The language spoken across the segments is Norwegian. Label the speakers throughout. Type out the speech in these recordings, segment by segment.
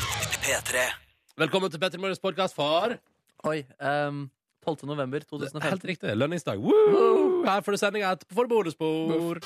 Speaker 1: P3.
Speaker 2: Velkommen til Petter Morgens podkast for
Speaker 3: Oi. ehm, 12. november 2015.
Speaker 2: Helt riktig, lønningsdag. Woo! Her får du sendinga etterpå for bonusspor.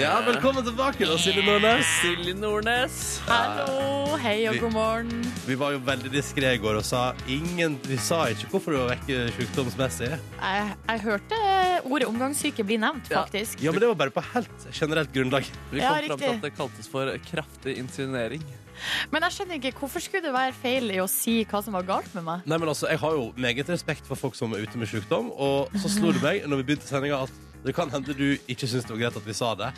Speaker 2: Ja, velkommen tilbake, da, Silje Nordnes.
Speaker 3: Eh, Silje Nordnes. Hallo. Hei og
Speaker 2: Vi-
Speaker 3: god morgen.
Speaker 2: Vi var jo veldig diskré i går og sa ingen Vi sa ikke hvorfor du var vekke sykdomsmessig.
Speaker 4: Jeg, jeg hørte ordet omgangssyke bli nevnt, faktisk.
Speaker 2: Ja, men det var bare på helt generelt grunnlag.
Speaker 3: Vi
Speaker 4: Ja,
Speaker 3: kom fram til
Speaker 4: riktig.
Speaker 3: at det kaltes for kraftig insinuering.
Speaker 4: Men jeg skjønner ikke, hvorfor skulle det være feil i å si hva som var galt med meg?
Speaker 2: Nei, men altså, Jeg har jo meget respekt for folk som er ute med sykdom, og så slo det meg når vi begynte sendinga at det kan hende du ikke syns det var greit at vi sa det.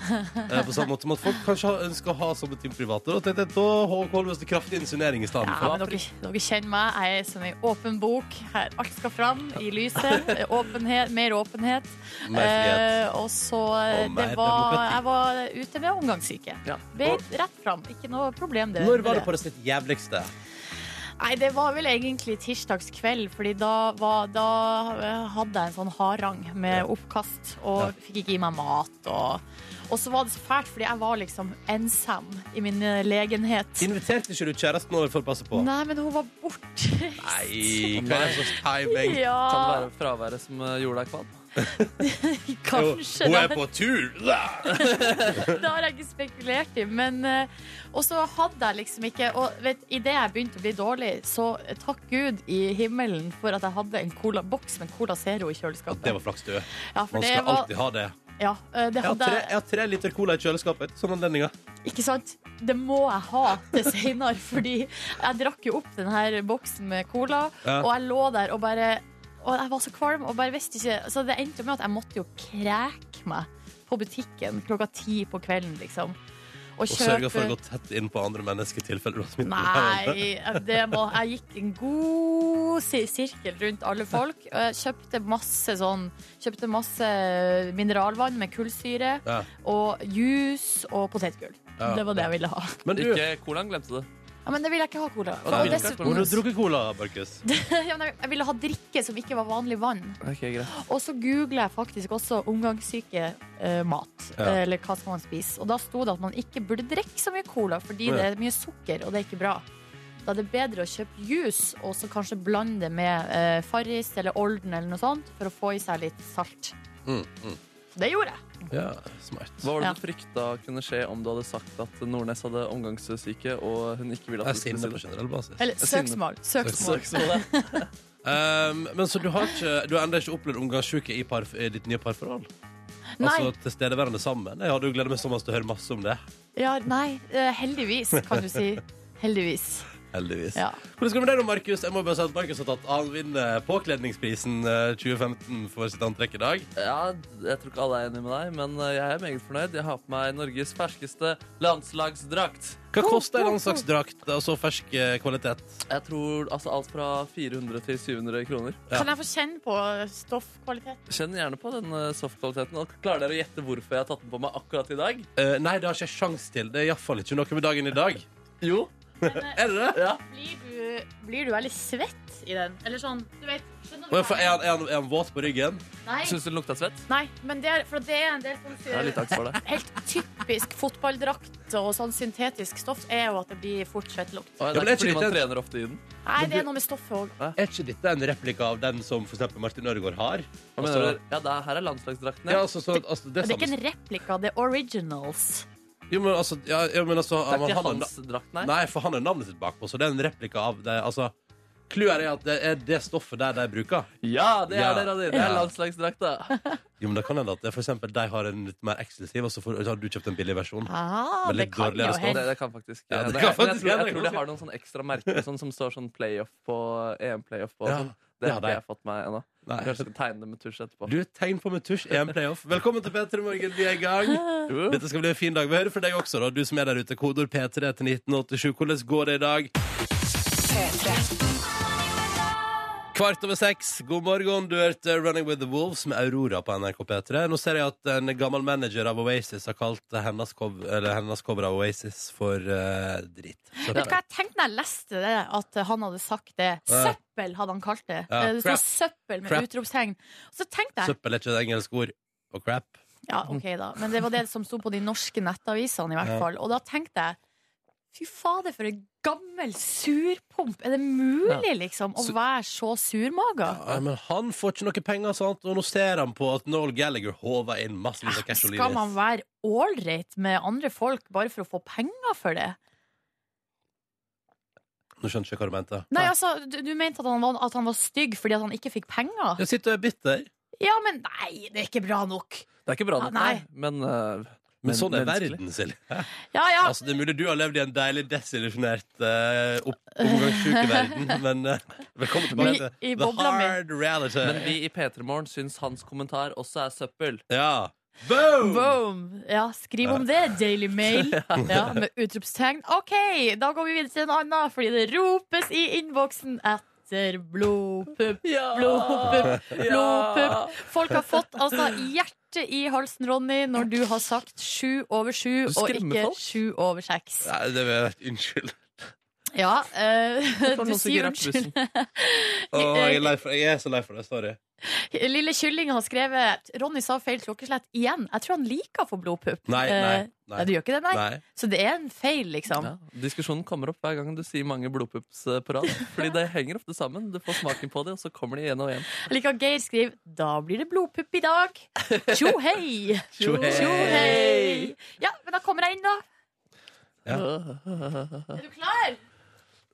Speaker 2: Eh, på samme måte som at folk kanskje har- ønsker å ha sånne ting private. Da tenkte jeg, da holder vi oss til kraftig insinuering i stedet.
Speaker 4: Ja,
Speaker 2: for.
Speaker 4: men dere, dere kjenner meg. Jeg er som ei åpen bok. Her, alt skal fram i lyset. Åpenhet, mer åpenhet.
Speaker 2: Mer frihet.
Speaker 4: Eh, og så
Speaker 2: Og mer
Speaker 4: det var,
Speaker 2: demokrati.
Speaker 4: Jeg var ute med omgangssyke.
Speaker 3: Ja.
Speaker 4: Beit rett fram. Ikke noe problem. Det,
Speaker 2: Når var det
Speaker 4: med
Speaker 2: på det sitt jævligste?
Speaker 4: Nei, det var vel egentlig tirsdagskveld, fordi da, var, da eh, hadde jeg en sånn harang med oppkast, og fikk ikke i meg mat. Og, og så var det så fælt, fordi jeg var liksom ensam i min eh, legenhet.
Speaker 2: Inviterte ikke du kjæresten over for å passe på?
Speaker 4: Nei, men hun var borte.
Speaker 2: Nei, hva er det slags timing?
Speaker 3: Kan det
Speaker 4: Ja,
Speaker 3: være fraværet som eh, gjorde deg kvalm?
Speaker 4: kanskje.
Speaker 2: Hun er
Speaker 4: det.
Speaker 2: på tur!
Speaker 4: Det har jeg ikke spekulert i. Men, eh, og så hadde jeg liksom ikke Og vet, idet jeg begynte å bli dårlig, så eh, takk Gud i himmelen for at jeg hadde en cola, boks med Cola Zero i kjøleskapet.
Speaker 2: Det var flaks, du.
Speaker 4: ja, for
Speaker 2: Man
Speaker 4: det
Speaker 2: skal
Speaker 4: var-
Speaker 2: alltid ha det.
Speaker 4: Ja, eh, det
Speaker 2: Jeg har
Speaker 4: hadde
Speaker 2: tre, jeg har tre liter cola i kjøleskapet. Sånn anledninger.
Speaker 4: Ikke sant? Det må jeg ha til seinere, fordi jeg drakk jo opp den her boksen med cola,
Speaker 2: Ja.
Speaker 4: og jeg lå der og bare Og jeg var så kvalm og bare visste ikke Så det endte med at jeg måtte jo kreke meg på butikken klokka ti på kvelden, liksom. Og
Speaker 2: Og
Speaker 4: kjøpe
Speaker 2: sørge for å gå tett inn på andre mennesker i tilfelle du har smitte.
Speaker 4: Nei, det må, jeg gikk en god si- sirkel rundt alle folk. Og jeg kjøpte masse sånn Kjøpte masse mineralvann med kullsyre
Speaker 2: Ja.
Speaker 4: og juice og potetgull.
Speaker 2: Ja.
Speaker 4: Det var det jeg ville ha.
Speaker 2: Men du,
Speaker 3: Ikke colaen glemte det.
Speaker 4: Ja, men det vil jeg ikke ha cola.
Speaker 3: Og da
Speaker 4: Og
Speaker 3: vil du ikke ha
Speaker 4: dessuten-
Speaker 2: hvor har du drukket cola, Markus?
Speaker 4: Ja, men jeg ville ha drikke som ikke var vanlig vann.
Speaker 3: Ok, greit.
Speaker 4: Og så googler jeg faktisk også omgangssyke eh, mat.
Speaker 2: Ja.
Speaker 4: eh, Eller hva skal man spise. Og da sto det at man ikke burde drikke så mye cola fordi
Speaker 2: Ja.
Speaker 4: det er mye sukker, og det er ikke bra. Da er det bedre å kjøpe juice og så kanskje blande det med eh, Farris eller Olden eller noe sånt for å få i seg litt salt.
Speaker 2: Mm,
Speaker 4: Så det gjorde jeg.
Speaker 2: Ja, smart.
Speaker 3: Hva var det
Speaker 4: Ja.
Speaker 3: du frykta kunne skje om du hadde sagt at Nordnes hadde omgangssyke, og hun ikke ville
Speaker 2: Jeg er
Speaker 3: at du skulle
Speaker 2: sinne
Speaker 3: si
Speaker 2: på
Speaker 3: det?
Speaker 2: generell basis.
Speaker 4: Eller
Speaker 3: synes-
Speaker 4: søksmål. Søksmål.
Speaker 3: Søksmålet.
Speaker 2: Um, men så du har ikke Du har ennå ikke opplevd omgangssyke i, par, i ditt nye parforhold?
Speaker 4: Nei.
Speaker 2: Altså tilstedeværende sammen? Jeg hadde jo gledet meg sånn til å høre masse om det.
Speaker 4: Ja, nei, eh, heldigvis, kan du si. Heldigvis.
Speaker 2: Heldigvis.
Speaker 4: Ja.
Speaker 2: Hvordan skal det med deg nå, Markus? Jeg må bare si at Markus har tatt Han vinner påkledningsprisen eh, 2015 for sitt antrekk i dag.
Speaker 3: Ja, jeg tror ikke alle er enig med deg, men eh, jeg er meget fornøyd. Jeg har på meg Norges ferskeste landslagsdrakt.
Speaker 2: Hva koster en landslagsdrakt av så fersk eh, kvalitet?
Speaker 3: Jeg tror altså alt fra 400 til 700 kroner.
Speaker 2: Ja.
Speaker 4: Kan jeg få kjenne på stoffkvalitet?
Speaker 3: Kjenn gjerne på den eh, softkvaliteten. Og klarer dere å gjette hvorfor jeg har tatt den på meg akkurat i dag?
Speaker 2: Eh, nei, det har ikke jeg sjans til. Det er iallfall ikke noe med dagen i dag.
Speaker 3: Jo.
Speaker 2: Er det det?
Speaker 3: Ja.
Speaker 4: Blir du, blir du veldig svett i den? Eller sånn, du vet skjønner du
Speaker 2: Og jeg
Speaker 4: hva
Speaker 2: får- Er
Speaker 4: jeg
Speaker 2: han, er han, er han våt på ryggen?
Speaker 4: Nei,
Speaker 3: Syns du den lukta svett?
Speaker 4: nei, men det er, for det er en del sånn
Speaker 3: Jeg har litt angst for det.
Speaker 4: Helt typisk fotballdrakt og sånn syntetisk stoff er jo at det blir fort svettlukt.
Speaker 3: Og
Speaker 2: Ja, men
Speaker 3: det
Speaker 2: det
Speaker 3: er
Speaker 2: er
Speaker 3: ikke fordi
Speaker 2: ikke
Speaker 3: man
Speaker 2: litt-
Speaker 3: trener ofte i den.
Speaker 4: Nei, det er noe med stoffet òg.
Speaker 2: Er ikke dette en replika av den som for eksempel Martin Ødegaard har? Altså,
Speaker 3: Hva mener du? Ja, det er, her er landslagsdrakten.
Speaker 2: Ja,
Speaker 3: Ja.
Speaker 2: altså, så, altså,
Speaker 4: Det
Speaker 2: det er
Speaker 4: er ikke
Speaker 2: samme.
Speaker 4: en replika, det er originals.
Speaker 2: Jo, men altså, ja, ja, men altså
Speaker 3: Det er
Speaker 2: han-
Speaker 3: ikke
Speaker 2: han,
Speaker 3: hans drakt, nei.
Speaker 2: Nei, for han har navnet sitt bakpå, så det er en replika av det. Altså, Clouet er at det er det stoffet der de bruker.
Speaker 3: Ja, det
Speaker 2: Ja.
Speaker 3: er det, Randi. Det
Speaker 2: Ja.
Speaker 3: er landslagsdrakta.
Speaker 2: Jo, men Da kan hende at det, for eksempel, de har en litt mer eksklusiv, og så får, har du kjøpt en billig versjon.
Speaker 4: Ah,
Speaker 2: Men
Speaker 4: det
Speaker 2: litt
Speaker 4: kan
Speaker 2: dårligere
Speaker 4: jo
Speaker 2: stoff.
Speaker 3: Det,
Speaker 4: hende.
Speaker 3: det kan faktisk
Speaker 2: Ja, det
Speaker 3: hende.
Speaker 2: kan
Speaker 3: Men
Speaker 2: faktisk
Speaker 3: jeg, tror,
Speaker 2: hende.
Speaker 3: jeg tror de har noen sånn ekstra merker sånn, som står sånn playoff på EM-playoff på. og
Speaker 2: Ja.
Speaker 3: Sånn.
Speaker 2: Ja,
Speaker 3: Det har
Speaker 2: det.
Speaker 3: ikke jeg fått meg ennå.
Speaker 2: Nei.
Speaker 3: Kanskje jeg skal tegne det med tusj etterpå.
Speaker 2: Du, tegn på med tusj. EM playoff. Velkommen til P3 Morgen, vi er i gang.
Speaker 3: Jo.
Speaker 2: Dette skal bli en fin dag. Vi hører fra deg også, da. Du som er der ute. Kodord P3 til 1987. Hvordan går det i dag? Kvart over seks. God morgen. Du hørte Running with the Wolves med Aurora på NRK P3. Nå ser jeg at en gammel manager av Oasis har kalt hennes, cov eller hennes cover av Oasis for eh, dritt.
Speaker 4: Vet du hva jeg tenkte når jeg leste det, at han hadde sagt det?
Speaker 2: Ja.
Speaker 4: Søppel hadde han kalt det.
Speaker 2: Ja,
Speaker 4: Eh, Det står
Speaker 2: crap.
Speaker 4: søppel med
Speaker 2: Crap.
Speaker 4: utropstegn. Og så tenkte jeg
Speaker 2: Søppel er ikke et engelsk ord. Og crap.
Speaker 4: Ja, OK, da. Men det var det som sto på de norske nettavisene, i
Speaker 2: Ja.
Speaker 4: hvert fall. Og da tenkte jeg Fy fader, for en gammel surpomp! Er det mulig, liksom, å
Speaker 2: Su-
Speaker 4: være så surmaga?
Speaker 2: Ja, men han får ikke noe penger, sant? og nå ser han på at Noel Gallagher håver inn massevis av cash og
Speaker 4: Ah, Skal man
Speaker 2: linis.
Speaker 4: være ålreit med andre folk bare for å få penger for det?
Speaker 2: Nå skjønte jeg ikke hva du mente.
Speaker 4: Nei, altså, du, du mente at han, var, at han var stygg fordi at han ikke fikk penger?
Speaker 2: Jeg sitter og er bitter.
Speaker 4: Ja, men nei, det er ikke bra nok!
Speaker 3: Det er ikke bra nok,
Speaker 4: Ah, nei.
Speaker 3: nei. men eh,
Speaker 2: Men,
Speaker 3: Men
Speaker 2: sånn er
Speaker 3: menneskelig.
Speaker 2: verden, Silje.
Speaker 4: Ja, ja,
Speaker 2: Altså, det er mulig du har levd i en deilig desillusjonert eh, opp- omgangssjuk verden, men eh, velkommen tilbake
Speaker 4: I-
Speaker 2: til
Speaker 4: i
Speaker 2: the
Speaker 4: bobla mi.
Speaker 2: hard reality.
Speaker 3: Men vi i P3 Morgen syns hans kommentar også er søppel.
Speaker 2: Ja. Boom!
Speaker 4: Boom! Ja, skriv om det, Daily Mail. Ja, med utropstegn. OK, da går vi videre til en annen, fordi det ropes i innboksen etter blodpupp, blodpupp, blodpupp. Folk har fått altså hjertet i halsen, Ronny, når du har sagt sju over sju,
Speaker 3: Du
Speaker 4: og
Speaker 3: skremmer
Speaker 4: ikke
Speaker 3: folk.
Speaker 4: sju over seks.
Speaker 2: Nei, det vil jeg vært unnskyld.
Speaker 4: Ja, eh,
Speaker 3: Det var
Speaker 4: du
Speaker 3: noen som
Speaker 4: sier
Speaker 3: ikke rakk
Speaker 4: unnskyld.
Speaker 3: bussen.
Speaker 2: Å, jeg, er lei for, jeg er så lei for det. Sorry.
Speaker 4: Lille Kylling har skrevet Ronny sa feil klokkeslett igjen. Jeg tror han liker å få blodpupp.
Speaker 2: Nei, nei,
Speaker 4: Eh,
Speaker 2: nei.
Speaker 4: Du gjør ikke det, nei?
Speaker 2: Nei.
Speaker 4: Så det er en feil, liksom.
Speaker 3: Ja, diskusjonen kommer opp hver gang du sier mange blodpups eh, på rad. Fordi det henger ofte sammen. Du får smaken på det, og så kommer de igjen og igjen.
Speaker 4: Jeg liker at Geir skriver 'Da blir det blodpupp i dag'. Tjo hei!
Speaker 2: Tjo hei.
Speaker 4: Tjo hei! Ja, men da kommer jeg inn, da.
Speaker 2: Ja.
Speaker 4: Er du klar?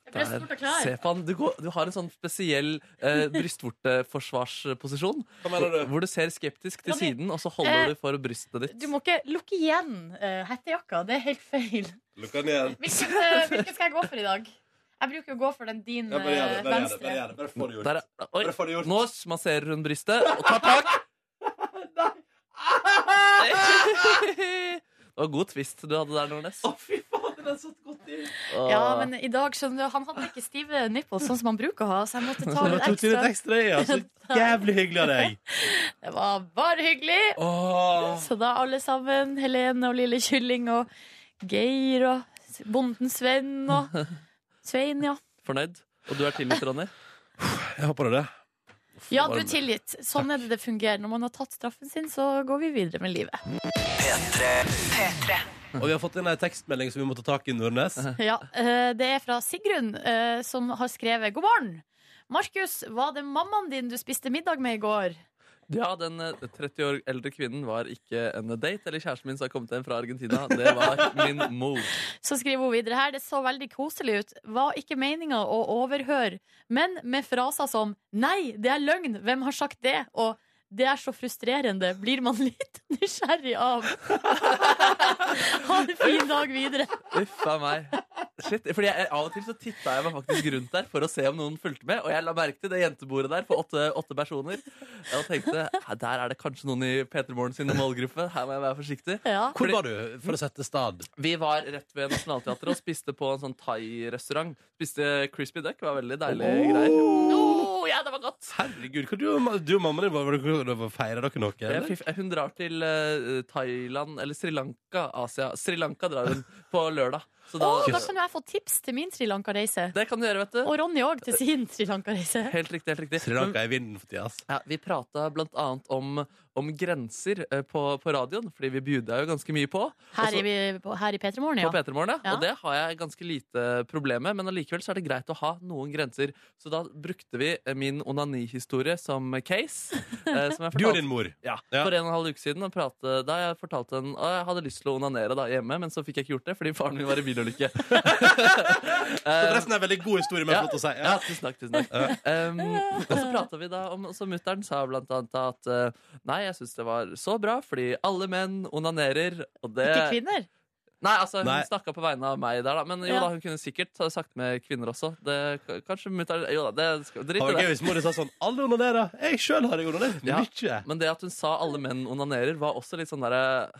Speaker 4: Jeg ble
Speaker 3: Der.
Speaker 4: spurt og klar.
Speaker 3: Se på han. Du, går, du har en sånn spesiell eh, brystvorteforsvarsposisjon.
Speaker 2: Hva mener du?
Speaker 3: Hvor du ser skeptisk til
Speaker 4: Ronny,
Speaker 3: siden, og så
Speaker 4: eh,
Speaker 3: holder du for brystet ditt.
Speaker 4: Du må ikke lukke igjen eh, hettejakka. Det er helt feil.
Speaker 2: Lukk den igjen.
Speaker 4: Hvilken, eh, hvilken skal jeg gå for i dag? Jeg bruker jo å gå for den din
Speaker 2: Ja, bare gjør det.
Speaker 4: eh,
Speaker 2: Bare gjør det. Bare,
Speaker 4: venstre.
Speaker 2: gjør det. bare få det gjort.
Speaker 3: Der, er- oi,
Speaker 2: Bare få det gjort.
Speaker 3: nå masserer hun brystet og tar tak. Det var god twist du hadde der, Nordnes.
Speaker 2: fy faen, den har satt godt i.
Speaker 4: Ja, men i dag, skjønner du, han hadde ikke stive nipples sånn som han bruker å ha, så jeg måtte ta
Speaker 2: Det
Speaker 4: litt
Speaker 2: tok du litt
Speaker 4: ekstra.
Speaker 2: ekstra i, ja. Så jævlig hyggelig av deg.
Speaker 4: Det var bare hyggelig.
Speaker 2: Åh.
Speaker 4: Så da alle sammen, Helene og Lille Kylling og Geir og Bonden Sven og Svein, ja.
Speaker 3: Fornøyd? Og du er tilgitt, Ronny?
Speaker 2: Jeg håper det.
Speaker 4: Ja, du er tilgitt. Sånn er det det fungerer. Når man har tatt straffen sin, så går vi videre med livet.
Speaker 2: Mm. Og vi har fått inn ei tekstmelding som vi må ta tak i, Nordnes.
Speaker 4: Ja, eh, Det er fra Sigrun, eh, som har skrevet 'God morgen'. Markus, var det mammaen din du spiste middag med i går?
Speaker 3: Ja, den eh, 30 år eldre kvinnen var ikke en date eller kjæresten min som har kommet hjem fra Argentina. Det var min mor.
Speaker 4: Så skriver hun videre her. Det så veldig koselig ut. Var ikke meninga å overhøre, men med fraser som 'Nei, det er løgn. Hvem har sagt det?' og 'Det er så frustrerende', blir man litt nysgjerrig av. ha en fin dag videre.
Speaker 3: Uff a meg. Shit, fordi jeg, Av og til så titta jeg meg faktisk rundt der for å se om noen fulgte med. Og jeg la merke til det jentebordet der for åtte, åtte personer. Og tenkte "Hæ, der er det kanskje noen i P3 Morgen sin målgruppe. Her må jeg være forsiktig.
Speaker 4: Ja.
Speaker 2: Hvor var du, for å sette stad?
Speaker 3: Vi var rett ved Nationaltheatret og spiste på en sånn thai-restaurant. Spiste crispy duck. var veldig deilig
Speaker 2: Oh.
Speaker 3: greier.
Speaker 4: Nå, ja, det var godt.
Speaker 2: Herregud, hva du, og ma- du og mamma din, var- var dere- feirer dere noe?
Speaker 3: Jeg,
Speaker 2: Eller?
Speaker 3: fikk- hun drar til eh, Thailand eller Sri Lanka, Asia. Sri Lanka drar hun på lørdag. Så da,
Speaker 4: Å, da kan jo jeg få tips til min Sri Lanka-reise.
Speaker 3: det kan du gjøre, vet du.
Speaker 4: Og Ronny òg til sin Sri Lanka-reise.
Speaker 3: Helt riktig. helt riktig
Speaker 2: Sri Lanka er i vinden for tida. ass.
Speaker 3: Ja, vi prata blant annet om, om grenser eh, på, på radioen, fordi vi bjuda jo ganske mye på.
Speaker 4: Her,
Speaker 3: Også-
Speaker 4: er vi på- her i P3 Morgen,
Speaker 3: På
Speaker 4: ja.
Speaker 3: P3morgen, ja.
Speaker 4: Ja.
Speaker 3: Og det har jeg ganske lite problem med, men allikevel så er det greit å ha noen grenser. Så da brukte vi eh, min onanihistorie som case. eh, som jeg
Speaker 2: Du og
Speaker 3: fortalte-
Speaker 2: din mor.
Speaker 3: Ja,
Speaker 2: Ja.
Speaker 3: For en og en halv uke siden og prate, da jeg fortalte en at jeg hadde lyst til å onanere da, hjemme, men så fikk jeg ikke gjort det fordi faren min var i bilulykke.
Speaker 2: Så
Speaker 3: Eh,
Speaker 2: Forresten er en veldig god historie, men jeg har fått å si.
Speaker 3: ja,
Speaker 2: Ja.
Speaker 3: tusen takk. tusen takk um, Og så prata vi da om Så mutter'n sa blant annet at eh, Nei, jeg syns det var så bra, fordi alle menn onanerer, og det
Speaker 4: Ikke kvinner.
Speaker 3: Nei, altså,
Speaker 2: Nei.
Speaker 3: hun snakka på vegne av meg der, da. Men jo
Speaker 4: Ja.
Speaker 3: da, hun kunne sikkert ha sagt med kvinner også. Det, kanskje mutter'n Jo da, det skal
Speaker 2: Det
Speaker 3: drit
Speaker 2: var
Speaker 3: i
Speaker 2: gøy
Speaker 3: det.
Speaker 2: hvis mor din sa sånn Alle onanerer. Jeg sjøl har jeg onanert
Speaker 3: Ja.
Speaker 2: mye.
Speaker 3: Men det at hun sa alle menn onanerer, var også litt sånn derre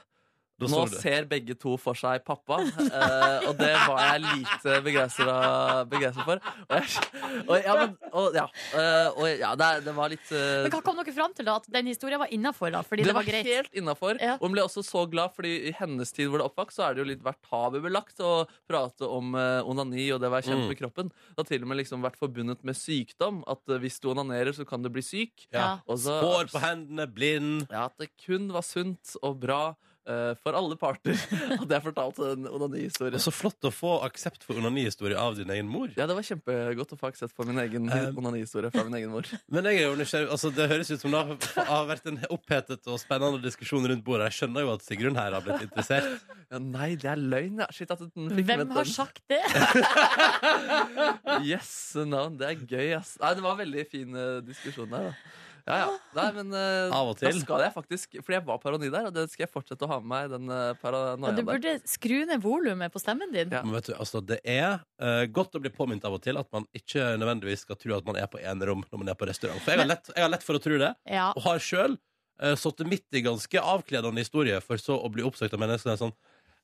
Speaker 2: Da
Speaker 3: Nå
Speaker 2: så du.
Speaker 3: ser begge to for seg pappa, eh, og det var jeg lite begeistra begeistra for. Og, jeg, og, ja, men, og, ja, eh, og ja, det, er- det var litt eh,
Speaker 4: Men hva kom dere fram til, da? At den historien var innafor, da? Fordi det, var, greit.
Speaker 3: helt innafor.
Speaker 4: Ja.
Speaker 3: Og hun ble også så glad, fordi i hennes tid hvor det oppvokste, så er det jo litt vært tabubelagt å prate om eh, onani og det å være
Speaker 2: Mm.
Speaker 3: kjent med kroppen. Det har til og med liksom vært forbundet med sykdom. At eh, hvis du onanerer, så kan du bli syk.
Speaker 2: Ja.
Speaker 3: Og så,
Speaker 2: Hår på hendene, blind.
Speaker 3: ja, at det kun var sunt og bra eh, for alle parter. At jeg fortalte en
Speaker 2: Det
Speaker 3: onanihistorie.
Speaker 2: er så flott å få aksept for onanihistorie av din egen mor.
Speaker 3: Ja, det var kjempegodt å få aksept for min egen
Speaker 2: Um,
Speaker 3: onanihistorie fra min egen mor.
Speaker 2: Men jeg er jo nysgjerrig, altså det høres ut som det har- har vært en opphetet og spennende diskusjon rundt bordet. Jeg skjønner jo at Sigrun her har blitt interessert.
Speaker 3: Ja, nei, det er løgn, ja. Shit, at den fikk med
Speaker 4: Hvem har
Speaker 3: den.
Speaker 4: sagt det?
Speaker 3: Yes, navn. Det er gøy, ass. Nei, det var en veldig fin eh, diskusjon der, da. Ja, ja. Nei, men eh,
Speaker 2: Av og
Speaker 3: Da
Speaker 2: til.
Speaker 3: skal jeg faktisk Fordi jeg var paranoid der, og det skal jeg fortsette å ha med meg, den eh,
Speaker 4: Ja,
Speaker 3: paranoiaen
Speaker 4: du
Speaker 3: der.
Speaker 4: burde skru ned volumet på stemmen din.
Speaker 3: Ja.
Speaker 2: Men vet du, altså det er eh, godt å bli påminnet av og til at man ikke nødvendigvis skal tro at man er på enerom når man er på restaurant. For jeg har lett, jeg har lett for å tro det,
Speaker 4: Ja.
Speaker 2: og har sjøl uh, sittet midt i ganske avkledende historie for så å bli oppsøkt av mennesker som er sånn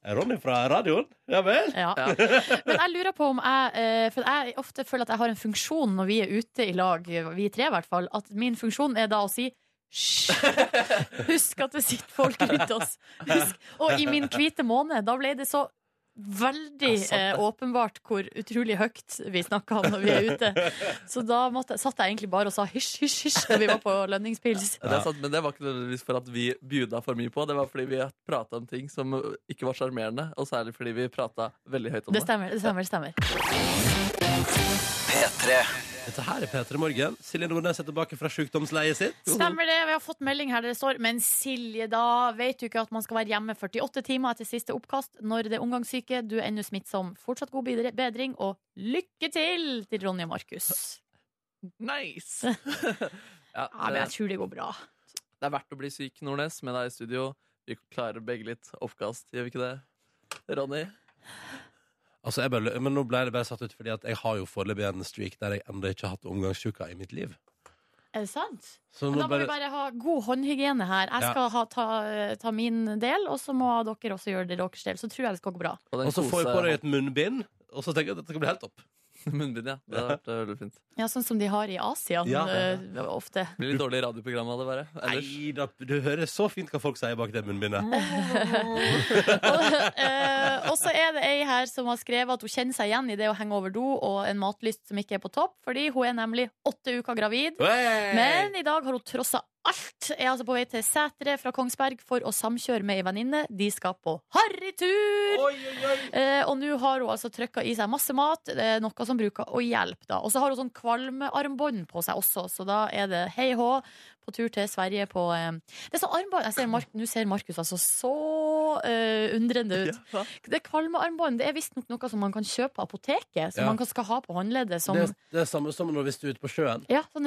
Speaker 2: «Er Ronny fra radioen? Ja vel?
Speaker 4: Ja.
Speaker 3: Ja.
Speaker 4: Men jeg lurer på om jeg eh, For jeg ofte føler at jeg har en funksjon når vi er ute i lag, vi tre i hvert fall, at min funksjon er da å si Hysj! Husk at det sitter folk rundt oss. Husk. Og i min hvite måned, da ble det så veldig
Speaker 3: Ja, sant det.
Speaker 4: eh, åpenbart hvor utrolig høyt vi snakka når vi er ute. Så da måtte, satt jeg egentlig bare og sa hysj, hysj, hysj da vi var på lønningspils.
Speaker 3: Det er sant, men det var ikke nødvendigvis for at vi bjuda for mye på. Det var fordi vi prata om ting som eh, ikke var sjarmerende, og særlig fordi vi prata veldig høyt om
Speaker 4: Det
Speaker 3: det.
Speaker 4: stemmer. det stemmer, det stemmer.
Speaker 2: Dette her er P3 Morgen. Silje Nordnes er tilbake fra sjukdomsleiet sitt.
Speaker 4: Stemmer det. Vi har fått melding her der det står Men Silje, da vet du ikke at man skal være hjemme 48 timer etter siste oppkast når det er omgangssyke. Du er ennå smittsom. Fortsatt god bidre- bedring, og lykke til til Ronny og Markus.
Speaker 3: Nice!
Speaker 4: Ja,
Speaker 3: ja,
Speaker 4: men jeg tror det går bra.
Speaker 3: Det er verdt å bli syk, Nordnes, med deg i studio. Vi klarer begge litt oppkast, gjør vi ikke det? Ronny?
Speaker 2: Altså, jeg bare, men nå ble det bare satt ut fordi at jeg har jo foreløpig en streak der jeg ennå ikke har hatt omgangssjuka i mitt liv.
Speaker 4: Er det sant?
Speaker 2: Så
Speaker 4: Men
Speaker 2: nå
Speaker 4: da må vi bare ha god håndhygiene her. Jeg
Speaker 2: Ja.
Speaker 4: skal ha, ta, ta min del, og så må dere også gjøre det deres del. Så tror jeg det skal gå bra.
Speaker 3: Og den
Speaker 2: Og så får jeg
Speaker 3: kose-
Speaker 2: på deg et munnbind, og så tenker jeg at dette skal bli helt topp.
Speaker 3: Munnbind, ja. Det hadde vært eh, veldig fint.
Speaker 4: Ja, Sånn som de har i Asia
Speaker 2: Ja.
Speaker 4: eh, ofte.
Speaker 3: Blir litt dårlig radioprogram av det, bare. Ellers.
Speaker 2: Nei da, du hører så fint hva folk sier bak det munnbindet.
Speaker 4: Mm, Og, eh, og så er det ei her som har skrevet at hun kjenner seg igjen i det å henge over do og en matlyst som ikke er på topp, fordi hun er nemlig åtte uker gravid.
Speaker 2: Hey!
Speaker 4: Men i dag har hun trossa alt. Er altså på vei til Sætre fra Kongsberg for å samkjøre med ei venninne. De skal på harrytur!
Speaker 2: Oi, oi, oi.
Speaker 4: Eh, og nå har hun altså trykka i seg masse mat, eh, noe som bruker å hjelpe. da Og så har hun sånn kvalmearmbånd på seg også, så da er det hei hå på tur til Sverige på eh, Det er sånn armbånd jeg ser Mark, Nå ser Markus altså så eh, undrende ut.
Speaker 3: Ja.
Speaker 4: Det kvalmearmbånd det er visstnok noe som man kan kjøpe på apoteket, som
Speaker 2: Ja.
Speaker 4: man kan skal ha på håndleddet. Som,
Speaker 2: Det, det er samme som når hvis du er ute på sjøen.
Speaker 4: ja, sånn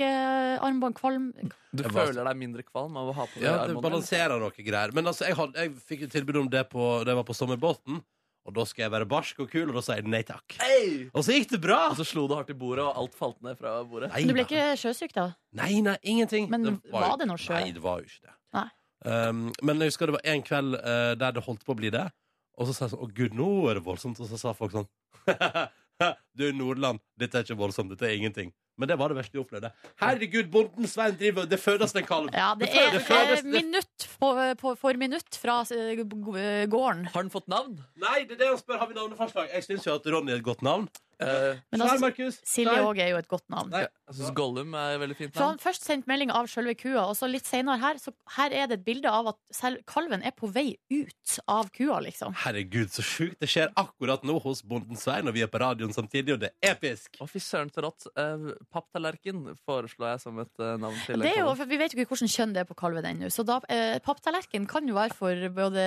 Speaker 4: reisesykearmbånd, kvalm
Speaker 3: Du
Speaker 2: Jeg var-
Speaker 3: føler deg mindre kvalm av å ha på deg
Speaker 2: Ja, det
Speaker 3: armbånd, eller?
Speaker 2: balanserer noe greier. Men altså, jeg, hadde, jeg fikk jo tilbud om det på, da jeg var på sommerbåten, og da skal jeg være barsk og kul, og da sier jeg nei takk.
Speaker 3: Hey!
Speaker 2: Og så gikk det bra!
Speaker 3: Og så slo du hardt i bordet, og alt falt ned fra bordet.
Speaker 2: Nei,
Speaker 4: Du ble
Speaker 2: da.
Speaker 4: ikke sjøsyk, da?
Speaker 2: Nei, nei, ingenting.
Speaker 4: Men var
Speaker 2: jo-
Speaker 4: det noe sjø?
Speaker 2: Nei, det var jo ikke det.
Speaker 4: Nei.
Speaker 2: Um, men jeg husker det var en kveld eh, der det holdt på å bli det. Og så sa jeg sånn Å, gud, nå er det voldsomt. Og så sa folk sånn Du er Nordland. Dette er ikke voldsomt. Dette er ingenting. Men det var det verste jeg opplevde. Herregud, bonden Svein driver Det fødes en kalv.
Speaker 4: Ja, det
Speaker 2: Det
Speaker 4: er eh,
Speaker 2: føles- det-
Speaker 4: minutt på, på, for minutt fra eh, g- g- gården.
Speaker 3: Har den fått navn?
Speaker 2: Nei, det er det han spør. Har vi navneforslag? Jeg syns jo at Ronny er et godt navn.
Speaker 3: Eh,
Speaker 4: Men
Speaker 2: Svein
Speaker 4: altså,
Speaker 2: Markus.
Speaker 4: Silje
Speaker 2: Svein.
Speaker 4: òg er jo et godt navn.
Speaker 2: Nei.
Speaker 3: jeg syns Gollum er et veldig fint
Speaker 4: For han
Speaker 3: navn.
Speaker 4: først sendte melding av selve kua, og så litt senere her så her er det et bilde av at selv kalven er på vei ut av kua, liksom.
Speaker 2: Herregud, så sjukt. Det skjer akkurat nå hos bonden Svein, og vi er på radioen samtidig, og det er episk.
Speaker 3: Å, fy søren så rått. Eh, papptallerken foreslår jeg som et eh, navn til.
Speaker 4: Det er jo,
Speaker 3: kalven.
Speaker 4: for vi vet jo ikke hvordan kjønn det er på kalven ennå, så da, eh, papptallerken kan jo være for både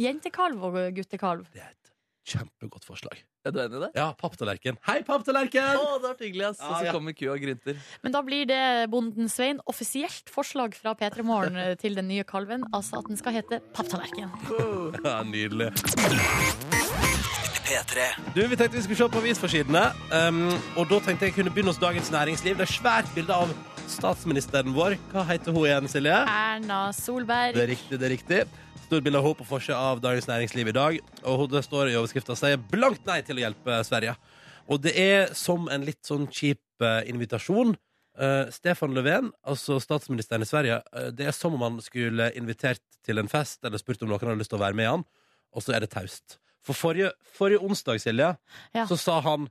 Speaker 4: jentekalv og guttekalv.
Speaker 2: Det er et kjempegodt forslag.
Speaker 3: Er du enig i det?
Speaker 2: Ja, papptallerken. Hei, papptallerken!
Speaker 3: Å, det har vært hyggelig, ass. Og
Speaker 2: Ja, ja.
Speaker 3: så kommer kua og grynter.
Speaker 4: Men da blir det Bonden Svein offisielt forslag fra P3 Morgen eh, til den nye kalven, altså at den skal hete Papptallerken.
Speaker 2: Ja, Nydelig.
Speaker 1: P3.
Speaker 2: Du, Vi tenkte vi skulle se på avisforsidene. Um, og da tenkte jeg kunne begynne hos Dagens Næringsliv. Det er svært bilde av statsministeren vår. Hva heter hun igjen, Silje?
Speaker 4: Erna Solberg.
Speaker 2: Det er riktig, det er riktig. Stort bilde av henne på forsida av Dagens Næringsliv i dag. Og hun- det står i overskrifta sier blankt nei til å hjelpe Sverige. Og det er som en litt sånn kjip eh, invitasjon. Eh, Stefan Löfven, altså statsministeren i Sverige, eh, det er som om han skulle invitert til en fest eller spurt om noen hadde lyst til å være med han, og så er det taust. For forrige, forrige onsdag, Silje,
Speaker 4: Ja.
Speaker 2: så sa han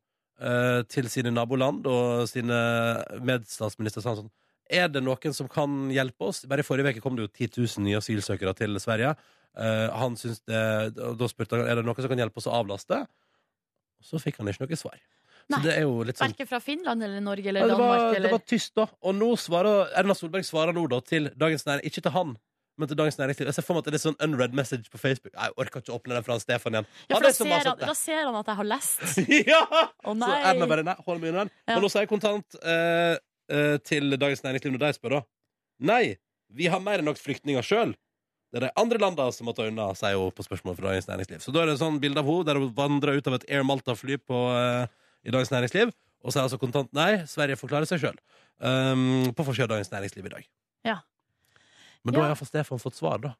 Speaker 2: eh, til sine naboland og sine medstatsminister sa han sånn er det noen som kan hjelpe oss? Bare i forrige uke kom det jo 10 000 nye asylsøkere til Sverige. Eh, han syns det, og da spurte han er det noen som kan hjelpe oss å avlaste. Og så fikk han ikke noe svar.
Speaker 4: Nei.
Speaker 2: Så det er jo litt sånn
Speaker 4: Verken fra Finland eller Norge
Speaker 2: ja,
Speaker 4: eller
Speaker 2: det,
Speaker 4: Danmark
Speaker 2: var, det
Speaker 4: eller
Speaker 2: var tyst, da. Og nå svarer Erna Solberg svarer nå da til Dagens Næring Ikke til han, men til Dagens Næringsliv. Jeg ser for meg at det er litt sånn unread message på Facebook. Nei, Jeg orker ikke å åpne den fra han Stefan igjen.
Speaker 4: ja,
Speaker 2: Han
Speaker 4: for da,
Speaker 2: er som
Speaker 4: ser
Speaker 2: har
Speaker 4: han,
Speaker 2: satt
Speaker 4: da ser han at jeg har lest.
Speaker 2: det. ja!
Speaker 4: Å
Speaker 2: Så
Speaker 4: nei!
Speaker 2: Erna bare nei, hold meg unna den.
Speaker 4: Ja.
Speaker 2: Men nå sier jeg kontant eh, eh, til Dagens Næringsliv når de spør, da. Nei, vi har mer enn nok flyktninger sjøl. Det er de andre landene som må ta unna, sier hun på spørsmål fra Dagens Næringsliv. Så da er det et sånn bilde av henne der hun vandrer ut av et Air Malta-fly på, eh, i Dagens Næringsliv, og sier altså kontant nei, Sverige forklarer seg sjøl. Um, på forsida av Dagens Næringsliv i dag.
Speaker 4: Ja.
Speaker 2: Men da
Speaker 4: Ja.
Speaker 2: har iallfall Stefan fått svar, da.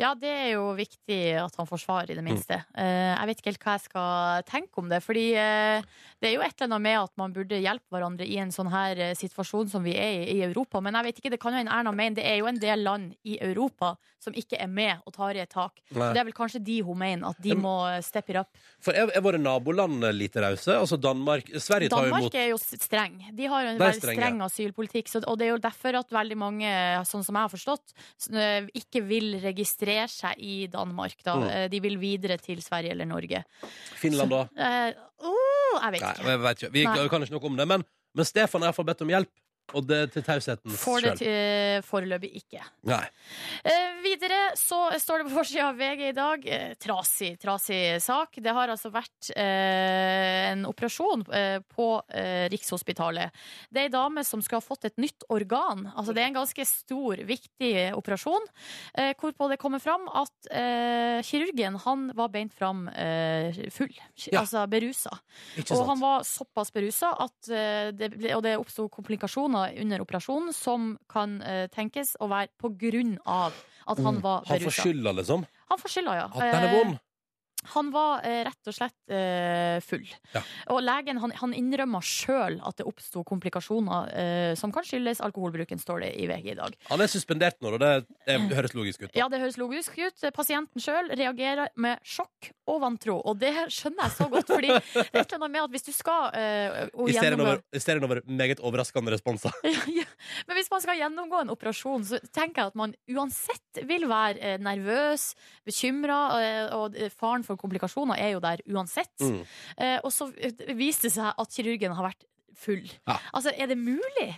Speaker 4: Ja, det er jo viktig at han får svar, i det minste. Eh, jeg vet ikke helt hva jeg skal tenke om det. Fordi eh, det er jo et eller annet med at man burde hjelpe hverandre i en sånn her eh, situasjon som vi er i i Europa. Men jeg vet ikke, det kan jo en Erna mene. Det er jo en del land i Europa som ikke er med og tar i et tak. Så det er vel kanskje de hun mener, at de
Speaker 2: Em-
Speaker 4: må steppe it up.
Speaker 2: For er, er våre naboland lite rause? Altså Danmark Sverige tar jo imot
Speaker 4: Danmark er jo s- streng. De har jo en
Speaker 2: De er
Speaker 4: veldig
Speaker 2: strenge.
Speaker 4: streng asylpolitikk. Så, og det er jo derfor at veldig mange, sånn som jeg har forstått, s- eh, ikke vil registrere seg i Danmark. Da.
Speaker 2: Mm.
Speaker 4: Eh, De vil videre til Sverige eller Norge.
Speaker 2: Finland, da.
Speaker 4: Eh, oh, jeg vet
Speaker 2: Nei,
Speaker 4: ikke.
Speaker 2: jeg vet ikke. Vi
Speaker 4: Nei.
Speaker 2: kan ikke noe om det. Men, men Stefan har iallfall bedt om hjelp, og det til tausheten
Speaker 4: Får det
Speaker 2: sjøl.
Speaker 4: til, eh, foreløpig ikke.
Speaker 2: Nei.
Speaker 4: Eh, videre så står det på forsida av VG i dag. Eh, trasig, trasig sak. Det har altså vært eh, en operasjon eh, på eh, Rikshospitalet. Det er ei dame som skal ha fått et nytt organ. Altså Det er en ganske stor, viktig operasjon. Eh, hvorpå det kommer fram at eh, kirurgen han var beint fram eh, full.
Speaker 2: Ja.
Speaker 4: Altså berusa.
Speaker 2: Ikke
Speaker 4: Og han
Speaker 2: sant.
Speaker 4: var såpass berusa at eh, det, ble- og det oppsto komplikasjoner under operasjonen som kan eh, tenkes å være på grunn av at han var
Speaker 2: Mm. Han får
Speaker 4: berusa.
Speaker 2: skylda, liksom.
Speaker 4: Han får skylda, ja.
Speaker 2: At den er
Speaker 4: Eh,
Speaker 2: vond.
Speaker 4: han var eh, rett og slett eh, full.
Speaker 2: Ja.
Speaker 4: Og legen han, han innrømma sjøl at det oppsto komplikasjoner eh, som kan skyldes alkoholbruken, står det i VG i dag.
Speaker 2: Han er suspendert nå, og det, det høres logisk ut. da.
Speaker 4: Ja, det høres logisk ut. Pasienten sjøl reagerer med sjokk og vantro. Og det skjønner jeg så godt, fordi det er et eller annet med at hvis du skal eh, å
Speaker 2: I serien
Speaker 4: gjennomgå
Speaker 2: over, i serien over meget overraskende responser.
Speaker 4: Ja, Men hvis man skal gjennomgå en operasjon, så tenker jeg at man uansett vil være eh, nervøs, bekymra, eh, og eh, faren for komplikasjoner er jo der uansett.
Speaker 2: Mm.
Speaker 4: Eh, Og så eh, viste det seg at kirurgen har vært full.
Speaker 2: Ja.
Speaker 4: Altså, er det mulig?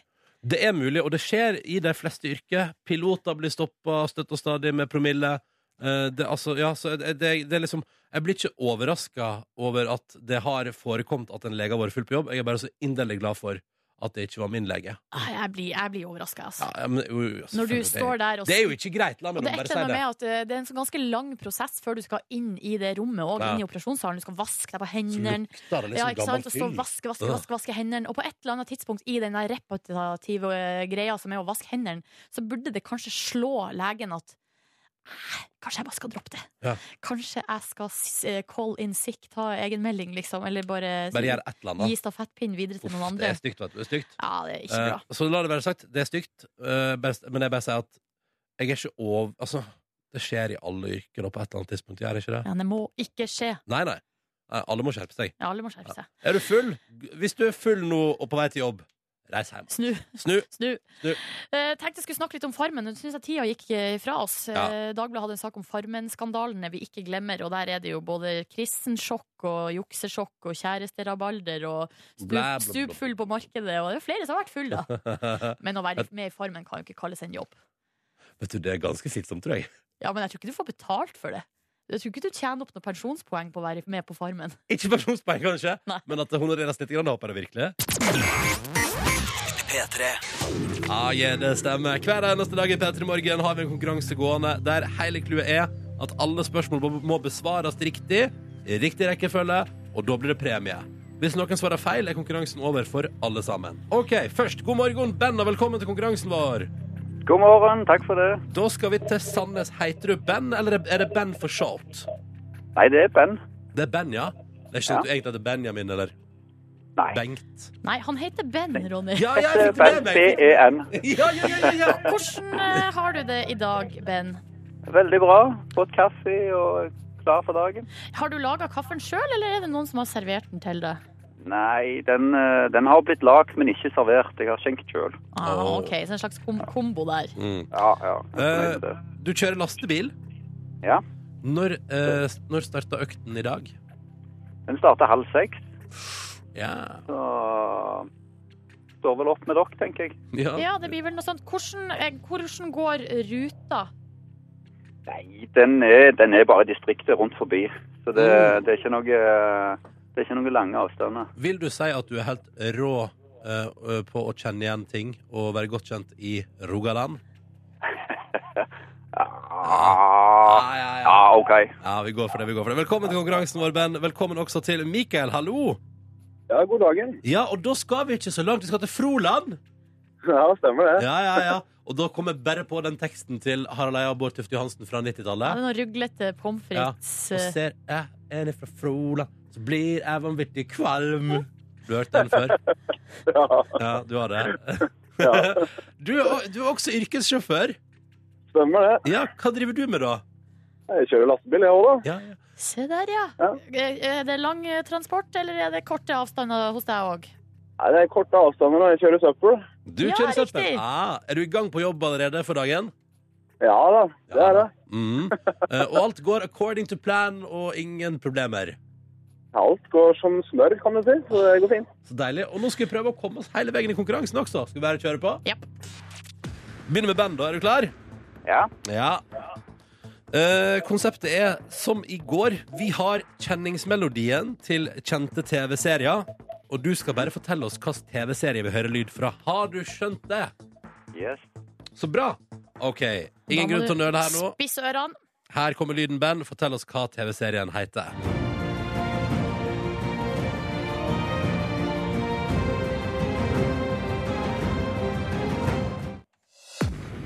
Speaker 2: Det er mulig, og det skjer i de fleste yrker. Piloter blir stoppa støtt og stadig med promille. Eh, Det, altså, ja, så det, det, det er liksom Jeg blir ikke overraska over at det har forekommet at en lege har vært full på jobb. Jeg er bare så inderlig glad for at det ikke var min lege.
Speaker 4: Ah, Jeg blir, jeg blir overraska, altså.
Speaker 2: Ja, ja, men, jo, jo,
Speaker 4: Når du
Speaker 2: selvfølgelig, det er-
Speaker 4: står der og
Speaker 2: Det er jo ikke greit, la meg
Speaker 4: Og det
Speaker 2: nå
Speaker 4: er
Speaker 2: bare
Speaker 4: et
Speaker 2: si
Speaker 4: eller annet
Speaker 2: det.
Speaker 4: med at eh, det er en sånn ganske lang prosess før du skal inn i det rommet òg,
Speaker 2: Ja.
Speaker 4: inn i operasjonssalen. Du skal vaske deg på
Speaker 2: Så
Speaker 4: hendene.
Speaker 2: lukter det
Speaker 4: Ja, ikke
Speaker 2: liksom
Speaker 4: sant?
Speaker 2: gammelt
Speaker 4: Og stå
Speaker 2: fyll.
Speaker 4: og vaske, vaske,
Speaker 2: Øh.
Speaker 4: vaske, vaske hendene. Og på et eller annet tidspunkt i den der repetitive eh, greia som er å vaske hendene, så burde det kanskje slå legen at "Eh, Kanskje jeg bare skal droppe det.
Speaker 2: Ja.
Speaker 4: Kanskje jeg skal s- eh, call in sick, ta egenmelding, liksom. Eller bare,
Speaker 2: Bare gjør et eller annet.
Speaker 4: gi stafettpinnen videre til
Speaker 2: Uff,
Speaker 4: noen
Speaker 2: det
Speaker 4: andre.
Speaker 2: er stygt, vet du. Det er stygt.
Speaker 4: Ja, det er ikke bra.
Speaker 2: Eh, så la det være sagt, det er stygt, eh, bare- men jeg bare sier at jeg er ikke over Altså, det skjer i alle yrker og på et eller annet tidspunkt, gjør det ikke det?
Speaker 4: Men det må ikke skje.
Speaker 2: Nei, nei. Nei, Alle må skjerpe seg.
Speaker 4: Ja, alle må skjerpe seg.
Speaker 2: Er du full? G- Hvis du er full nå og på vei til jobb, reis hjem.
Speaker 4: Snu.
Speaker 2: Snu.
Speaker 4: Snu.
Speaker 2: Snu.
Speaker 4: Eh, tenkte jeg skulle snakke litt om Farmen. Nå syns jeg tida gikk eh, fra oss.
Speaker 2: Ja.
Speaker 4: Eh, Dagbladet hadde en sak om Farmen-skandalene vi ikke glemmer, og der er det jo både kristensjokk og juksesjokk og kjæresterabalder og stup,
Speaker 2: Blæ, blæ, blæ.
Speaker 4: stupfull på markedet, og det er flere som har vært full, da. Men å være med i Farmen kan jo ikke kalles en jobb.
Speaker 2: Vet du, det er ganske slitsomt, tror jeg.
Speaker 4: Ja, men jeg tror ikke du får betalt for det. Jeg tror ikke du tjener opp noen pensjonspoeng på å være med på Farmen.
Speaker 2: Ikke pensjonspoeng, kanskje,
Speaker 4: Nei.
Speaker 2: men at det honoreres litt, grann, det håper jeg virkelig.
Speaker 1: P3.
Speaker 2: Ja, ja, Ah, det stemmer. Hver eneste dag i P3 Morgen har vi en konkurranse gående der hele clouet er at alle spørsmål må- må besvares riktig, i riktig rekkefølge, og da blir det premie. Hvis noen svarer feil, er konkurransen over for alle sammen. OK, først, god morgen, Ben, og velkommen til konkurransen vår.
Speaker 1: God morgen, takk for det.
Speaker 2: Da skal vi til Sandnes. Heter du Ben, eller er det Ben for short?
Speaker 1: Nei, det er Ben.
Speaker 2: Det er Ben, ja. Det er ikke
Speaker 1: Ja.
Speaker 2: sånn at du egentlig heter Benjamin eller
Speaker 1: Nei.
Speaker 2: Bengt.
Speaker 4: Nei, han heter Ben, Ronny.
Speaker 2: Ja,
Speaker 1: Det
Speaker 2: ja, jeg
Speaker 1: er
Speaker 2: fikk
Speaker 1: Ben,
Speaker 2: det med meg.
Speaker 1: B-E-N.
Speaker 2: Ja, ja, ja, ja, ja.
Speaker 4: Hvordan eh, har du det i dag, Ben?
Speaker 1: Veldig bra. Fått kaffe og klar for dagen.
Speaker 4: Har du laga kaffen sjøl, eller er det noen som har servert den til deg?
Speaker 1: Nei, den, eh, den har blitt lagd, men ikke servert. Jeg har skjenkt sjøl.
Speaker 4: Ah,
Speaker 2: Åh.
Speaker 4: OK, så en slags kom kombo der.
Speaker 2: Mm.
Speaker 1: Ja, ja. jeg er fornøyd med det.
Speaker 2: Du kjører lastebil.
Speaker 1: Ja.
Speaker 2: Når, eh, når starta økten i dag?
Speaker 1: Den starter halv seks,
Speaker 2: Ja.
Speaker 1: så står vel opp med dere, tenker jeg.
Speaker 2: ja.
Speaker 4: Ja, det blir vel noe sånt. Hvordan, eh, hvordan går ruta?
Speaker 1: Nei, den er, den er bare i distriktet rundt forbi. Så det,
Speaker 2: Mm.
Speaker 1: det er ikke noe det er ikke noen lange avstander.
Speaker 2: Vil du si at du er helt rå eh, på å kjenne igjen ting og være godt kjent i Rogaland?
Speaker 1: Ah,
Speaker 2: ja,
Speaker 1: ja, OK.
Speaker 2: Ja, vi går for det. vi går for det Velkommen til konkurransen vår, Ben. Velkommen også til Mikael. Hallo.
Speaker 5: Ja, god dagen.
Speaker 2: Ja, og da skal vi ikke så langt. Vi skal til Froland.
Speaker 5: Ja, stemmer det.
Speaker 2: Ja, ja, ja. Og da kommer jeg bare på den teksten til Harald Eia og Bård Tufte Johansen fra
Speaker 4: Ja, det
Speaker 2: 90-tallet.
Speaker 4: er noe ruglete pommes frites.
Speaker 2: Og
Speaker 4: eh,
Speaker 2: ser jeg en fra Froland, så blir jeg vanvittig kvalm. Du har hørt den før?
Speaker 5: Ja,
Speaker 2: Ja, du har det.
Speaker 5: Ja.
Speaker 2: Du, er o- du er også yrkessjåfør.
Speaker 5: stemmer det.
Speaker 2: Ja, hva driver du med da?
Speaker 5: Jeg kjører lastebil, jeg òg, da.
Speaker 2: Ja, ja.
Speaker 4: Se der, ja.
Speaker 5: Ja.
Speaker 4: Eh, Er det lang eh, transport, eller er det korte avstander hos deg òg?
Speaker 5: Nei, det er korte avstander når jeg kjører søppel.
Speaker 2: Du
Speaker 4: Ja,
Speaker 2: kjører søppel.
Speaker 4: riktig.
Speaker 2: Ah, er du i gang på jobb allerede for dagen?
Speaker 5: Ja da, det er det.
Speaker 2: Mm. Eh, Og alt går according to plan og ingen problemer.
Speaker 5: Alt går som smør, kan du si. Så det går fint.
Speaker 2: Så deilig. Og nå skal vi prøve å komme oss hele veien i konkurransen også. Skal vi bare kjøre på?
Speaker 4: Japp.
Speaker 2: Begynner med band, da. Er du klar?
Speaker 1: Ja.
Speaker 2: Ja. Eh, konseptet er som i går. Vi har kjenningsmelodien til kjente TV-serier. Og du skal bare fortelle oss hvilken TV-serie vi hører lyd fra. Har du skjønt det?
Speaker 1: Yes.
Speaker 2: Så bra. OK. Ingen grunn til å nøle her nå.
Speaker 4: Spiss ørene.
Speaker 2: Her kommer lyden, Ben. Fortell oss hva TV-serien heter.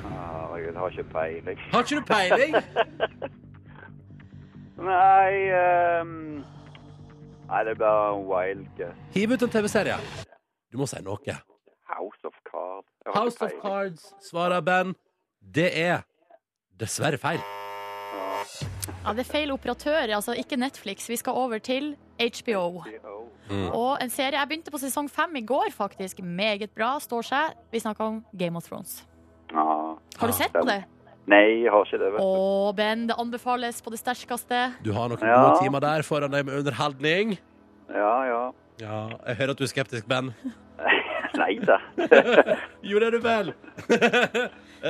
Speaker 1: Herregud, har ikke peiling.
Speaker 2: Har ikke du peiling?
Speaker 1: Nei ehm, Nei, det blir wild guess.
Speaker 2: Hiv ut en TV-serie. Du må si noe.
Speaker 1: House of Cards. Jeg har ikke
Speaker 2: House of
Speaker 1: peiling.
Speaker 2: Cards svarer Ben. Det er dessverre feil.
Speaker 4: Ja, det er feil operatør, altså ikke Netflix. Vi skal over til HBO.
Speaker 1: Oh.
Speaker 2: Mm.
Speaker 4: Og en serie Jeg begynte på sesong fem i går, faktisk. Meget bra, står seg. Vi snakker om Game of Thrones.
Speaker 1: Ah.
Speaker 4: Har du sett på det?
Speaker 1: Nei, jeg har ikke det.
Speaker 4: Å,
Speaker 1: Vet du.
Speaker 4: Ben, det anbefales på det sterkeste.
Speaker 2: Du har noen
Speaker 1: Ja.
Speaker 2: gode timer der foran deg med underholdning.
Speaker 1: Ja, ja.
Speaker 2: Ja, jeg hører at du er skeptisk, Ben.
Speaker 1: Nei da.
Speaker 2: Jo, det er du vel.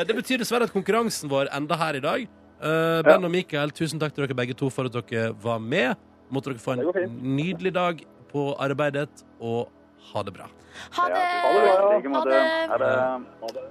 Speaker 2: det betyr dessverre at konkurransen vår enda her i dag. Eh, ben og Mikael, tusen takk til dere begge to for at dere var med. Måtte dere få
Speaker 5: Det går
Speaker 2: en
Speaker 5: fint.
Speaker 2: nydelig dag på arbeidet, og ha det bra.
Speaker 4: Ha det!
Speaker 1: Ja,
Speaker 5: det bra.
Speaker 1: i like måte.
Speaker 4: Ha
Speaker 1: Ha det.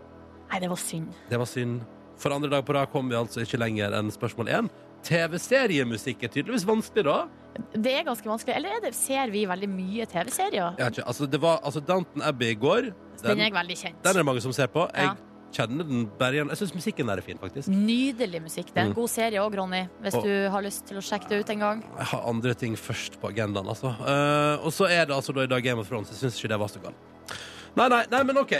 Speaker 4: Nei, det var synd.
Speaker 2: Det var synd. For andre dag på rad kom vi altså ikke lenger enn spørsmål én. TV-seriemusikk er tydeligvis vanskelig, da.
Speaker 4: Det er ganske vanskelig. Eller er det, ser vi veldig mye TV-serier?
Speaker 2: Jeg vet ikke, altså, det var, altså Downton Abbey i går den,
Speaker 4: Den er
Speaker 2: den
Speaker 4: jeg veldig kjent.
Speaker 2: er det mange som ser på. Jeg
Speaker 4: Ja.
Speaker 2: kjenner den bare igjen. Jeg syns musikken der er fin, faktisk.
Speaker 4: Nydelig musikk.
Speaker 2: Mm.
Speaker 4: Det er en god serie òg, Ronny, hvis
Speaker 2: Og-
Speaker 4: du har lyst til å sjekke det ut en gang.
Speaker 2: Jeg har andre ting først på agendaen, altså. Eh, og så er det altså da i dag Game of Thrones. Jeg syns ikke det var så galt. Nei, nei, nei, men OK.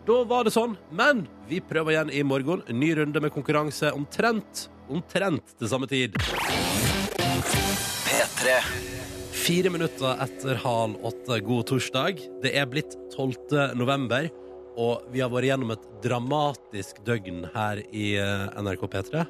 Speaker 2: Da var det sånn. Men vi prøver igjen i morgen. En ny runde med konkurranse omtrent, omtrent til samme tid.
Speaker 6: P3
Speaker 2: Fire minutter etter halv åtte, god torsdag. Det er blitt 12. november, og vi har vært gjennom et dramatisk døgn her i eh, NRK P3.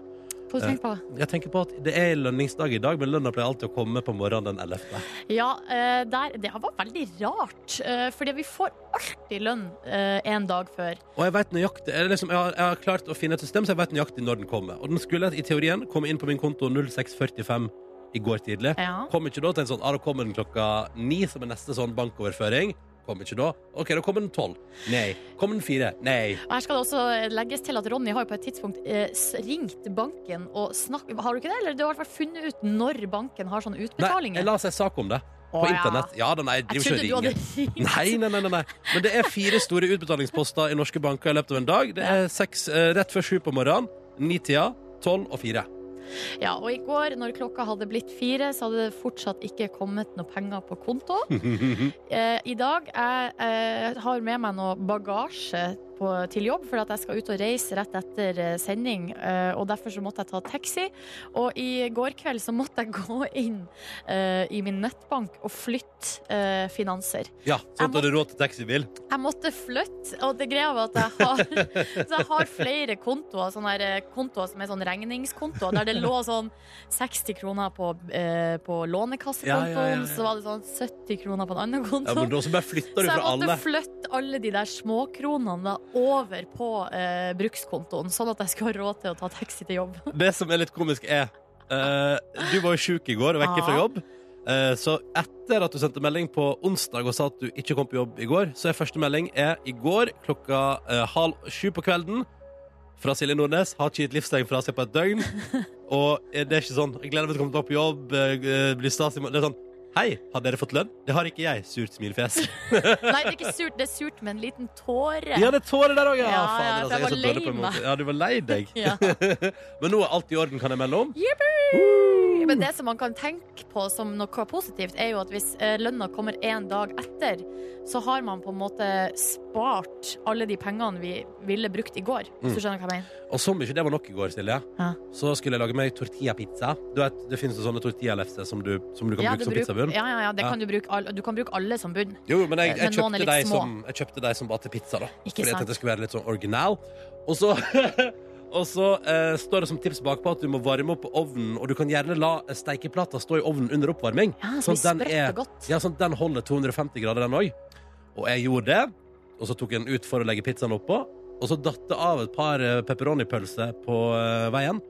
Speaker 4: Hva har du tenkt på?
Speaker 2: Jeg tenker på at Det er lønningsdag i dag, men lønna pleier alltid å komme på morgenen den 11.
Speaker 4: Ja, eh, der, det var veldig rart. eh, Fordi vi får alltid lønn eh, en dag før.
Speaker 2: Og jeg vet nøyaktig eller liksom, jeg, har, jeg har klart å finne et system, så jeg vet nøyaktig når den kommer. Og den skulle i teorien komme inn på min konto 0645 i går tidlig.
Speaker 4: Ja.
Speaker 2: Kom ikke da til en sånn, ah, da kommer den klokka ni, som er neste sånn bankoverføring. Kom ikke da. OK, da kommer den tolv. Nei. Kommer den fire? Nei.
Speaker 4: Og her skal det også legges til at Ronny har jo på et tidspunkt eh, s- ringt banken og snakket Har sånn du ikke det? Eller du har i hvert fall funnet ut når banken har sånne
Speaker 2: Nei, jeg
Speaker 4: utbetalinger?
Speaker 2: la seg sak om det. På internett. Ja da, nei, jeg
Speaker 4: Jeg
Speaker 2: driver
Speaker 4: trodde du
Speaker 2: ikke og
Speaker 4: hadde
Speaker 2: ringer. Nei, nei, nei, nei, nei. Men det er fire store utbetalingsposter i norske banker i løpet av en dag. Det er seks eh, rett før sju på morgenen, ni-tida, tolv og fire.
Speaker 4: Ja, og i går når klokka hadde blitt fire, så hadde det fortsatt ikke kommet noe penger på konto.
Speaker 7: Hm.
Speaker 4: eh, I dag jeg eh, har med meg noe bagasje på, til jobb, for at jeg skal ut og reise rett etter eh, sending. Eh, og derfor så måtte jeg ta taxi. Og i går kveld så måtte jeg gå inn eh, i min nettbank og flytte eh, finanser.
Speaker 2: Ja, sånn at du hadde råd til taxibil.
Speaker 4: Jeg måtte flytte, og det greia var at jeg har, så jeg har flere kontoer, sånne her, eh, kontoer som er sånn regningskontoer, der det lå sånn 60 kroner på, eh, på
Speaker 2: Ja,
Speaker 4: lånekassekontoen,
Speaker 2: ja, ja, ja.
Speaker 4: så var det sånn 70 kroner på en annen konto.
Speaker 2: Ja, men da så bare flytter
Speaker 4: så
Speaker 2: du
Speaker 4: jeg
Speaker 2: fra
Speaker 4: måtte
Speaker 2: alle.
Speaker 4: flytte alle de der småkronene da over på eh, brukskontoen, sånn at jeg skulle ha råd til å ta taxi til jobb.
Speaker 2: Det som er litt komisk, er eh, Du var jo sjuk i går og vekke fra
Speaker 4: Ja.
Speaker 2: jobb. Eh, så etter at du sendte melding på onsdag og sa at du ikke kom på jobb i går, så er første melding er i går klokka eh, halv sju på kvelden fra Silje Nordnes. Har ikke gitt livstegn fra seg på et døgn. Og eh, det er ikke sånn Jeg gleder meg til å komme tilbake på jobb. eh, blir stas i morgen. Det er sånn Hei, har dere fått lønn? Det har ikke jeg. Surt smilefjes.
Speaker 4: Nei, det er ikke surt, det er surt med en liten tåre.
Speaker 2: Ja, det er tårer der òg, ja!
Speaker 4: Ja,
Speaker 2: Fader, altså,
Speaker 4: ja, for jeg
Speaker 2: er
Speaker 4: var
Speaker 2: så dårlig
Speaker 4: lei
Speaker 2: på en
Speaker 4: meg.
Speaker 2: måte. Ja, du var lei deg.
Speaker 4: Ja.
Speaker 2: Men nå er alt i orden, kan jeg melde om.
Speaker 4: Men det som man kan tenke på som noe positivt, er jo at hvis eh, lønna kommer en dag etter, så har man på en måte spart alle de pengene vi ville brukt i går.
Speaker 2: Mm.
Speaker 4: Hvis du skjønner hva jeg mener.
Speaker 2: Og som ikke det var nok i går, Silje,
Speaker 4: Ja.
Speaker 2: så skulle jeg lage meg tortilla-pizza. Du vet, Det finnes jo sånne tortilla-lefser som, du- som du kan
Speaker 4: Ja, du
Speaker 2: bruke som
Speaker 4: bruk-
Speaker 2: pizzabunn.
Speaker 4: Ja, ja, ja, det
Speaker 2: Ja.
Speaker 4: Kan du, bruke, all- du kan bruke alle som bunn. Eh,
Speaker 2: Jo, men jeg,
Speaker 4: Men
Speaker 2: jeg,
Speaker 4: noen er
Speaker 2: kjøpte
Speaker 4: litt
Speaker 2: de
Speaker 4: små.
Speaker 2: som, jeg kjøpte de som bare til pizza, da.
Speaker 4: Ikke
Speaker 2: fordi jeg
Speaker 4: sant.
Speaker 2: tenkte jeg skulle være litt sånn original. Og så, og så eh, står det som tips bakpå at du må varme opp ovnen, og du kan gjerne la steikeplata stå i ovnen under oppvarming.
Speaker 4: Ja, så
Speaker 2: Sånn,
Speaker 4: blir
Speaker 2: den
Speaker 4: sprøtt
Speaker 2: er-
Speaker 4: og godt.
Speaker 2: Ja, sånn, den holder 250 grader, den òg. Og jeg gjorde det. Og så tok jeg den ut for å legge pizzaen oppå. Og så datt det av et par eh, pepperoni-pølser på eh, veien.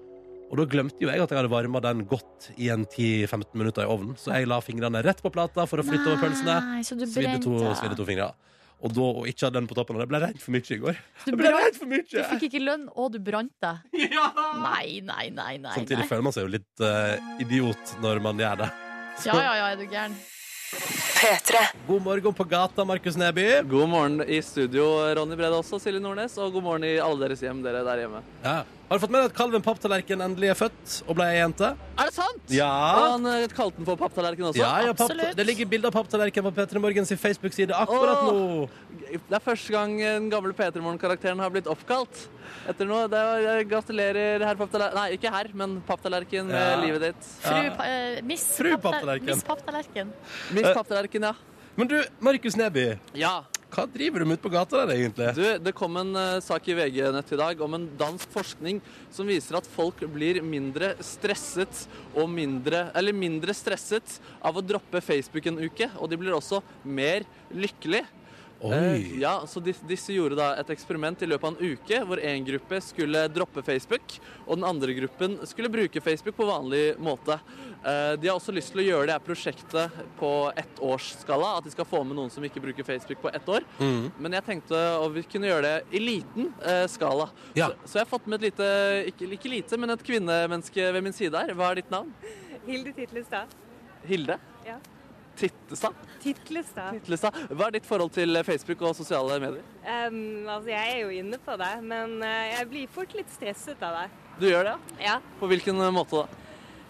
Speaker 2: Og da glemte jo jeg at jeg hadde varma den godt i en 10-15 minutter i ovnen. Så jeg la fingrene rett på plata for å flytte over pølsene.
Speaker 4: Nei, så du
Speaker 2: Svidde
Speaker 4: brente.
Speaker 2: to, svidde to fingre. Og da å ikke ha den på toppen av det ble rent for mye i går.
Speaker 4: Du,
Speaker 2: Det ble
Speaker 4: brant,
Speaker 2: rent for
Speaker 4: du
Speaker 2: mye!
Speaker 4: fikk ikke lønn, og du brant deg. Nei, nei, nei, nei.
Speaker 2: Samtidig
Speaker 4: nei.
Speaker 2: føler man seg jo litt eh, idiot når man gjør det.
Speaker 4: Ja, ja, ja, er du gæren.
Speaker 2: God morgen på gata, Markus Neby.
Speaker 3: God morgen i studio, Ronny Brede også, Silje Nordnes, og god morgen i alle deres hjem, dere der hjemme.
Speaker 2: Ja. Har du fått med deg at kalven Papptallerken endelig er født og ble ei jente?
Speaker 4: Er det sant?
Speaker 3: Og
Speaker 2: Ja.
Speaker 3: han eh, kalte den for papptallerken også.
Speaker 2: Ja, ja, papp,
Speaker 4: Absolutt.
Speaker 2: det ligger bilder av papptallerken på P3 Morgens Facebook-side akkurat
Speaker 3: Åh.
Speaker 2: nå.
Speaker 3: Det er første gang den gamle P3 Morgen-karakteren har blitt oppkalt etter noe. Det er, gratulerer, herr papptallerken. Nei, ikke herr, men papptallerken med
Speaker 2: Ja.
Speaker 3: livet ditt.
Speaker 4: Fru, pa- eh, miss,
Speaker 2: Fru
Speaker 4: pappta-
Speaker 2: Papptallerken.
Speaker 4: Miss Papptallerken.
Speaker 3: Miss papptallerken, ja.
Speaker 2: Men du, Markus Neby,
Speaker 3: Ja,
Speaker 2: hva driver du med ute på gata der, egentlig?
Speaker 3: du, Det kom en eh, sak i VG nett i dag om en dansk forskning som viser at folk blir mindre stresset og mindre Eller mindre stresset av å droppe Facebook en uke, og de blir også mer lykkelig. Eh,
Speaker 2: Oi.
Speaker 3: Ja, så dis- disse gjorde da et eksperiment i løpet av en uke hvor én gruppe skulle droppe Facebook, og den andre gruppen skulle bruke Facebook på vanlig måte. Eh, De har også lyst til å gjøre det her prosjektet på ettårsskala, at de skal få med noen som ikke bruker Facebook på ett år.
Speaker 2: Mm.
Speaker 3: Men jeg tenkte å vi kunne gjøre det i liten eh, skala.
Speaker 2: Ja.
Speaker 3: Så, så jeg har fått med et lite, ikke, ikke lite, men et kvinnemenneske ved min side her. Hva er ditt navn?
Speaker 6: Hilde Titlestad.
Speaker 3: Hilde?
Speaker 6: Ja.
Speaker 3: Tittestad?
Speaker 6: Titlestad.
Speaker 3: Titlestad. Hva er ditt forhold til Facebook og sosiale medier?
Speaker 6: Em, altså, jeg er jo inne på det, men eh, jeg blir fort litt stresset av det.
Speaker 3: Du gjør det, ja?
Speaker 6: Ja.
Speaker 3: På hvilken måte da?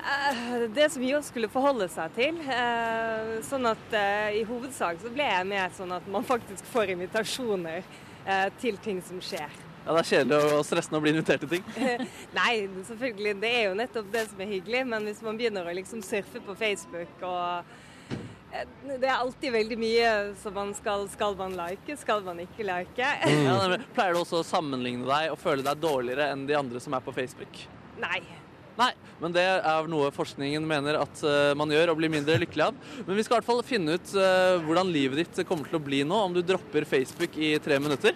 Speaker 6: Eh, det er så mye å skulle forholde seg til. eh, sånn at eh, i hovedsak så ble jeg med sånn at man faktisk får invitasjoner eh, til ting som skjer.
Speaker 3: Ja, Det er kjedelig og stressende å bli invitert til ting.
Speaker 6: Nei, selvfølgelig, det er jo nettopp det som er hyggelig, men hvis man begynner å liksom surfe på Facebook og eh, det er alltid veldig mye som man skal Skal man like, skal man ikke like?
Speaker 3: Mm. Ja, men pleier du også å sammenligne deg og føle deg dårligere enn de andre som er på Facebook?
Speaker 6: Nei.
Speaker 3: Nei, men det er noe forskningen mener at eh, man gjør og blir mindre lykkelig av. Men vi skal i hvert fall finne ut eh, hvordan livet ditt kommer til å bli nå om du dropper Facebook i tre minutter.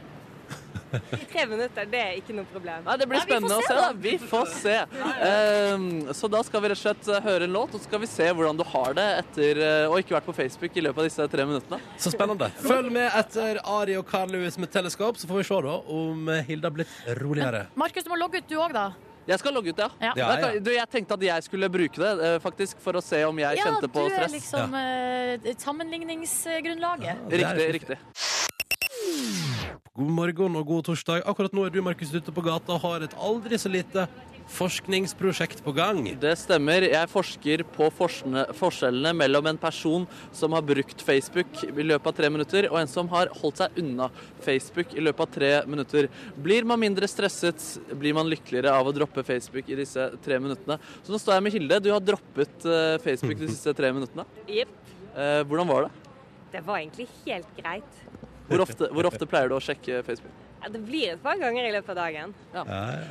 Speaker 6: Tre minutter, det er ikke noe problem.
Speaker 3: Nei, Det blir
Speaker 4: Ja, vi får
Speaker 3: spennende å
Speaker 4: se,
Speaker 3: se.
Speaker 4: da.
Speaker 3: da. Vi får se. Eh, så da skal vi rett og slett eh, høre en låt, og så skal vi se hvordan du har det etter eh, å ikke vært på Facebook i løpet av disse tre minuttene.
Speaker 2: Så spennende. Følg med etter Ari og Carl Lewis med teleskop, så får vi se da om Hilda har blitt roligere.
Speaker 4: Markus, du må logge ut du òg, da.
Speaker 3: Jeg skal logge ut, ja.
Speaker 4: Ja.
Speaker 2: Ja, ja.
Speaker 3: Vet Du, jeg tenkte at jeg skulle bruke det, eh, faktisk, for å se om jeg
Speaker 4: Ja,
Speaker 3: kjente
Speaker 4: du
Speaker 3: på
Speaker 4: er
Speaker 3: stress.
Speaker 4: liksom eh, sammenligningsgrunnlaget.
Speaker 2: Det er
Speaker 3: Riktig,
Speaker 2: litt-
Speaker 3: riktig.
Speaker 2: God morgen og god torsdag. Akkurat nå er du Markus, ute på gata og har et aldri så lite forskningsprosjekt på gang.
Speaker 3: Det stemmer. Jeg forsker på forskne, forskjellene mellom en person som har brukt Facebook i løpet av tre minutter, og en som har holdt seg unna Facebook i løpet av tre minutter. Blir man mindre stresset, blir man lykkeligere av å droppe Facebook i disse tre minuttene. Så nå står jeg med Hilde. Du har droppet eh, Facebook de siste tre minuttene.
Speaker 6: Jepp.
Speaker 3: Eh, Hvordan var det?
Speaker 6: Det var egentlig helt greit.
Speaker 3: Hvor ofte, hvor ofte pleier du å sjekke Facebook?
Speaker 6: Ja, det blir et par ganger i løpet av dagen.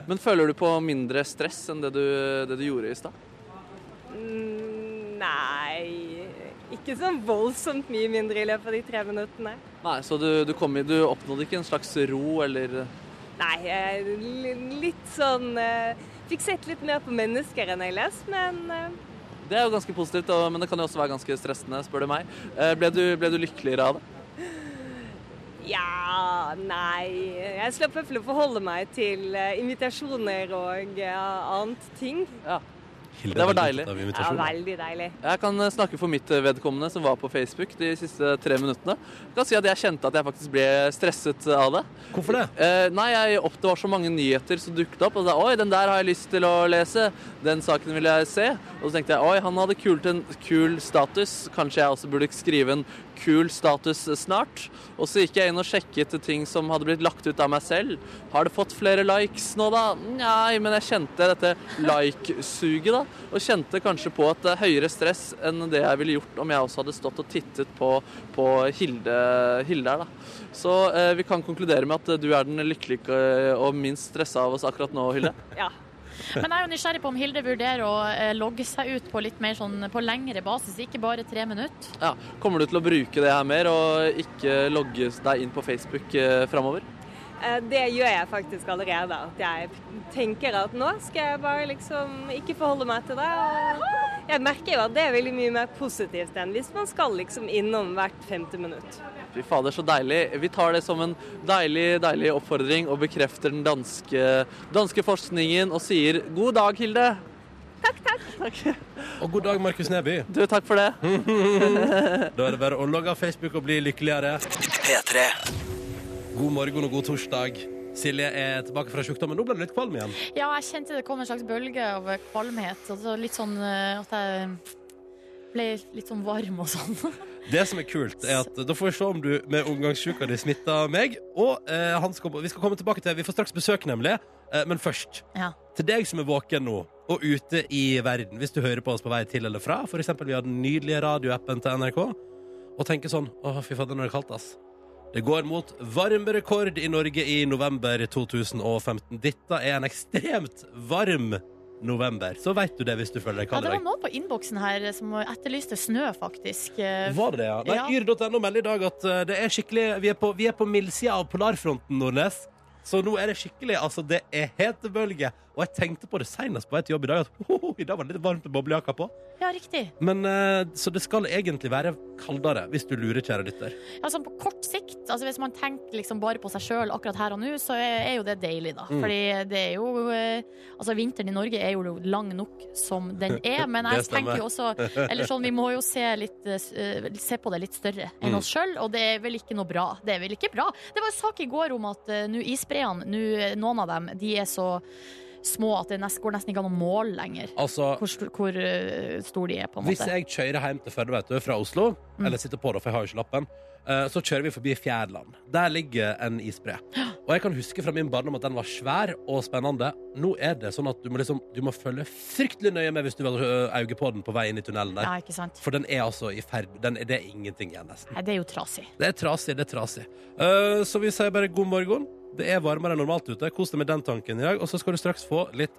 Speaker 3: Men føler du på mindre stress enn det du, det du gjorde i stad?
Speaker 6: Mm, nei Ikke sånn voldsomt mye mindre i løpet av de tre minuttene.
Speaker 3: Nei, så du, du, kom, i- du oppnådde ikke en slags ro eller
Speaker 6: Nei, eh, li- litt sånn eh, Fikk sett litt mer på mennesker enn jeg leste, men eh,
Speaker 3: Det er jo ganske positivt, og- men det kan jo også være ganske stressende, spør du meg. Eh, Ble du, ble du lykkeligere av det?
Speaker 6: Ja, nei. Jeg slapp i hvert fall å forholde meg til eh, invitasjoner og eh, annet ting.
Speaker 3: Ja.
Speaker 2: Hilde,
Speaker 3: Det var
Speaker 2: veldig
Speaker 3: deilig.
Speaker 2: opptatt av
Speaker 6: Ja,
Speaker 2: invitasjoner.
Speaker 6: veldig deilig.
Speaker 3: Jeg kan eh, snakke for mitt eh, vedkommende som var på Facebook de siste tre minuttene. Jeg kan si at jeg kjente at jeg faktisk ble stresset eh, av det.
Speaker 2: Hvorfor det?
Speaker 3: Eh, nei, jeg opp, Det var så mange nyheter som dukket opp. Og så, tenkte jeg, oi, den der har jeg lyst til å lese. Den saken vil jeg se. Og så tenkte jeg oi, han hadde kult en kul status. Kanskje jeg også burde skrive en kul status snart. Og så gikk jeg inn og sjekket ting som hadde blitt lagt ut av meg selv. Har det fått flere likes nå, da? Nei, men jeg kjente dette like-suget, da. Og kjente kanskje på et eh, høyere stress enn det jeg ville gjort om jeg også hadde stått og tittet på, på Hilde, Hilde her, da. Så eh, vi kan konkludere med at eh, du er den lykkelige og minst stressa av oss akkurat nå, Hilde.
Speaker 6: Ja.
Speaker 4: Men jeg er jo nysgjerrig på om Hilde vurderer å eh, logge seg ut på litt mer sånn på lengre basis, ikke bare tre minutter.
Speaker 3: Ja. Kommer du til å bruke det her mer og ikke logge deg inn på Facebook eh, framover?
Speaker 6: Eh, Det gjør jeg faktisk allerede. At jeg tenker at nå skal jeg bare liksom ikke forholde meg til det. Og jeg merker jo at det er veldig mye mer positivt enn hvis man skal liksom innom hvert femte minutt.
Speaker 3: Fy fader, så deilig. Vi tar det som en deilig deilig oppfordring og bekrefter den danske, danske forskningen og sier god dag, Hilde.
Speaker 2: Og god dag, Markus Neby.
Speaker 3: Du, takk for det.
Speaker 2: Da er det bare å logge av Facebook og bli lykkeligere. God morgen og god torsdag. Silje er tilbake fra sjukdommen. Nå ble du litt kvalm igjen.
Speaker 4: Ja, jeg kjente det kom en slags bølge av kvalmhet. Og så litt sånn eh, at jeg ble litt sånn varm og sånn.
Speaker 2: Det som er kult, er at da får vi se om du med omgangssjuka di smitta meg. Og eh, han skal, vi skal komme tilbake til Vi får straks besøk, nemlig. Eh, men først
Speaker 4: Ja.
Speaker 2: til deg som er våken nå, og ute i verden, hvis du hører på oss på vei til eller fra, for eksempel via den nydelige radioappen til NRK, og tenker sånn Å, fy fader, nå er det kaldt, ass. Det går mot varmerekord i Norge i november 2015. Dette er en ekstremt varm november. Så veit du det hvis du føler
Speaker 4: ja,
Speaker 2: deg kald
Speaker 4: det
Speaker 2: i
Speaker 4: var
Speaker 2: dag.
Speaker 4: noen på innboksen her som etterlyste snø, faktisk. Eh,
Speaker 2: Var det det, ja?
Speaker 4: Ja.
Speaker 2: Nei, Yr.no melder i dag at eh, det er skikkelig Vi er på, vi er på mildsida av polarfronten, Nordnes. Så nå er det skikkelig. Altså, det er hetebølge. Og jeg tenkte på det seinest på vei til jobb i dag, at ho, ho, i dag var det litt varmt med boblejakka på.
Speaker 4: Ja, riktig.
Speaker 2: Men eh, Så det skal egentlig være kaldere, hvis du lurer, kjære lytter.
Speaker 4: Ja, sånn på kort sikt, altså hvis man tenker liksom bare på seg sjøl akkurat her og nå, så er, er jo det deilig, da.
Speaker 2: Mm.
Speaker 4: Fordi det er jo eh, Altså, vinteren i Norge er jo lang nok som den er, men jeg
Speaker 2: Det stemmer.
Speaker 4: tenker jo også Eller sånn, vi må jo se, litt, eh, s- eh, se på det litt større enn
Speaker 2: Mm.
Speaker 4: oss sjøl, og det er vel ikke noe bra. Det er vel ikke bra. Det var en sak i går om at eh, nå isbreene, nå eh, noen av dem, de er så små at det nest, går nesten ikke an å måle lenger.
Speaker 2: Altså,
Speaker 4: Hvor, stor- hvor eh, stor de er, på en
Speaker 2: hvis
Speaker 4: måte. Mm.
Speaker 2: jeg kjører hjem til Førde vet du, fra Oslo, eller sitter på, da, for jeg har jo ikke lappen, eh, så kjører vi forbi Fjærland. Der ligger en isbre. Og jeg kan huske fra min barndom at den var svær og spennende. Nå er det sånn at du må, liksom, du må følge fryktelig nøye med hvis du vil ha øye på den på vei inn i tunnelen der.
Speaker 4: Ja, ikke sant?
Speaker 2: For den er altså i ferd den, Det er ingenting igjen, nesten.
Speaker 4: Nei, det er jo trasig.
Speaker 2: Det er trasig, det er trasig. Eh, så vi sier bare god morgen. Det er varmere enn normalt ute. Kos deg med den tanken i dag. Og så skal du straks få litt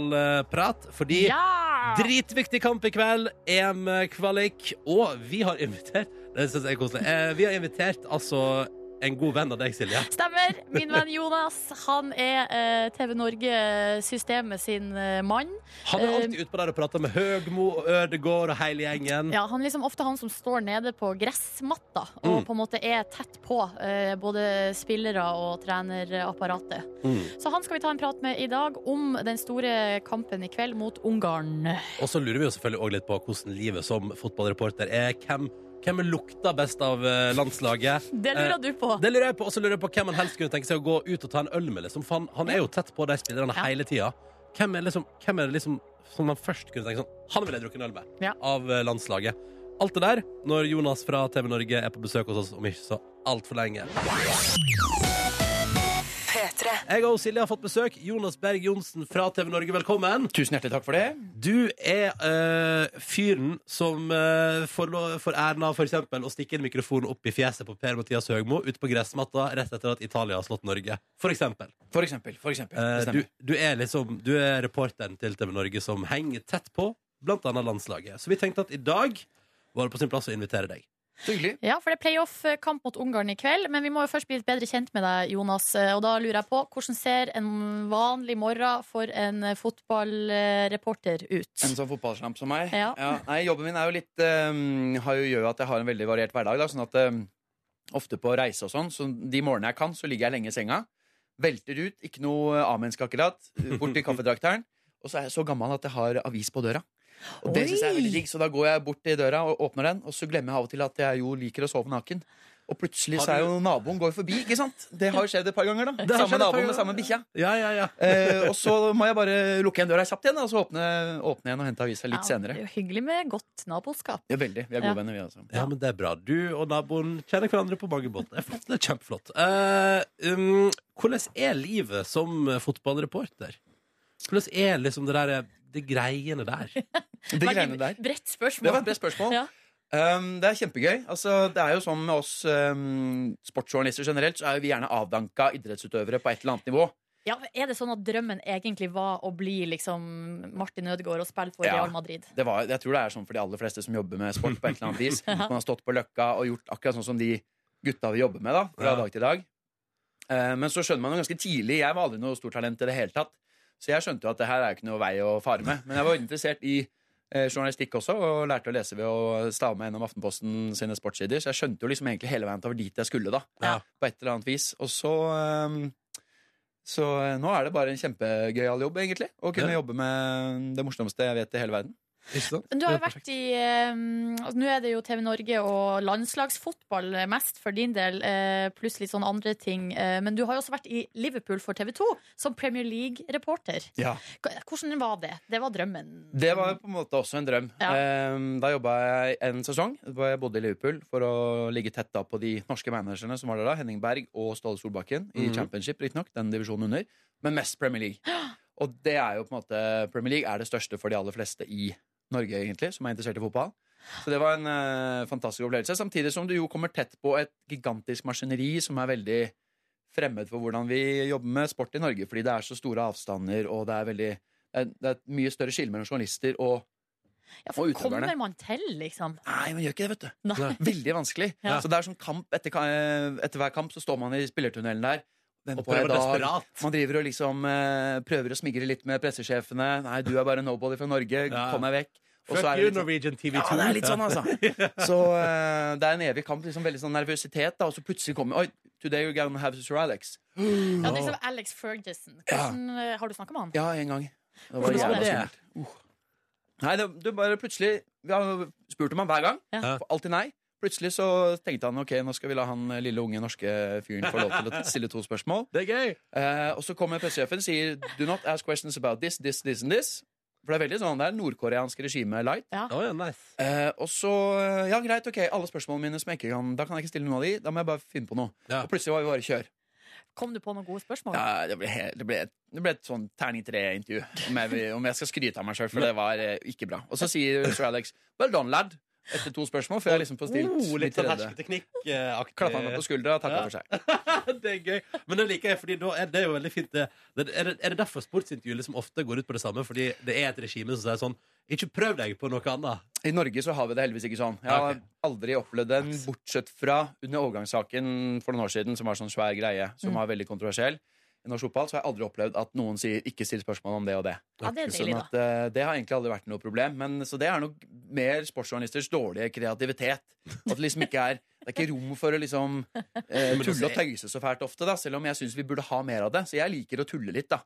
Speaker 2: fotballprat, fordi
Speaker 4: Ja!
Speaker 2: Dritviktig kamp i kveld. EM-kvalik. Og vi har invitert Det synes jeg er koselig. Eh, vi har invitert altså en god venn av deg, Silje.
Speaker 4: Stemmer. Min venn Jonas han er eh, TV Norge-systemet sin eh, mann. Eh,
Speaker 2: Han er alltid ute på der og prater med Høgmo og Ødegård og hele gjengen.
Speaker 4: Ja, han er liksom ofte han som står nede på gressmatta og
Speaker 2: Mm.
Speaker 4: på en måte er tett på eh, både spillere og trenerapparatet.
Speaker 2: Mm.
Speaker 4: Så han skal vi ta en prat med i dag om den store kampen i kveld mot Ungarn.
Speaker 2: Og så lurer vi jo selvfølgelig også litt på hvordan livet som fotballreporter er. Hvem, hvem lukter best av eh, landslaget? Eh,
Speaker 4: Det lurer du på.
Speaker 3: Eh,
Speaker 2: Det lurer jeg på, Og så lurer jeg på hvem han helst kunne tenke seg å gå ut og ta en øl med. Liksom. For han, han er jo tett på de spillerne
Speaker 4: Ja.
Speaker 2: hele tida. Hvem er, liksom, hvem er det liksom som han først kunne tenke sånn Han ville jeg drukket en øl med
Speaker 4: Ja.
Speaker 2: av eh, landslaget. Alt det der når Jonas fra TV Norge er på besøk hos oss om ikke så altfor lenge. Jeg og Silje har fått besøk. Jonas Berg Johnsen fra TV Norge, velkommen.
Speaker 8: Tusen hjertelig takk for det.
Speaker 2: Du er eh, fyren som eh, får, lov- får æren av for eksempel å stikke en mikrofon opp i fjeset på Per-Mathias Høgmo ute på gressmatta rett etter at Italia har slått Norge. For eksempel.
Speaker 8: For eksempel. For eksempel.
Speaker 2: Eh,
Speaker 8: Det
Speaker 2: du,
Speaker 8: stemmer.
Speaker 2: du er liksom Du er reporteren til TV Norge som henger tett på blant annet landslaget. Så vi tenkte at i dag var det på sin plass å invitere deg.
Speaker 8: Så hyggelig.
Speaker 4: Ja, for det er playoff-kamp mot Ungarn i kveld, men vi må jo først bli litt bedre kjent med deg, Jonas. Eh, Og da lurer jeg på, hvordan ser en vanlig morgen for en fotballreporter ut?
Speaker 8: En sånn fotballslamp som meg.
Speaker 4: Ja.
Speaker 8: nei, jobben min er jo litt eh, har jo, gjør jo at jeg har en veldig variert hverdag. Da, sånn at eh, ofte på reise og sånn, så de morgenene jeg kan, så ligger jeg lenge i senga. Velter ut, ikke noe A-menneske akkurat. Bort til kaffedrakteren. Og så er jeg så gammel at jeg har avis på døra. Og det synes jeg er veldig digg, så da går jeg bort til døra og åpner den, og så glemmer jeg av og til at jeg jo liker å sove naken. Og plutselig så er jo naboen går forbi, ikke sant? Det har jo skjedd et par ganger, da.
Speaker 2: har skjedd
Speaker 8: Samme
Speaker 2: et par
Speaker 8: nabo
Speaker 2: ganger.
Speaker 8: med samme bikkja.
Speaker 2: Ja, ja, ja.
Speaker 8: Eh, og så må jeg bare lukke igjen døra kjapt igjen, da, og så åpne, åpne igjen og hente avisa litt senere.
Speaker 4: det er jo hyggelig med godt naboskap.
Speaker 8: Ja, veldig. Vi er gode
Speaker 4: Ja.
Speaker 8: venner, vi altså.
Speaker 2: Ja, men det er bra. Du og naboen kjenner hverandre på mange måter. Det er flott. Det er kjempeflott. Eh, um, hvordan er livet som fotballreporter? Hvordan er liksom det der de greiene der?
Speaker 8: De greiene der.
Speaker 4: Bredt
Speaker 8: Det var
Speaker 4: spørsmål.
Speaker 8: et bredt spørsmål.
Speaker 4: Ja.
Speaker 8: Um, det er kjempegøy. Altså, det er jo sånn med oss um, sportsjournalister generelt, så er jo vi gjerne avdanka idrettsutøvere på et eller annet nivå.
Speaker 4: Ja, er det sånn at drømmen egentlig var å bli liksom Martin Ødegaard og spille for
Speaker 8: Ja.
Speaker 4: Real Madrid?
Speaker 8: Det var, jeg tror det er sånn for de aller fleste som jobber med sport på et eller annet vis. Man har stått på løkka og gjort akkurat sånn som de gutta vi jobber med, da, fra
Speaker 2: Ja.
Speaker 8: dag til dag. Eh, men så skjønner man jo ganske tidlig Jeg var aldri noe stort talent i det hele tatt. Så jeg skjønte jo at det her er jo ikke noe vei å fare med. Men jeg var interessert i eh, journalistikk også, og lærte å lese ved å stave meg gjennom Aftenposten sine sportssider. Så jeg skjønte jo liksom egentlig hele veien til over dit jeg skulle, da.
Speaker 2: Ja.
Speaker 8: På et eller annet vis. Og så eh, Så eh, nå er det bare en kjempegøyal jobb, egentlig. Å kunne
Speaker 2: Ja.
Speaker 8: jobbe med det morsomste jeg vet i hele verden.
Speaker 2: Ikke sant?
Speaker 4: Men du har jo
Speaker 2: Det er
Speaker 4: vært i eh, altså, Nå er det jo TV Norge og landslagsfotball mest for din del, eh, pluss litt sånn andre ting. Eh, men du har jo også vært i Liverpool for TV 2 som Premier League-reporter.
Speaker 8: Ja.
Speaker 4: K- Hvordan var det? Det var drømmen.
Speaker 8: Det var på en måte også en drøm.
Speaker 4: Ja.
Speaker 8: Ehm, Da jobba jeg en sesong. hvor Jeg bodde i Liverpool for å ligge tett da på de norske managerne som var der da. Henning Berg og Ståle Solbakken i
Speaker 2: Mhm.
Speaker 8: Championship, riktignok. Den divisjonen under. Men mest Premier League. Og det er jo på en måte Premier League er det største for de aller fleste i Norge, egentlig, som er interessert i fotball. Så det var en eh, fantastisk opplevelse. Samtidig som du jo kommer tett på et gigantisk maskineri som er veldig fremmed for hvordan vi jobber med sport i Norge, fordi det er så store avstander, og det er veldig det er- det er et mye større skille mellom journalister og
Speaker 4: Ja, for
Speaker 8: og utøverne.
Speaker 4: kommer man til, liksom?
Speaker 8: Nei, man gjør ikke det, vet du.
Speaker 4: Nei.
Speaker 8: Veldig vanskelig.
Speaker 4: Ja.
Speaker 8: Så det er sånn kamp etter, ka- eh, etter hver kamp, så står man i spillertunnelen der. Hvem
Speaker 2: Og
Speaker 8: får jeg
Speaker 2: prøver
Speaker 8: i dag?
Speaker 2: desperat.
Speaker 8: Man driver og liksom eh, prøver å smigre litt med pressesjefene. Nei, du er bare nobody fra Norge.
Speaker 2: Ja.
Speaker 8: Kom deg vekk. Og så
Speaker 2: Fuck
Speaker 8: er
Speaker 2: you,
Speaker 8: det litt sånn-
Speaker 2: Norwegian TV 2.
Speaker 8: ja, det er litt sånn, altså. Så eh, det er en evig kamp. Liksom, veldig sånn nervøsitet, da, og så plutselig kommer Oi, today you're gonna have Sir Alex.
Speaker 4: Ja, det er liksom Alex Ferguson. Hvordan, eh, Har du snakka med han?
Speaker 8: Ja, en gang. Det
Speaker 4: Hvordan var
Speaker 8: jævla
Speaker 4: det?
Speaker 8: skummelt. Uh. Nei, det, du bare plutselig Vi har spurt om han hver gang.
Speaker 4: Ja.
Speaker 8: For Alltid nei. Plutselig så tenkte han ok, nå skal vi la han eh, lille unge norske fyren få lov til å stille to spørsmål.
Speaker 2: Det er gøy!
Speaker 8: Eh, og så kommer pressesjefen og sier do not ask questions about this, this, this and this. For det er veldig sånn, det er nordkoreansk regime light.
Speaker 2: Å ja, nice.
Speaker 8: Eh, og så, eh, ja greit, ok, alle spørsmålene mine som jeg ikke kan Da kan jeg ikke stille noen av de, da må jeg bare finne på noe.
Speaker 2: Ja.
Speaker 8: Og plutselig var vi bare i kjør.
Speaker 4: Kom du på noen gode spørsmål?
Speaker 8: Ja, det, ble, helt- det, ble, et- det ble et sånn terning tre-intervju, om, jeg vil- om jeg skal skryte av meg sjøl, for det var eh, ikke bra. Og så sier sir Alex Well done, lad. etter to spørsmål, for jeg har liksom fått stilt
Speaker 2: Oh, litt
Speaker 8: mitt
Speaker 2: sånn
Speaker 8: tredje.
Speaker 2: hersketeknikk-aktig.
Speaker 8: Klappa meg på skuldra og takka
Speaker 2: Ja.
Speaker 8: for seg.
Speaker 2: det er gøy. Men det liker jeg, fordi da er det jo veldig fint. Det, det, er, det, er det derfor sportsintervjuer liksom ofte går ut på det samme? Fordi det er et regime som sier sånn Ikke prøv deg på noe annet.
Speaker 8: I Norge så har vi det heldigvis ikke sånn. Jeg har
Speaker 2: Ok.
Speaker 8: aldri opplevd den, bortsett fra under overgangssaken for noen år siden, som var sånn svær greie,
Speaker 4: Mm.
Speaker 8: som var veldig kontroversiell. I norsk fotball så har jeg aldri opplevd at noen sier 'ikke still spørsmål om det og det'.
Speaker 4: Ja, det er
Speaker 8: Sånn
Speaker 4: deilig, da.
Speaker 8: at eh, Det har egentlig aldri vært noe problem. Men, så det er nok mer sportsjournalisters dårlige kreativitet. At det liksom ikke er det er ikke rom for å liksom eh,
Speaker 2: Men
Speaker 8: tulle
Speaker 2: altså,
Speaker 8: og tøyse så fælt ofte, da, selv om jeg syns vi burde ha mer av det. Så jeg liker å tulle litt, da.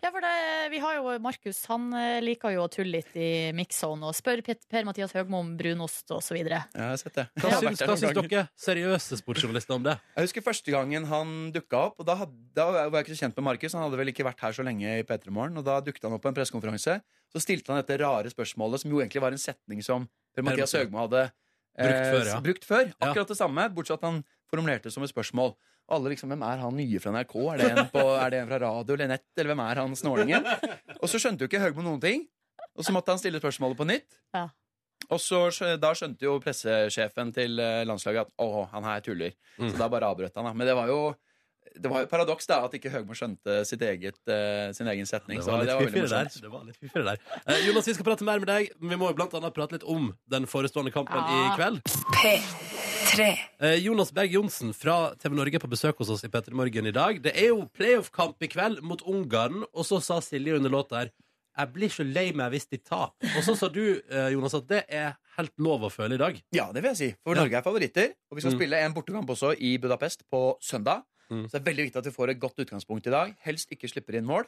Speaker 4: Ja, for det, vi har jo Markus, han eh, liker jo å tulle litt i mix-zone og spør Pet- Per-Mathias Høgmo om brunost og så videre.
Speaker 8: Jeg har sett det.
Speaker 2: Hva
Speaker 8: Jeg har vært
Speaker 2: syns,
Speaker 8: der
Speaker 2: hva
Speaker 8: noen
Speaker 2: syns
Speaker 8: ganger.
Speaker 2: dere seriøse sportsjournalister om det?
Speaker 8: Jeg husker første gangen han dukka opp. og da, had, da var jeg ikke så kjent med Markus. Han hadde vel ikke vært her så lenge i P3 Morgen. Og da dukket han opp på en pressekonferanse. Så stilte han dette rare spørsmålet, som jo egentlig var en setning som Per Mathias
Speaker 2: Per-Mathias.
Speaker 8: Høgmo hadde eh,
Speaker 2: Brukt før, ja.
Speaker 8: brukt før. Akkurat det samme, bortsett at han formulerte det som et spørsmål. Og Alle liksom, Hvem er han nye fra NRK? Er det en, på, er det en fra radio eller nett? Eller hvem er han snålingen? Og så skjønte jo ikke Høgmo noen ting. Og så måtte han stille spørsmålet på nytt.
Speaker 4: Ja.
Speaker 8: Og så, skjø- da skjønte jo pressesjefen til eh, landslaget at å, han her tuller. Så
Speaker 2: Mm.
Speaker 8: da bare avbrøt han. da. Men det var jo det var jo et paradoks da, at ikke Høgmo skjønte sitt eget, eh, sin egen setning.
Speaker 2: Det
Speaker 8: så
Speaker 2: var litt
Speaker 8: veldig
Speaker 2: fiffigere der.
Speaker 8: morsomt.
Speaker 2: Det var litt fiffigere der. Eh, Jonas, vi skal prate mer med deg, men vi må jo blant annet prate litt om den forestående kampen i
Speaker 4: Ja.
Speaker 2: kveld. Eh, Jonas Berg Johnsen fra TV Norge er på besøk hos oss i Petter Morgen i dag. Det er jo playoff-kamp i kveld mot Ungarn, og så sa Silje under låta her jeg blir så lei meg hvis de taper. Og så sa du, eh, Jonas, at det er helt lov å føle i dag.
Speaker 8: Ja, det vil jeg si. For
Speaker 2: Ja.
Speaker 8: Norge er favoritter. Og vi skal
Speaker 2: Mm.
Speaker 8: spille en bortekamp også i Budapest på søndag.
Speaker 2: Mm.
Speaker 8: Så det er veldig viktig at vi får et godt utgangspunkt i dag. Helst ikke slipper inn mål,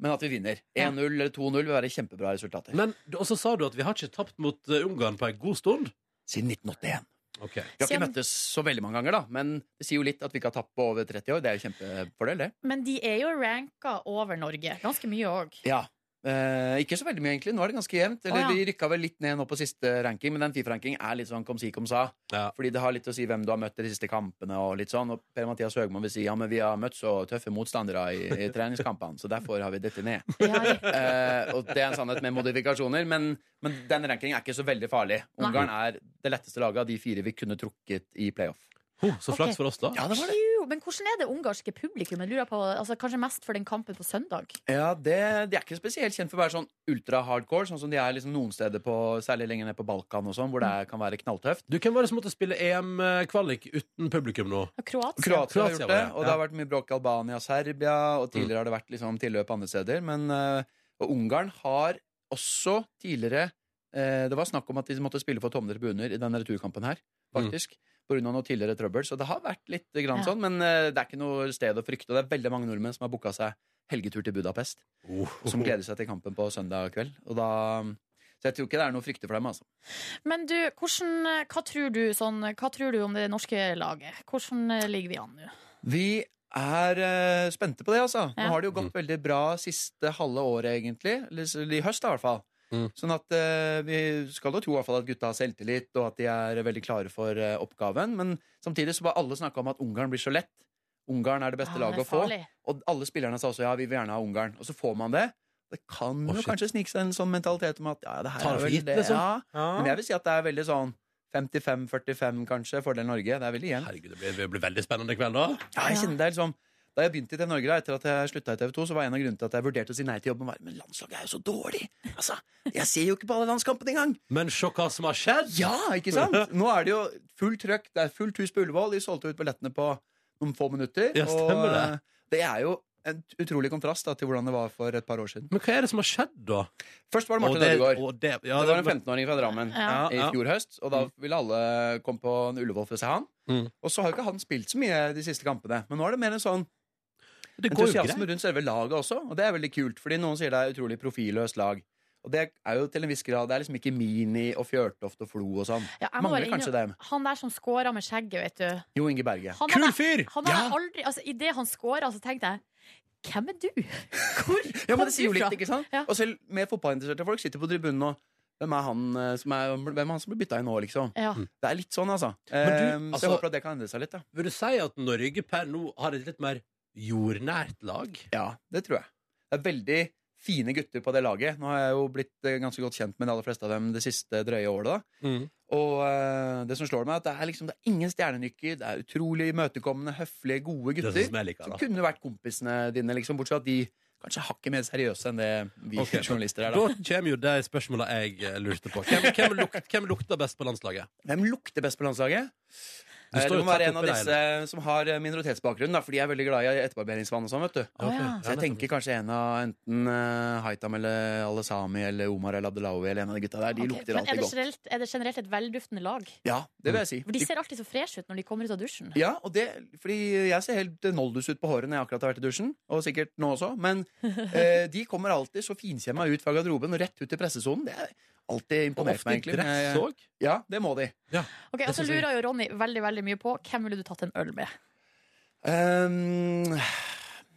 Speaker 8: men at vi vinner. 1-0 eller 2-0 vil være kjempebra resultater.
Speaker 2: Men Og så sa du at vi har ikke tapt mot eh, Ungarn på en god stund.
Speaker 8: Siden 1981.
Speaker 2: Ok.
Speaker 8: Vi har ikke
Speaker 4: Siden-
Speaker 8: møttes så veldig mange ganger, da, men det sier jo litt at vi ikke har tapt på over 30 år. Det er jo kjempefordel, det.
Speaker 4: Men de er jo ranka over Norge. Ganske mye òg.
Speaker 8: Ja. Eh, ikke så veldig mye, egentlig. Nå er det ganske jevnt.
Speaker 4: Å,
Speaker 8: Eller
Speaker 4: ja.
Speaker 8: Vi rykka vel litt ned nå på siste ranking, men den Fifa-ranking er litt sånn kom si, kom sa.
Speaker 2: Ja.
Speaker 8: Fordi det har litt å si hvem du har møtt de siste kampene. Og litt sånn Og Per-Mathias Høgmo vil si ja, men vi har møtt så tøffe motstandere i, i treningskampene, så derfor har vi dette ned.
Speaker 4: Ja,
Speaker 8: Eh, og det er en sannhet med modifikasjoner, men, men den rankingen er ikke så veldig farlig.
Speaker 4: Nei.
Speaker 8: Ungarn er det letteste laget av de fire vi kunne trukket i playoff.
Speaker 2: Ho, så
Speaker 4: Ok.
Speaker 2: flaks for oss, da.
Speaker 8: Ja, det var det.
Speaker 4: Pju, Men hvordan er det ungarske publikum? Jeg lurer på, altså, kanskje mest for den kampen på søndag?
Speaker 8: Ja, det, De er ikke spesielt kjent for å være sånn ultra-hardcore, sånn som de er liksom noen steder på, særlig lenger ned på Balkan, og sånn, hvor det er, kan være knalltøft.
Speaker 2: Mm. Du, Hvem var det som måtte spille EM-kvalik uten publikum nå?
Speaker 4: Kroatia?
Speaker 8: Kroatia har
Speaker 2: Kroatia
Speaker 8: gjort
Speaker 2: var
Speaker 8: det,
Speaker 2: det,
Speaker 8: og det
Speaker 2: ja.
Speaker 8: har vært mye bråk i Albania, Serbia, og tidligere har det vært liksom tilløp andre steder. Men eh, og Ungarn har også tidligere eh, Det var snakk om at de måtte spille for tomme tribuner i denne returkampen her,
Speaker 2: Mm.
Speaker 8: faktisk. På grunn av noe tidligere trøbbel. Så det har vært litt grann
Speaker 4: Ja.
Speaker 8: sånn, men eh, det er ikke noe sted å frykte. Og det er veldig mange nordmenn som har booka seg helgetur til Budapest,
Speaker 2: Oh,
Speaker 8: og som gleder seg til kampen på søndag kveld. Og da så jeg tror ikke det er noe å frykte for dem. altså.
Speaker 4: Men du, hvordan, eh, hva, tror du, sånn, hva tror du om det norske laget? Hvordan eh, ligger vi an nå?
Speaker 8: Vi er eh, spente på det, altså.
Speaker 4: Ja.
Speaker 8: Nå har det jo gått
Speaker 2: Mm.
Speaker 8: veldig bra siste halve året, egentlig. Eller s- i høst, da, i hvert fall.
Speaker 2: Mm.
Speaker 8: Sånn at eh, vi skal da tro i hvert fall at gutta har selvtillit, og at de er veldig klare for eh, oppgaven. Men samtidig så var alle snakka om at Ungarn blir så lett. Ungarn er det beste
Speaker 4: Ja, det
Speaker 8: laget
Speaker 4: er
Speaker 8: å få.
Speaker 4: farlig.
Speaker 8: Og alle spillerne sa også ja, vi vil gjerne ha Ungarn. Og så får man det. Det kan
Speaker 2: Å,
Speaker 8: jo
Speaker 2: shit.
Speaker 8: kanskje snike seg en sånn mentalitet om at ja, det her
Speaker 2: Tar det
Speaker 8: er
Speaker 2: for
Speaker 8: vel
Speaker 2: gitt,
Speaker 8: det.
Speaker 2: liksom.
Speaker 8: Ja. Men
Speaker 2: Ja.
Speaker 8: jeg vil si at det er veldig sånn 55-45, kanskje, fordel Norge. Det er veldig jevnt.
Speaker 2: Herregud, det blir, det blir veldig spennende i kveld, da.
Speaker 8: Ja, jeg
Speaker 4: Ja.
Speaker 8: kjenner det er liksom Da jeg begynte i TV Norge, da, etter at jeg slutta i TV 2, så var en av grunnene til at jeg vurderte å si nei til jobben, var men landslaget er jo så dårlig! Altså, Jeg ser jo ikke på alle landskampene engang!
Speaker 2: Men se hva som har skjedd!
Speaker 8: Ja, ikke sant? Nå er det jo fullt trøkk, det er fullt hus på Ullevål, de solgte ut billettene på noen få minutter.
Speaker 2: Ja, stemmer det.
Speaker 8: Og eh, det er jo en utrolig kontrast da, til hvordan det var for et par år siden.
Speaker 2: Men hva er det som har skjedd, da?
Speaker 8: Først var det
Speaker 2: Og
Speaker 8: Martin
Speaker 2: det-
Speaker 8: Ødegaard.
Speaker 2: og det- ja,
Speaker 8: det var
Speaker 2: det-
Speaker 8: en 15-åring fra Drammen
Speaker 4: Ja.
Speaker 8: i
Speaker 2: Ja, Mm. ja.
Speaker 8: fjor høst, og da ville alle komme på en Ullevål for å se han.
Speaker 2: Mm.
Speaker 8: Og så har jo ikke han spilt så mye de siste kampene, men nå er det mer en sånn
Speaker 2: Det går jo greit.
Speaker 8: entusiasme rundt selve laget også, og det er veldig kult. Fordi noen sier det er et utrolig profilløst lag. Og det er jo til en viss grad Det er liksom ikke Mini og Fjørtoft og Flo og sånn.
Speaker 4: Ja, jeg må
Speaker 8: Mangler
Speaker 4: bare
Speaker 8: kanskje
Speaker 4: innrømme-
Speaker 8: dem.
Speaker 4: Han der som scora med skjegget, vet du.
Speaker 8: Jo Inge Berge.
Speaker 4: Han
Speaker 2: Kul
Speaker 4: hadde-
Speaker 2: fyr!
Speaker 4: Han hadde
Speaker 8: Ja.
Speaker 4: aldri, altså Idet han scora, så tenkte jeg Hvem er du? Hvor
Speaker 8: Ja,
Speaker 4: kom
Speaker 8: men det sier jo
Speaker 4: du fra?
Speaker 8: litt, ikke sant?
Speaker 4: Ja.
Speaker 8: Og selv mer fotballinteresserte folk sitter på tribunen og hvem er, han, eh, som er, hvem er han som blir bytta inn nå, liksom?
Speaker 4: Ja.
Speaker 8: Det er litt sånn, altså.
Speaker 2: Mm. Men du,
Speaker 8: Eh, så jeg
Speaker 2: altså-
Speaker 8: håper at det kan endre seg litt, da.
Speaker 2: Vil du si at Norge per nå har et litt mer jordnært lag?
Speaker 8: Ja, det tror jeg. Det er veldig fine gutter på det laget. Nå har jeg jo blitt eh, ganske godt kjent med de aller fleste av dem det siste drøye året. da.
Speaker 2: Mm.
Speaker 8: Og eh, det som slår meg, er at det er, liksom, det er ingen stjernenykker. Det er utrolig imøtekommende, høflige, gode
Speaker 2: Det er
Speaker 8: gutter.
Speaker 2: sånn som jeg liker
Speaker 8: Som
Speaker 2: da.
Speaker 8: kunne vært kompisene dine, liksom, bortsett fra at de kanskje er hakket mer seriøse enn det vi
Speaker 2: Ok,
Speaker 8: journalister er.
Speaker 2: Da
Speaker 8: Da.
Speaker 2: kommer jo de spørsmåla jeg eh, lurte på. Hvem, hvem, luk, hvem lukter best på landslaget?
Speaker 8: Hvem lukter best på landslaget?
Speaker 2: Du
Speaker 8: Eh,
Speaker 2: står
Speaker 8: Det
Speaker 2: jo
Speaker 8: må være
Speaker 2: tett
Speaker 8: en av
Speaker 2: oppi deg,
Speaker 8: disse som har eh, minoritetsbakgrunn, da, for de er veldig glad i etterbarberingsvann og sånn, vet du.
Speaker 4: Å, ja.
Speaker 8: Så jeg tenker kanskje en av enten eh, Haitam eller Alesami eller Omar eller Abdelawi eller en av de gutta der. De
Speaker 4: Ok,
Speaker 8: lukter
Speaker 4: men er
Speaker 8: alltid
Speaker 4: det,
Speaker 8: godt.
Speaker 4: generelt, er det generelt et velduftende lag?
Speaker 8: Ja, det vil jeg si.
Speaker 4: For De ser alltid så freshe ut når de kommer ut av dusjen.
Speaker 8: Ja, og det, fordi jeg ser helt noldus ut på håret når jeg akkurat har vært i dusjen. Og sikkert nå også. Men eh, de kommer alltid så finkjemma ut fra garderoben og rett ut i pressesonen. Det er alltid
Speaker 2: Og
Speaker 8: imponert
Speaker 2: ofte
Speaker 8: meg,
Speaker 2: i
Speaker 8: egentlig.
Speaker 2: dress
Speaker 8: Men,
Speaker 2: òg.
Speaker 8: eh, Ja, det må de.
Speaker 4: Ok, Og så
Speaker 2: synes jeg-
Speaker 4: lurer jo Ronny veldig veldig mye på hvem ville du tatt en øl med.
Speaker 8: Um,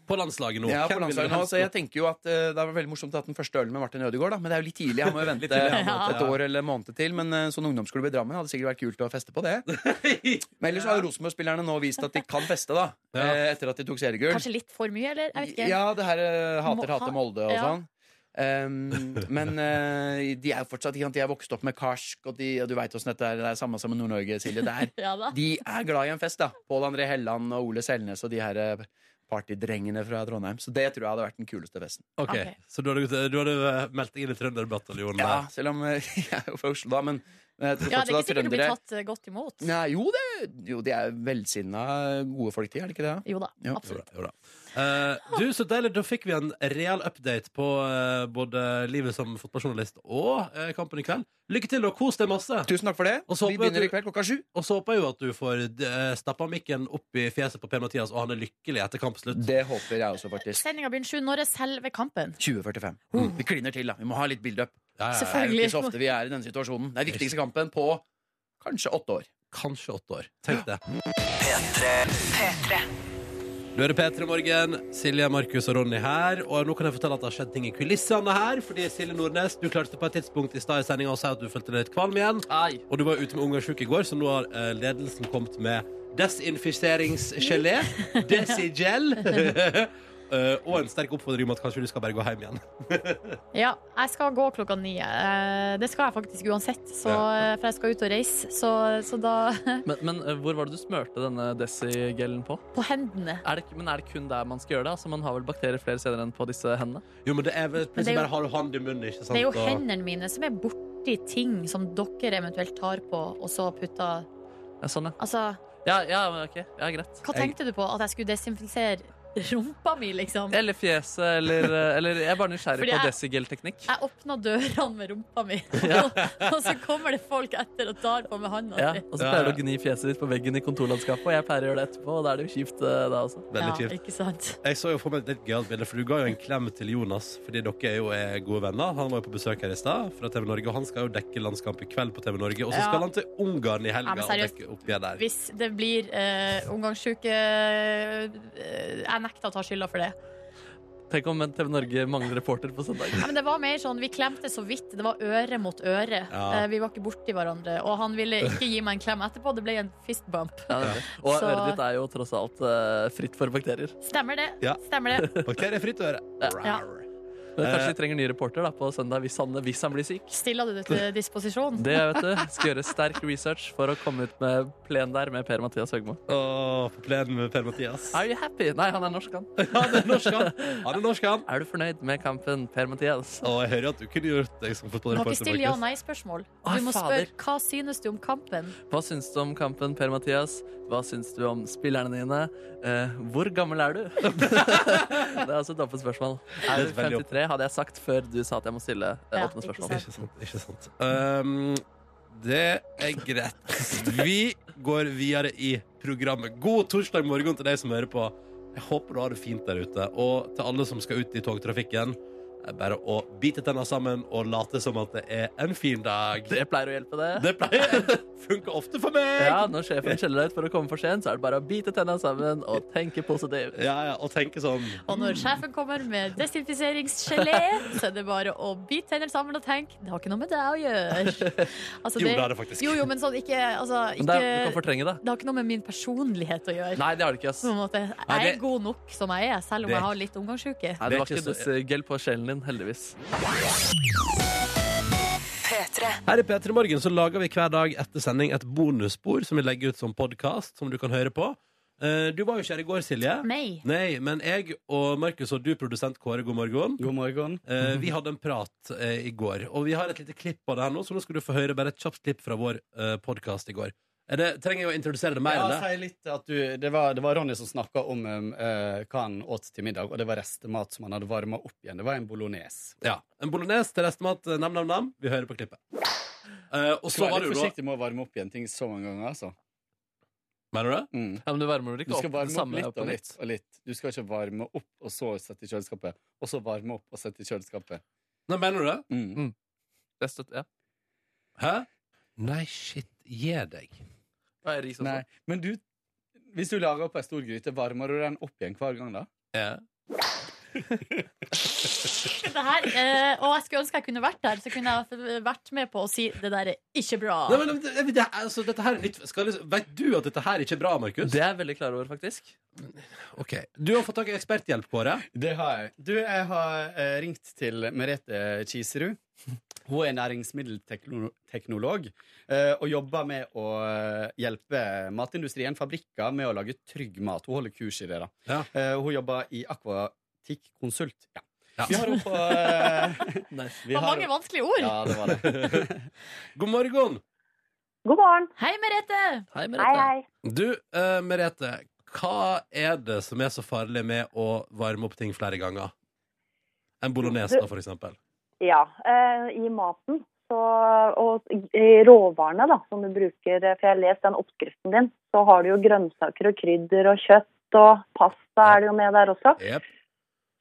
Speaker 2: På landslaget nå.
Speaker 8: jeg er på
Speaker 2: Hvem vil du
Speaker 8: landslaget nå,
Speaker 2: helst
Speaker 8: så jeg tenker jo at eh, det var veldig morsomt å ha den første ølen med Martin Ødegaard, da. Men det er jo litt tidlig. Han må jo
Speaker 2: Litt
Speaker 8: vente
Speaker 2: tidlig, han må
Speaker 8: et
Speaker 2: vente, ja.
Speaker 8: år eller en måned til. Men eh, sånn ungdomsskole i Drammen hadde sikkert vært kult å feste på det. Men ellers har jo Rosenborg-spillerne nå vist at de kan feste, da.
Speaker 2: Ja.
Speaker 8: eh, Etter at de tok seriegull.
Speaker 4: Kanskje litt for mye, eller? Jeg vet ikke.
Speaker 8: Ja, det her eh,
Speaker 4: Må-
Speaker 8: hater, hater Molde og
Speaker 4: ja.
Speaker 8: sånn. Um, men eh, de er jo fortsatt ikke sant, De er vokst opp med karsk, og, de, og du veit åssen dette er. Det er samme som med Nord-Norge, Silje. Det er,
Speaker 4: Ja da.
Speaker 8: de er glad i en fest, da. Pål André Helland og Ole Selnes og de her eh, partydrengene fra Trondheim. Så det tror jeg hadde vært den kuleste festen.
Speaker 2: Ok,
Speaker 4: Ok.
Speaker 2: Så du hadde, gått- du hadde eh, meldt deg inn i Trønderbataljonen?
Speaker 8: Ja,
Speaker 2: der.
Speaker 8: selv om eh, jeg er jo fra Oslo, da. Men jeg tror
Speaker 4: Ja, det er ikke
Speaker 8: fortsatt
Speaker 4: sikkert
Speaker 8: at
Speaker 4: du blir
Speaker 8: trøndere
Speaker 4: tatt eh, godt imot.
Speaker 8: Nei, jo, det, jo, de er velsinna, gode folk, de. Er det ikke det? da?
Speaker 4: Jo da,
Speaker 8: Ja.
Speaker 2: Jo da,
Speaker 4: absolutt.
Speaker 2: jo da. Eh, du, så deilig. Da fikk vi en real update på eh, både livet som fotballjournalist og eh, kampen i kveld. Lykke til og kos deg masse.
Speaker 8: Tusen takk for det.
Speaker 2: Og så
Speaker 8: Vi
Speaker 2: håper jeg
Speaker 8: begynner i
Speaker 2: du-
Speaker 8: kveld klokka sju.
Speaker 2: Og så håper jeg jo at du får eh, stappa mikken opp i fjeset på Per-Mathias, og han er lykkelig etter kampslutt.
Speaker 8: Det håper jeg også, faktisk.
Speaker 4: Sendinga begynner sju. Når er selve kampen?
Speaker 8: 2045. Mm. Vi kliner til, da. Vi må ha litt build-up.
Speaker 2: Mm.
Speaker 8: Det er
Speaker 2: Ja, ja, ja.
Speaker 8: jo
Speaker 4: Selvfølgelig.
Speaker 8: ikke så ofte vi er i denne situasjonen. Det er viktigste kampen på kanskje åtte år.
Speaker 2: Kanskje åtte år. Tenk det. Nå er det P3 Morgen. Silje, Markus og Ronny her. Og nå kan jeg fortelle at det har skjedd ting i kulissene her. Fordi Silje Nordnes, du klarte på et tidspunkt i stad i sendinga å si at du følte deg litt kvalm igjen.
Speaker 3: Ai.
Speaker 2: Og du var ute med ungarsjuk i går, så nå har eh, ledelsen kommet med desinfiseringsgelé. Desigel. Eh, og en sterk oppfordring om at kanskje du skal bare gå hjem igjen.
Speaker 4: Ja, jeg skal gå klokka ni. Eh, Det skal jeg faktisk uansett, så, eh, for jeg skal ut og reise. Så, så da
Speaker 3: Men, men eh, hvor var det du smørte denne desigelen på?
Speaker 4: På hendene.
Speaker 3: Er det, ikke- men er det kun der man skal gjøre det? Altså, man har vel bakterier flere steder enn på disse hendene?
Speaker 2: Jo, men det er
Speaker 4: Men
Speaker 2: vel
Speaker 4: det er
Speaker 2: plutselig
Speaker 4: jo-
Speaker 2: bare har du hånd i munnen, ikke sant?
Speaker 4: Det er jo
Speaker 2: og-
Speaker 4: hendene mine som er borti ting som dere eventuelt tar på, og så putter
Speaker 3: Ja, sånn, ja.
Speaker 4: Altså,
Speaker 3: Ja, ja, men ok. Ja, greit.
Speaker 4: hva tenkte du på? At jeg skulle desinfisere rumpa mi, liksom?
Speaker 3: Eller fjeset, eller, eh, eller Jeg er bare nysgjerrig
Speaker 4: Fordi
Speaker 3: på
Speaker 4: jeg-
Speaker 3: desigel-teknikk.
Speaker 4: Jeg åpna dørene med rumpa mi, og så kommer det folk etter og tar på med handa
Speaker 3: Ja,
Speaker 4: si.
Speaker 3: og så
Speaker 2: Ja,
Speaker 3: pleier du
Speaker 2: ja.
Speaker 3: å gni fjeset ditt på veggen i kontorlandskapet, og jeg pleier å gjøre det etterpå, og da er det jo kjipt, eh, da også.
Speaker 2: Veldig
Speaker 4: ja,
Speaker 2: kjipt.
Speaker 4: ikke sant?
Speaker 2: Jeg så jo for meg et litt gøyalt bilde, for du ga jo en klem til Jonas, fordi dere er jo er gode venner. Han var jo på besøk her i stad fra TV Norge, og han skal jo dekke landskamp i kveld på TV Norge. Og så
Speaker 4: Ja.
Speaker 2: skal han til Ungarn i
Speaker 4: Ja,
Speaker 2: helga
Speaker 4: men
Speaker 2: og
Speaker 4: seriøst.
Speaker 2: dekke opp igjen der.
Speaker 4: Hvis det blir eh, omgangssjuke eh, Jeg nekter å ta skylda for det.
Speaker 3: Tenk om TV Norge mangler reporter på søndag.
Speaker 4: Ja, men det var mer sånn, Vi klemte så vidt. Det var øre mot øre.
Speaker 2: Ja.
Speaker 4: Eh, vi var ikke borti hverandre. Og han ville ikke gi meg en klem etterpå. Det ble en fist bump.
Speaker 3: Ja, det er det. og
Speaker 4: Så-
Speaker 3: øret ditt er jo tross alt eh, fritt for bakterier.
Speaker 4: Stemmer det.
Speaker 2: Ja.
Speaker 4: Stemmer det.
Speaker 2: Bakteriefritt øre.
Speaker 4: Ja.
Speaker 3: Men
Speaker 2: Eh.
Speaker 3: kanskje vi trenger ny reporter da, på søndag hvis han, hvis han blir syk.
Speaker 4: Stiller du det til disposisjon?
Speaker 3: Det vet du. Skal gjøre sterk research for å komme ut med plen der med Per-Mathias Høgmo.
Speaker 2: Åh, på plenen med Per-Mathias.
Speaker 3: Are you happy? Nei, han er norsk, han.
Speaker 2: Han er norsk, han. Han er norsk, han.
Speaker 3: Er du fornøyd med kampen, Per-Mathias?
Speaker 2: Og jeg hører at du kunne gjort liksom, deg som
Speaker 4: Du kan ikke
Speaker 2: fotballreporter.
Speaker 4: stille ja- og
Speaker 2: Markus.
Speaker 4: nei-spørsmål.
Speaker 3: Ai,
Speaker 4: Du må
Speaker 3: fader.
Speaker 4: spørre hva synes du om kampen.
Speaker 3: Hva syns du om kampen, Per-Mathias? Hva syns du om spillerne dine? Eh, hvor gammel er du? det er altså et åpent spørsmål. Er du
Speaker 2: Det er veldig
Speaker 3: 53, hadde jeg sagt før du sa at jeg må stille eh,
Speaker 4: Ja,
Speaker 3: åpne
Speaker 4: ikke
Speaker 3: spørsmål.
Speaker 4: sant.
Speaker 2: Ikke sant. Ikke sant. Um, det er greit. Vi går videre i programmet. God torsdag morgen til deg som hører på. Jeg håper du har det fint der ute. Og til alle som skal ut i togtrafikken, det er bare å bite tenna sammen og late som at det er en fin dag.
Speaker 3: Det pleier å hjelpe, det.
Speaker 2: Det pleier funker ofte for meg.
Speaker 3: Ja, Når sjefen skjeller deg ut for å komme for sent, så er det bare å bite tenna sammen og tenke positivt.
Speaker 2: Ja, ja, og tenke sånn
Speaker 4: Og når sjefen kommer med desinfiseringsgelé, så er det bare å bite tennene sammen og tenke det har ikke noe med deg å gjøre. Altså,
Speaker 2: Jo, det har det faktisk.
Speaker 4: Jo, jo, men sånn ikke, altså, ikke
Speaker 3: Men det, er- du kan fortrenge det.
Speaker 4: Det har ikke noe med min personlighet å gjøre.
Speaker 3: Nei, det har du ikke. ass.
Speaker 4: På en måte.
Speaker 2: Nei,
Speaker 4: Jeg
Speaker 2: det-
Speaker 4: er god nok som jeg er, selv om
Speaker 2: det-
Speaker 4: jeg har litt omgangsuke.
Speaker 3: Nei, det var
Speaker 2: Det er
Speaker 3: ikke
Speaker 2: ikke så-
Speaker 3: desigel på sjelen hjernen din, heldigvis.
Speaker 2: Her i P3 Morgen så lager vi hver dag etter sending et bonusspor som vi legger ut som podkast, som du kan høre på. Eh, Du var jo ikke her i går, Silje.
Speaker 4: Nei.
Speaker 2: Nei, men jeg og Markus og du, produsent Kåre, god morgen.
Speaker 9: God morgen.
Speaker 2: Eh, vi hadde en prat eh, i går, og vi har et lite klipp av det her nå, så nå skal du få høre bare et kjapt klipp fra vår uh, podkast i går. Er det, trenger jeg å introdusere det mer
Speaker 9: Ja,
Speaker 2: enn det?
Speaker 9: si litt at du, det, var, det var Ronny som snakka om um, eh, hva han åt til middag, og det var restemat som han hadde varma opp igjen. Det var en bolognese.
Speaker 2: Ja. En bolognese til restemat, eh, nam, nam, nam. Vi hører på klippet. Eh, og
Speaker 9: Så
Speaker 2: så var
Speaker 9: vær
Speaker 2: det
Speaker 9: litt
Speaker 2: jo da
Speaker 9: forsiktig med å varme opp igjen ting så mange ganger, altså.
Speaker 2: Mener du det?
Speaker 9: Mm.
Speaker 3: Ja, men du varmer vel
Speaker 9: Du
Speaker 3: ikke
Speaker 9: skal
Speaker 3: opp det
Speaker 9: varme opp
Speaker 3: samme
Speaker 9: litt
Speaker 3: på
Speaker 9: og
Speaker 3: nytt?
Speaker 9: litt og litt. Du skal ikke varme opp og så sette i kjøleskapet, og så varme opp og sette i kjøleskapet.
Speaker 2: Nei, mener du det?
Speaker 9: Mm.
Speaker 3: Jeg støtter, ja.
Speaker 2: Hæ? Nei, shit, gi deg.
Speaker 3: Og jeg ris også.
Speaker 9: Nei, men du Hvis du lager opp ei stor gryte, varmer du den opp igjen hver gang, da?
Speaker 2: Ja.
Speaker 4: Det her, eh, og jeg skulle ønske jeg kunne vært der, så kunne jeg vært med på å si det der er ikke bra.
Speaker 3: Ah.
Speaker 2: Nei, men det, det, er- altså, dette her er nytt skal, liksom- Vet du at dette her ikke er bra, Markus?
Speaker 3: Det er jeg veldig klar over, faktisk.
Speaker 2: Ok. Du har fått tak i eksperthjelp, Kåre.
Speaker 9: Det har jeg. Du, jeg har eh, ringt til Merete Kiserud. Hun er næringsmiddelteknolog eh, og jobber med å eh, hjelpe matindustrien, fabrikker, med å lage trygg mat. Hun holder kurs i det. da.
Speaker 2: Ja.
Speaker 9: Eh, hun jobber i Akvatikk Konsult. Ja.
Speaker 2: Ja.
Speaker 9: Vi har henne på eh,
Speaker 3: Nice.
Speaker 9: vi
Speaker 4: det var
Speaker 9: har-
Speaker 4: mange vanskelige ord.
Speaker 9: Ja, det var det.
Speaker 2: God morgen!
Speaker 10: God morgen.
Speaker 4: Hei, Merete!
Speaker 3: Hei,
Speaker 10: Hei,
Speaker 3: Merete.
Speaker 10: hei.
Speaker 2: Du, eh, Merete, hva er det som er så farlig med å varme opp ting flere ganger? En bolognese, da, for eksempel.
Speaker 10: Ja, eh, i maten så, og i råvarene da, som du bruker, eh, for jeg har lest den oppskriften din, så har du jo grønnsaker og krydder og kjøtt og pasta er det jo med der også.
Speaker 2: Jep.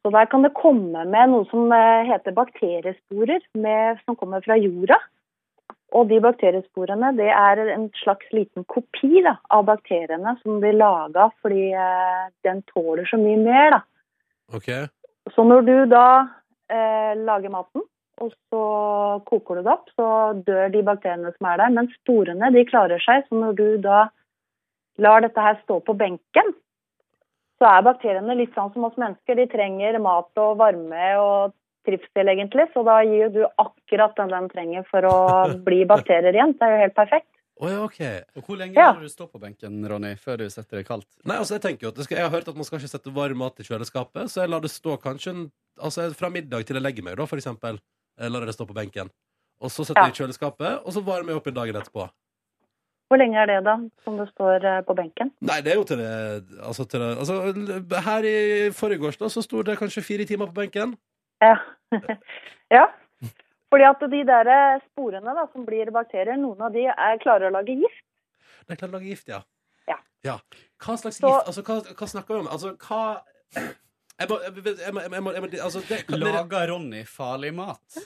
Speaker 10: Så der kan det komme med noe som eh, heter bakteriesporer, med, som kommer fra jorda. Og de bakteriesporene, det er en slags liten kopi da, av bakteriene som de laget, fordi eh, den tåler så mye mer da.
Speaker 2: Ok.
Speaker 10: Så når du da eh, lager maten, og så koker du det opp, så dør de bakteriene som er der. Men sporene de klarer seg, så når du da lar dette her stå på benken, så er bakteriene litt sånn som oss mennesker. De trenger mat og varme og trivsel, egentlig. Så da gir jo du akkurat den den trenger for å bli bakterier igjen. Det er jo helt perfekt.
Speaker 2: Å ja, ok.
Speaker 9: Og hvor lenge
Speaker 10: Ja.
Speaker 9: må du stå på benken, Ronny, før du setter det kaldt?
Speaker 2: Nei, altså, jeg tenker jo at det skal, jeg har hørt at man skal ikke sette varm mat i kjøleskapet, så jeg lar det stå kanskje en, altså, fra middag til jeg legger meg, da, for eksempel. Jeg lar det stå på benken. Og så setter
Speaker 10: Ja.
Speaker 2: jeg i kjøleskapet, og så varmer jeg opp en dagen etterpå.
Speaker 10: Hvor lenge er det da, som det står eh, på benken?
Speaker 2: Nei, det er jo til det Altså, til det, altså her i forgårs, da, så sto det kanskje fire timer på benken.
Speaker 10: Ja. ja. Fordi at de der eh, sporene da, som blir bakterier, noen av de er klarer å lage gift.
Speaker 2: De klarer å lage gift, ja.
Speaker 10: Ja.
Speaker 2: Hva slags
Speaker 10: Så-
Speaker 2: gift? Altså, hva, hva snakker vi om? Altså, hva Jeg må, jeg, jeg, må- jeg må, jeg må altså, det, kan dere,
Speaker 9: Lager Ronny farlig mat?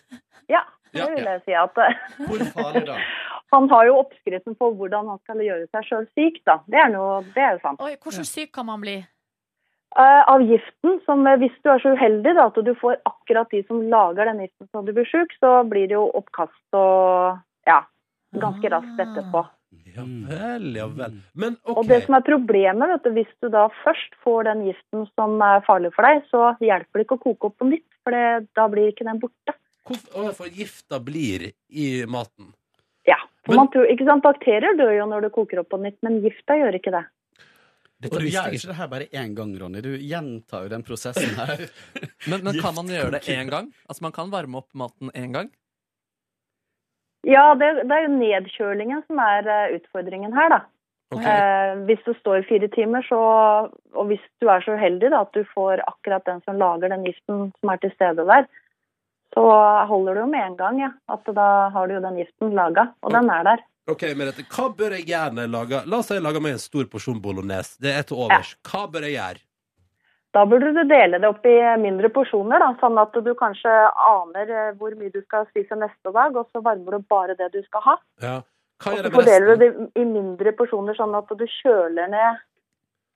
Speaker 10: Ja, det
Speaker 2: Ja,
Speaker 10: vil jeg si. at eh,
Speaker 9: Hvor farlig da?
Speaker 10: Han har jo oppskriften på hvordan han skal gjøre seg sjøl syk. da. Det er, noe, det er jo sant.
Speaker 4: Oi, hvordan syk kan man bli?
Speaker 10: Eh, Av giften, som eh, hvis du er så uheldig da, at du får akkurat de som lager den giften så du blir sjuk, så blir det jo oppkast og ja, ganske raskt
Speaker 4: Ah.
Speaker 10: etterpå.
Speaker 2: Ja vel, ja vel. Men
Speaker 10: Og det
Speaker 2: OK.
Speaker 10: som er problemet, vet du, hvis du da først får den giften som er farlig for deg, så hjelper det ikke å koke opp på nytt, for det, da blir ikke den borte.
Speaker 2: Hvorfor å, for gifta blir i maten?
Speaker 10: Ja. For
Speaker 2: Men-
Speaker 10: man tror, ikke sant, Bakterier dør jo når du koker opp på nytt, men gifta gjør ikke det.
Speaker 9: Og
Speaker 2: Dette
Speaker 9: du
Speaker 2: visste
Speaker 9: gjør
Speaker 2: jeg
Speaker 9: ikke det her bare én gang, Ronny. Du gjentar jo den prosessen her.
Speaker 3: Men, men kan man gjøre det én gang? Altså, man kan varme opp maten én gang?
Speaker 10: Ja, det, det er jo nedkjølingen som er eh, utfordringen her, da.
Speaker 2: Ok.
Speaker 10: Eh, hvis du står fire timer, så, og hvis du er så uheldig da, at du får akkurat den som lager den giften som er til stede der, så holder det jo med en gang, ja. At da har du jo den giften laga, og den er der.
Speaker 2: OK, Merete, hva bør jeg gjøre når jeg lager La oss si jeg lager meg en stor porsjon bolognese. Det er til overs. Hva bør jeg gjøre?
Speaker 10: Da burde du dele det opp i mindre porsjoner, da, sånn at du kanskje aner eh, hvor mye du skal spise neste dag, og så varmer du bare det du skal ha.
Speaker 2: Ja. Hva
Speaker 10: Og
Speaker 2: gjør
Speaker 10: så
Speaker 2: jeg med
Speaker 10: fordeler du
Speaker 2: resten?
Speaker 10: det i mindre porsjoner, sånn at du kjøler ned.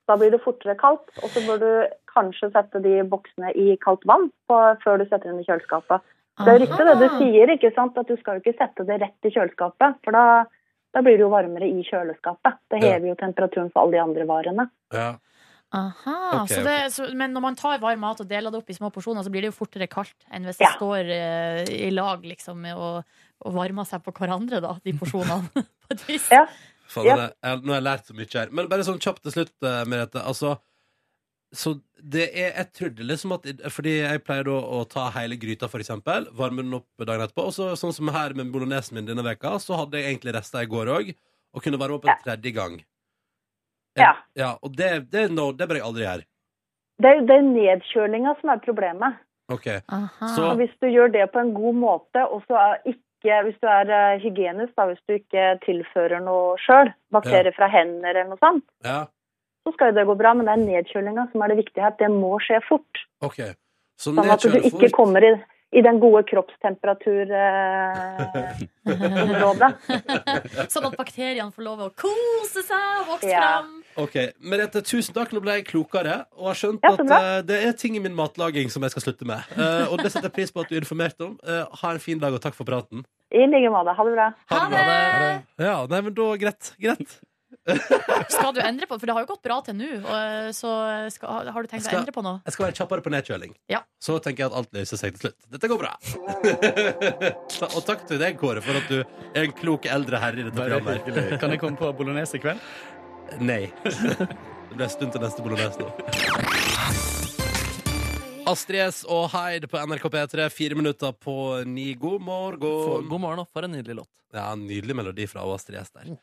Speaker 10: Da blir det fortere kaldt. Og så bør du kanskje sette de boksene i kaldt vann på, før du setter dem i kjøleskapet. Det er riktig det du
Speaker 4: Aha.
Speaker 10: sier, ikke sant? at du skal jo ikke sette det rett i kjøleskapet. For da, da blir det jo varmere i kjøleskapet. Det
Speaker 2: Ja.
Speaker 10: hever jo temperaturen for alle de andre varene.
Speaker 2: Ja.
Speaker 4: Aha,
Speaker 2: Ok,
Speaker 4: så det, så, men når man tar varm mat og deler det opp i små porsjoner, så blir det jo fortere kaldt enn hvis det
Speaker 10: Ja.
Speaker 4: står eh, i lag liksom, og, og varmer seg på hverandre, da, de porsjonene. på et vis.
Speaker 10: Ja.
Speaker 2: Faen,
Speaker 10: Ja.
Speaker 2: det- jeg, nå har jeg lært så mye her. Men bare sånn kjapt til slutt, eh, Merete. Altså, så det er Jeg trodde liksom at Fordi jeg pleier da å ta hele gryta, for eksempel. Varme den opp dagen etterpå. Og så sånn som her med bolognesen min denne veka, så hadde jeg egentlig rester i går òg. Og kunne varme opp en tredje gang.
Speaker 10: Ja.
Speaker 2: ja og det, det, er no, det bør jeg aldri gjøre.
Speaker 10: Det er, det er nedkjølinga som er problemet.
Speaker 2: OK.
Speaker 4: Aha.
Speaker 2: Så-
Speaker 10: Og hvis du gjør det på en god måte, og så er ikke Hvis du er eh, hygienisk, da, hvis du ikke tilfører noe sjøl, bakterier fra hender eller noe sånt,
Speaker 2: Ja,
Speaker 10: så skal jo det gå bra. Men det er nedkjølinga som er det viktige her. Det må skje fort.
Speaker 2: OK. Så
Speaker 10: Sånn at du
Speaker 2: nedkjøle
Speaker 10: ikke
Speaker 2: fort.
Speaker 10: kommer i, i den gode eh, kroppstemperaturområdet.
Speaker 4: Sånn at bakteriene får lov å kose seg og vokse
Speaker 10: Ja.
Speaker 4: fram.
Speaker 2: Ok, Merete, tusen takk. Nå ble jeg klokere og har skjønt
Speaker 10: Ja,
Speaker 2: at
Speaker 10: så bra.
Speaker 2: eh, det er ting i min matlaging som jeg skal slutte med. Eh, og det setter jeg pris på at du informerte om. Eh, ha en fin dag, og takk for praten.
Speaker 10: I like måte. Ha det bra.
Speaker 4: Ha det!
Speaker 2: Ja, nei, men da greit. Greit.
Speaker 4: Skal du endre på For det har jo gått bra til nå, og, så skal, har du tenkt
Speaker 2: Skal-
Speaker 4: å endre på noe?
Speaker 2: Jeg skal være kjappere på nedkjøling.
Speaker 4: Ja.
Speaker 2: Så tenker jeg at alt løser seg til slutt. Dette går bra. og takk til deg, Kåre, for at du er en klok eldre herre i dette
Speaker 9: Bare
Speaker 2: programmet.
Speaker 9: hyggelig. Kan jeg komme på bolognese i kveld?
Speaker 2: Nei. Det blir en stund til neste bolognese nå. Astrid S og Hyde på NRK P3, fire minutter på ni. God
Speaker 3: For,
Speaker 2: morgen.
Speaker 3: god morgen, og for en nydelig låt.
Speaker 2: Ja, en Nydelig melodi fra Astrid S der.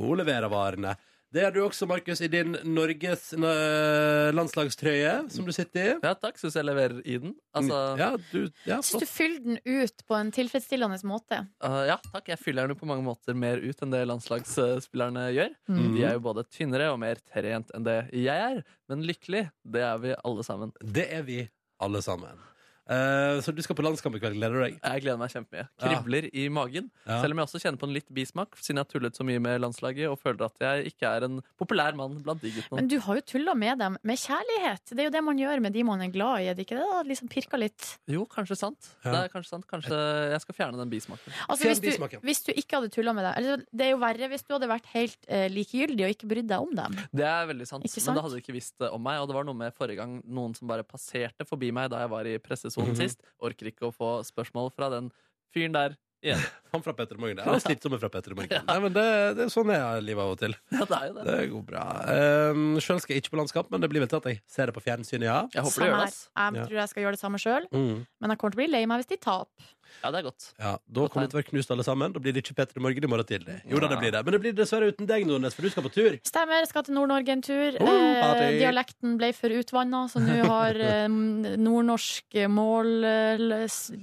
Speaker 2: Hun leverer varene. Det gjør du også, Markus, i din Norges n- Eh, landslagstrøye som du sitter i.
Speaker 3: Ja, takk. Syns jeg leverer i den. Altså, ja.
Speaker 2: ja, du, ja,
Speaker 4: Jeg syns
Speaker 2: flott.
Speaker 4: du fyller den ut på en tilfredsstillende måte.
Speaker 3: Eh, ja, takk. Jeg fyller den jo på mange måter mer ut enn det landslagsspillerne gjør.
Speaker 2: Mm.
Speaker 3: De er jo både tynnere og mer trent enn det jeg er. Men lykkelig, det er vi alle sammen.
Speaker 2: Det er vi alle sammen. Eh, så du skal på landskamp i kveld. Gleder du deg?
Speaker 3: Jeg gleder meg kjempemye. Kribler i magen.
Speaker 2: Ja.
Speaker 3: Selv om jeg også kjenner på en litt bismak, siden jeg har tullet så mye med landslaget og føler at jeg ikke er en populær mann blant de guttene.
Speaker 4: Men du har jo tulla med dem med kjærlighet. Det er jo det man gjør med de man er glad i. Er det ikke det? da? Liksom pirka litt.
Speaker 3: Jo, kanskje sant.
Speaker 2: Ja.
Speaker 3: Det er kanskje sant. Kanskje jeg skal fjerne den bismaken.
Speaker 4: Altså,
Speaker 2: Fjern
Speaker 4: hvis, du,
Speaker 2: bismaken.
Speaker 4: hvis du ikke hadde tulla med dem eller, Det er jo verre hvis du hadde vært helt eh, likegyldig og ikke brydd deg om dem.
Speaker 3: Det er veldig sant,
Speaker 4: Ikke
Speaker 3: men
Speaker 4: sant?
Speaker 3: det hadde de ikke visst eh, om meg. Og det var noe med forrige gang noen som bare passerte forbi meg da jeg var i pressesonen
Speaker 2: Mhm.
Speaker 3: sist. Orker ikke å få spørsmål fra den fyren der.
Speaker 2: Han fra Petter Morgen. Han er slitsomme fra Petter Morgen. Nei, men det, det er sånn er livet av og til.
Speaker 3: Ja, det er jo det.
Speaker 2: Det går bra. Um, Sjøl skal jeg ikke på landskamp, men det blir vel til at jeg ser det på fjernsynet, ja.
Speaker 3: Jeg
Speaker 4: Samme
Speaker 3: håper det gjør
Speaker 4: her.
Speaker 3: det. ass.
Speaker 4: Jeg
Speaker 2: Ja. Mm.
Speaker 4: tror jeg skal gjøre det samme sjøl, men jeg kommer til å bli lei meg hvis de taper.
Speaker 3: Ja, det er godt.
Speaker 2: ja da kommer det til å være knust alle sammen. Da blir det ikke Petter i morgen i morgen tidlig. Jo da, det blir det. Men det blir dessverre uten deg, Nordnes, for du skal på tur.
Speaker 4: Stemmer, jeg skal til Nord-Norge en tur.
Speaker 2: Oh,
Speaker 4: eh,
Speaker 2: party.
Speaker 4: dialekten ble for utvanna, så nå har eh, Nordnorsk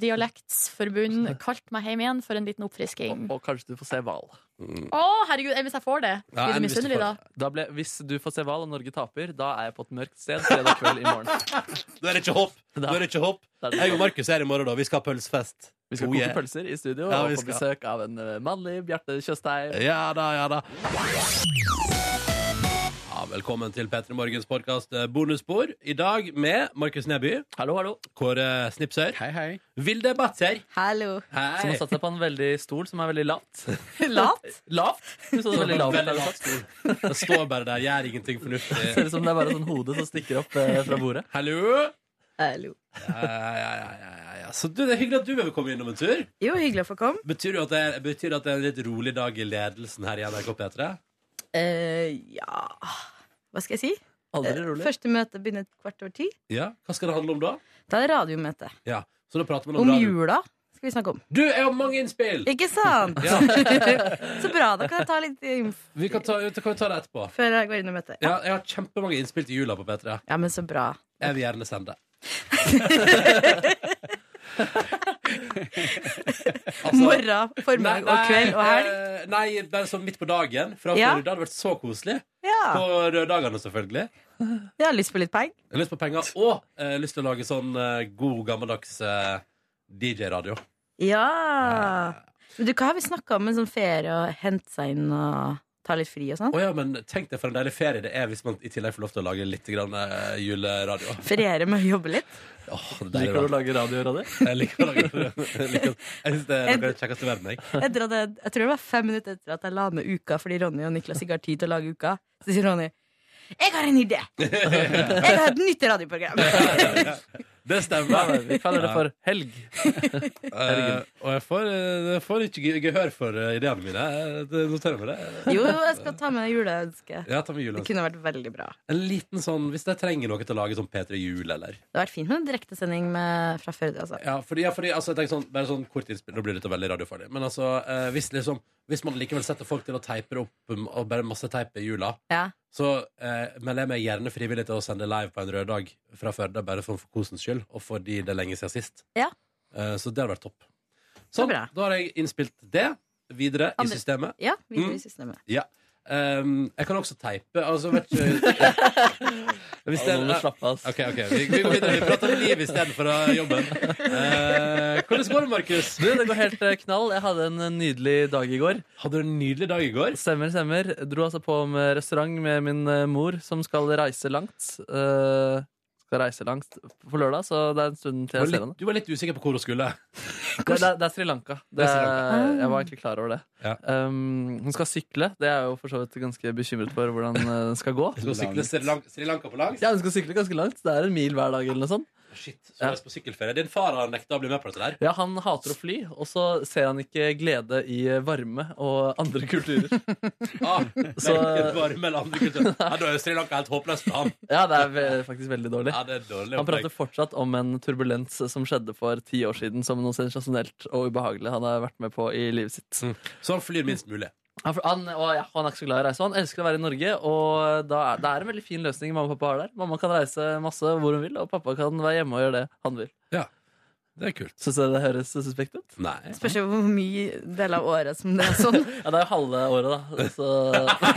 Speaker 4: Måldialektsforbund kalt meg hjem igjen for en liten oppfrisking.
Speaker 3: Og, og kanskje du får se hval.
Speaker 2: Mm.
Speaker 4: Å, herregud! Enn hvis jeg får det?
Speaker 2: Ja,
Speaker 4: Blir
Speaker 2: enn
Speaker 4: du
Speaker 2: hvis du
Speaker 4: misunnelig da?
Speaker 2: får
Speaker 3: Da ble, hvis du får se hval og Norge taper, da er jeg på et mørkt sted fredag kveld i morgen.
Speaker 2: Da er det ikke håp! Da er det ikke håp.
Speaker 3: Da er det-
Speaker 2: Jeg og Markus er i morgen, da. Vi skal ha pølsefest.
Speaker 3: Vi skal
Speaker 2: Oh,
Speaker 3: koke
Speaker 2: yeah.
Speaker 3: pølser i studio
Speaker 2: Ja, vi
Speaker 3: og få
Speaker 2: skal.
Speaker 3: besøk av en eh, mannlig Bjarte Tjøstheim.
Speaker 2: Ja da, ja da. Ja, velkommen til P3 Morgens podkast Bonusspor. I dag med Markus Neby,
Speaker 3: Hallo, hallo.
Speaker 2: Kåre Snipsøyr,
Speaker 9: Hei, hei.
Speaker 2: Vilde Batser
Speaker 4: Hallo.
Speaker 3: Som har
Speaker 2: Hei.
Speaker 3: satt seg på en veldig stol som er veldig lavt.
Speaker 4: Lat?
Speaker 3: Lavt? Hun satt veldig lavt.
Speaker 2: Veldig lav stol. Det står bare der, gjør ingenting
Speaker 3: Det
Speaker 2: fornuftig.
Speaker 3: Ser ut som det er bare sånn hodet som stikker opp eh, fra bordet.
Speaker 2: Hallo!
Speaker 7: Hallo.
Speaker 2: Ja, ja, ja, ja, ja, ja. Så du, det er hyggelig at du vil komme innom en tur.
Speaker 7: Jo, hyggelig å få komme.
Speaker 2: Betyr det at det er, betyr det at det er en litt rolig dag i ledelsen her i NRK P3?
Speaker 7: Eh, ja Hva skal jeg si? Eh,
Speaker 3: Aldri rolig.
Speaker 7: Første møte begynner et kvart over ti.
Speaker 2: Ja, Hva skal det handle om da?
Speaker 7: Da er det radiomøte.
Speaker 2: Ja, så da prater man om,
Speaker 7: Om
Speaker 2: radio.
Speaker 7: jula skal vi snakke om.
Speaker 2: Du, jeg har mange innspill!
Speaker 7: Ikke sant?
Speaker 2: Ja.
Speaker 7: Så bra. Da kan jeg ta litt info
Speaker 2: Vi kan ta, da kan vi ta det etterpå.
Speaker 7: før jeg går inn i møtet.
Speaker 2: Ja, jeg har kjempemange innspill til jula på P3.
Speaker 7: Ja, men så bra.
Speaker 2: Jeg vil gjerne sende. altså,
Speaker 7: Morgen, formiddag og kveld og helg.
Speaker 2: eh, Nei, bare sånn midt på dagen. Fra
Speaker 7: Ja.
Speaker 2: før i dag. Det hadde vært så koselig.
Speaker 7: Ja.
Speaker 2: På røddagene, selvfølgelig.
Speaker 7: Jeg har lyst på litt penger.
Speaker 2: Jeg har lyst på penger og eh, lyst til å lage sånn eh, god, gammeldags eh, DJ-radio.
Speaker 7: Ja. Men du, hva har vi snakka om en sånn ferie og hente seg inn og ta litt fri og sånn?
Speaker 2: Å ja, men tenk deg for en deilig ferie det er hvis man i tillegg får lov til å lage litt grann, eh, juleradio.
Speaker 7: Feriere med å jobbe litt?
Speaker 2: Åh, det er deilig,
Speaker 3: Liker du å
Speaker 2: da.
Speaker 3: lage radio, Ronny?
Speaker 2: Jeg liker å lage radio. Jeg liker- jeg syns det er noe av det kjekkeste i verden, jeg.
Speaker 7: Etter at jeg, jeg tror det var fem minutter etter at jeg la med uka fordi Ronny og Niklas ikke har tid til å lage uka. Så sier Ronny Jeg har en idé! Jeg har et nytt radioprogram.
Speaker 3: Det stemmer. Vi kaller det for helg.
Speaker 2: Eh, og jeg får, eh, jeg får ikke ge- gehør for eh, ideene mine. Eh, det- Noterer meg det.
Speaker 7: Jo, jeg skal ta med juleønsket.
Speaker 2: Ja, ta med
Speaker 7: Det
Speaker 2: julen.
Speaker 7: kunne vært veldig bra.
Speaker 2: En liten sånn, Hvis jeg trenger noe til å lage sånn P3 Jul, eller
Speaker 7: Det hadde vært fint med en direktesending med- fra Førde. Altså.
Speaker 2: Ja, fordi, ja, fordi altså, jeg tenker sånn, bare sånn kort innspill, nå blir dette veldig radiofarlig. Men altså, eh, hvis, liksom, hvis man likevel setter folk til å teipe det opp um, og bare masse teip i jula,
Speaker 7: Ja.
Speaker 2: så eh, melder jeg meg gjerne frivillig til å sende live på en rød dag fra Førde, bare for, for kosens skyld, og fordi det er lenge siden sist.
Speaker 7: Ja.
Speaker 2: Eh, så det hadde vært topp. Sånn,
Speaker 7: bra.
Speaker 2: da har jeg innspilt det videre
Speaker 7: Andre-
Speaker 2: i systemet.
Speaker 7: Ja, vi
Speaker 2: Mm.
Speaker 7: i systemet.
Speaker 2: Ja. Um, jeg kan også teipe. Altså, vet ikke Hvis det
Speaker 3: Ja, nå må du slappe av, ass.
Speaker 2: Ok, ok. Vi, vi går videre. Vi prater om liv istedenfor eh, jobben. Eh, hvordan går det, Markus?
Speaker 3: Du, det går helt eh, knall. Jeg hadde en eh, nydelig dag i går.
Speaker 2: Hadde du en nydelig dag i går?
Speaker 3: Stemmer, stemmer. Dro altså på med restaurant med min eh, mor, som skal reise langt. Eh, skal reise langt på lørdag, så det er en stund
Speaker 2: Du
Speaker 3: til
Speaker 2: var,
Speaker 3: jeg ser henne.
Speaker 2: litt, du var litt usikker på hvor hun skulle.
Speaker 3: Det, det, er- det er Sri Lanka. Det,
Speaker 2: Det
Speaker 3: eh,
Speaker 2: er Sri Ah.
Speaker 7: Lanka.
Speaker 3: jeg var egentlig klar over det.
Speaker 2: Ja.
Speaker 3: Um, hun skal sykle. Det er jeg jo for så vidt ganske bekymret for hvordan eh, den skal gå.
Speaker 2: Du skal sykle Sri Lanka, Sri Lanka på langs?
Speaker 3: Ja, Hun skal sykle ganske langt. Det er en mil hver dag. eller noe sånt
Speaker 2: Shit, så er det på sykkelferie. Din far har nekta å bli med på dette der.
Speaker 3: Ja, Han hater å fly, og så ser han ikke glede i eh, varme og andre kulturer.
Speaker 2: Ah, så...
Speaker 3: Så-
Speaker 2: varme eller andre kultur. Ja, da er jo Sri Lanka helt håpløst for ham.
Speaker 3: Ja, Det er ve faktisk veldig dårlig.
Speaker 2: Ja, det er dårlig
Speaker 3: Han prater
Speaker 2: opplegg.
Speaker 3: fortsatt om en turbulens som skjedde for ti år siden, som noe sensasjonelt og ubehagelig han har vært med på i livet sitt.
Speaker 2: Mm. Så han flyr minst mulig.
Speaker 3: Han, han, og ja, han er ikke så glad i å reise, og han elsker å være i Norge. Og da er, det er en veldig fin løsning mamma og pappa har der. Mamma kan reise masse hvor hun vil, og pappa kan være hjemme og gjøre det han vil.
Speaker 2: Det er kult.
Speaker 3: Syns dere det høres suspekt ut?
Speaker 2: Nei.
Speaker 7: Spørs jo hvor mye del av året som det er sånn.
Speaker 3: Ja, det er jo halve året, da. Så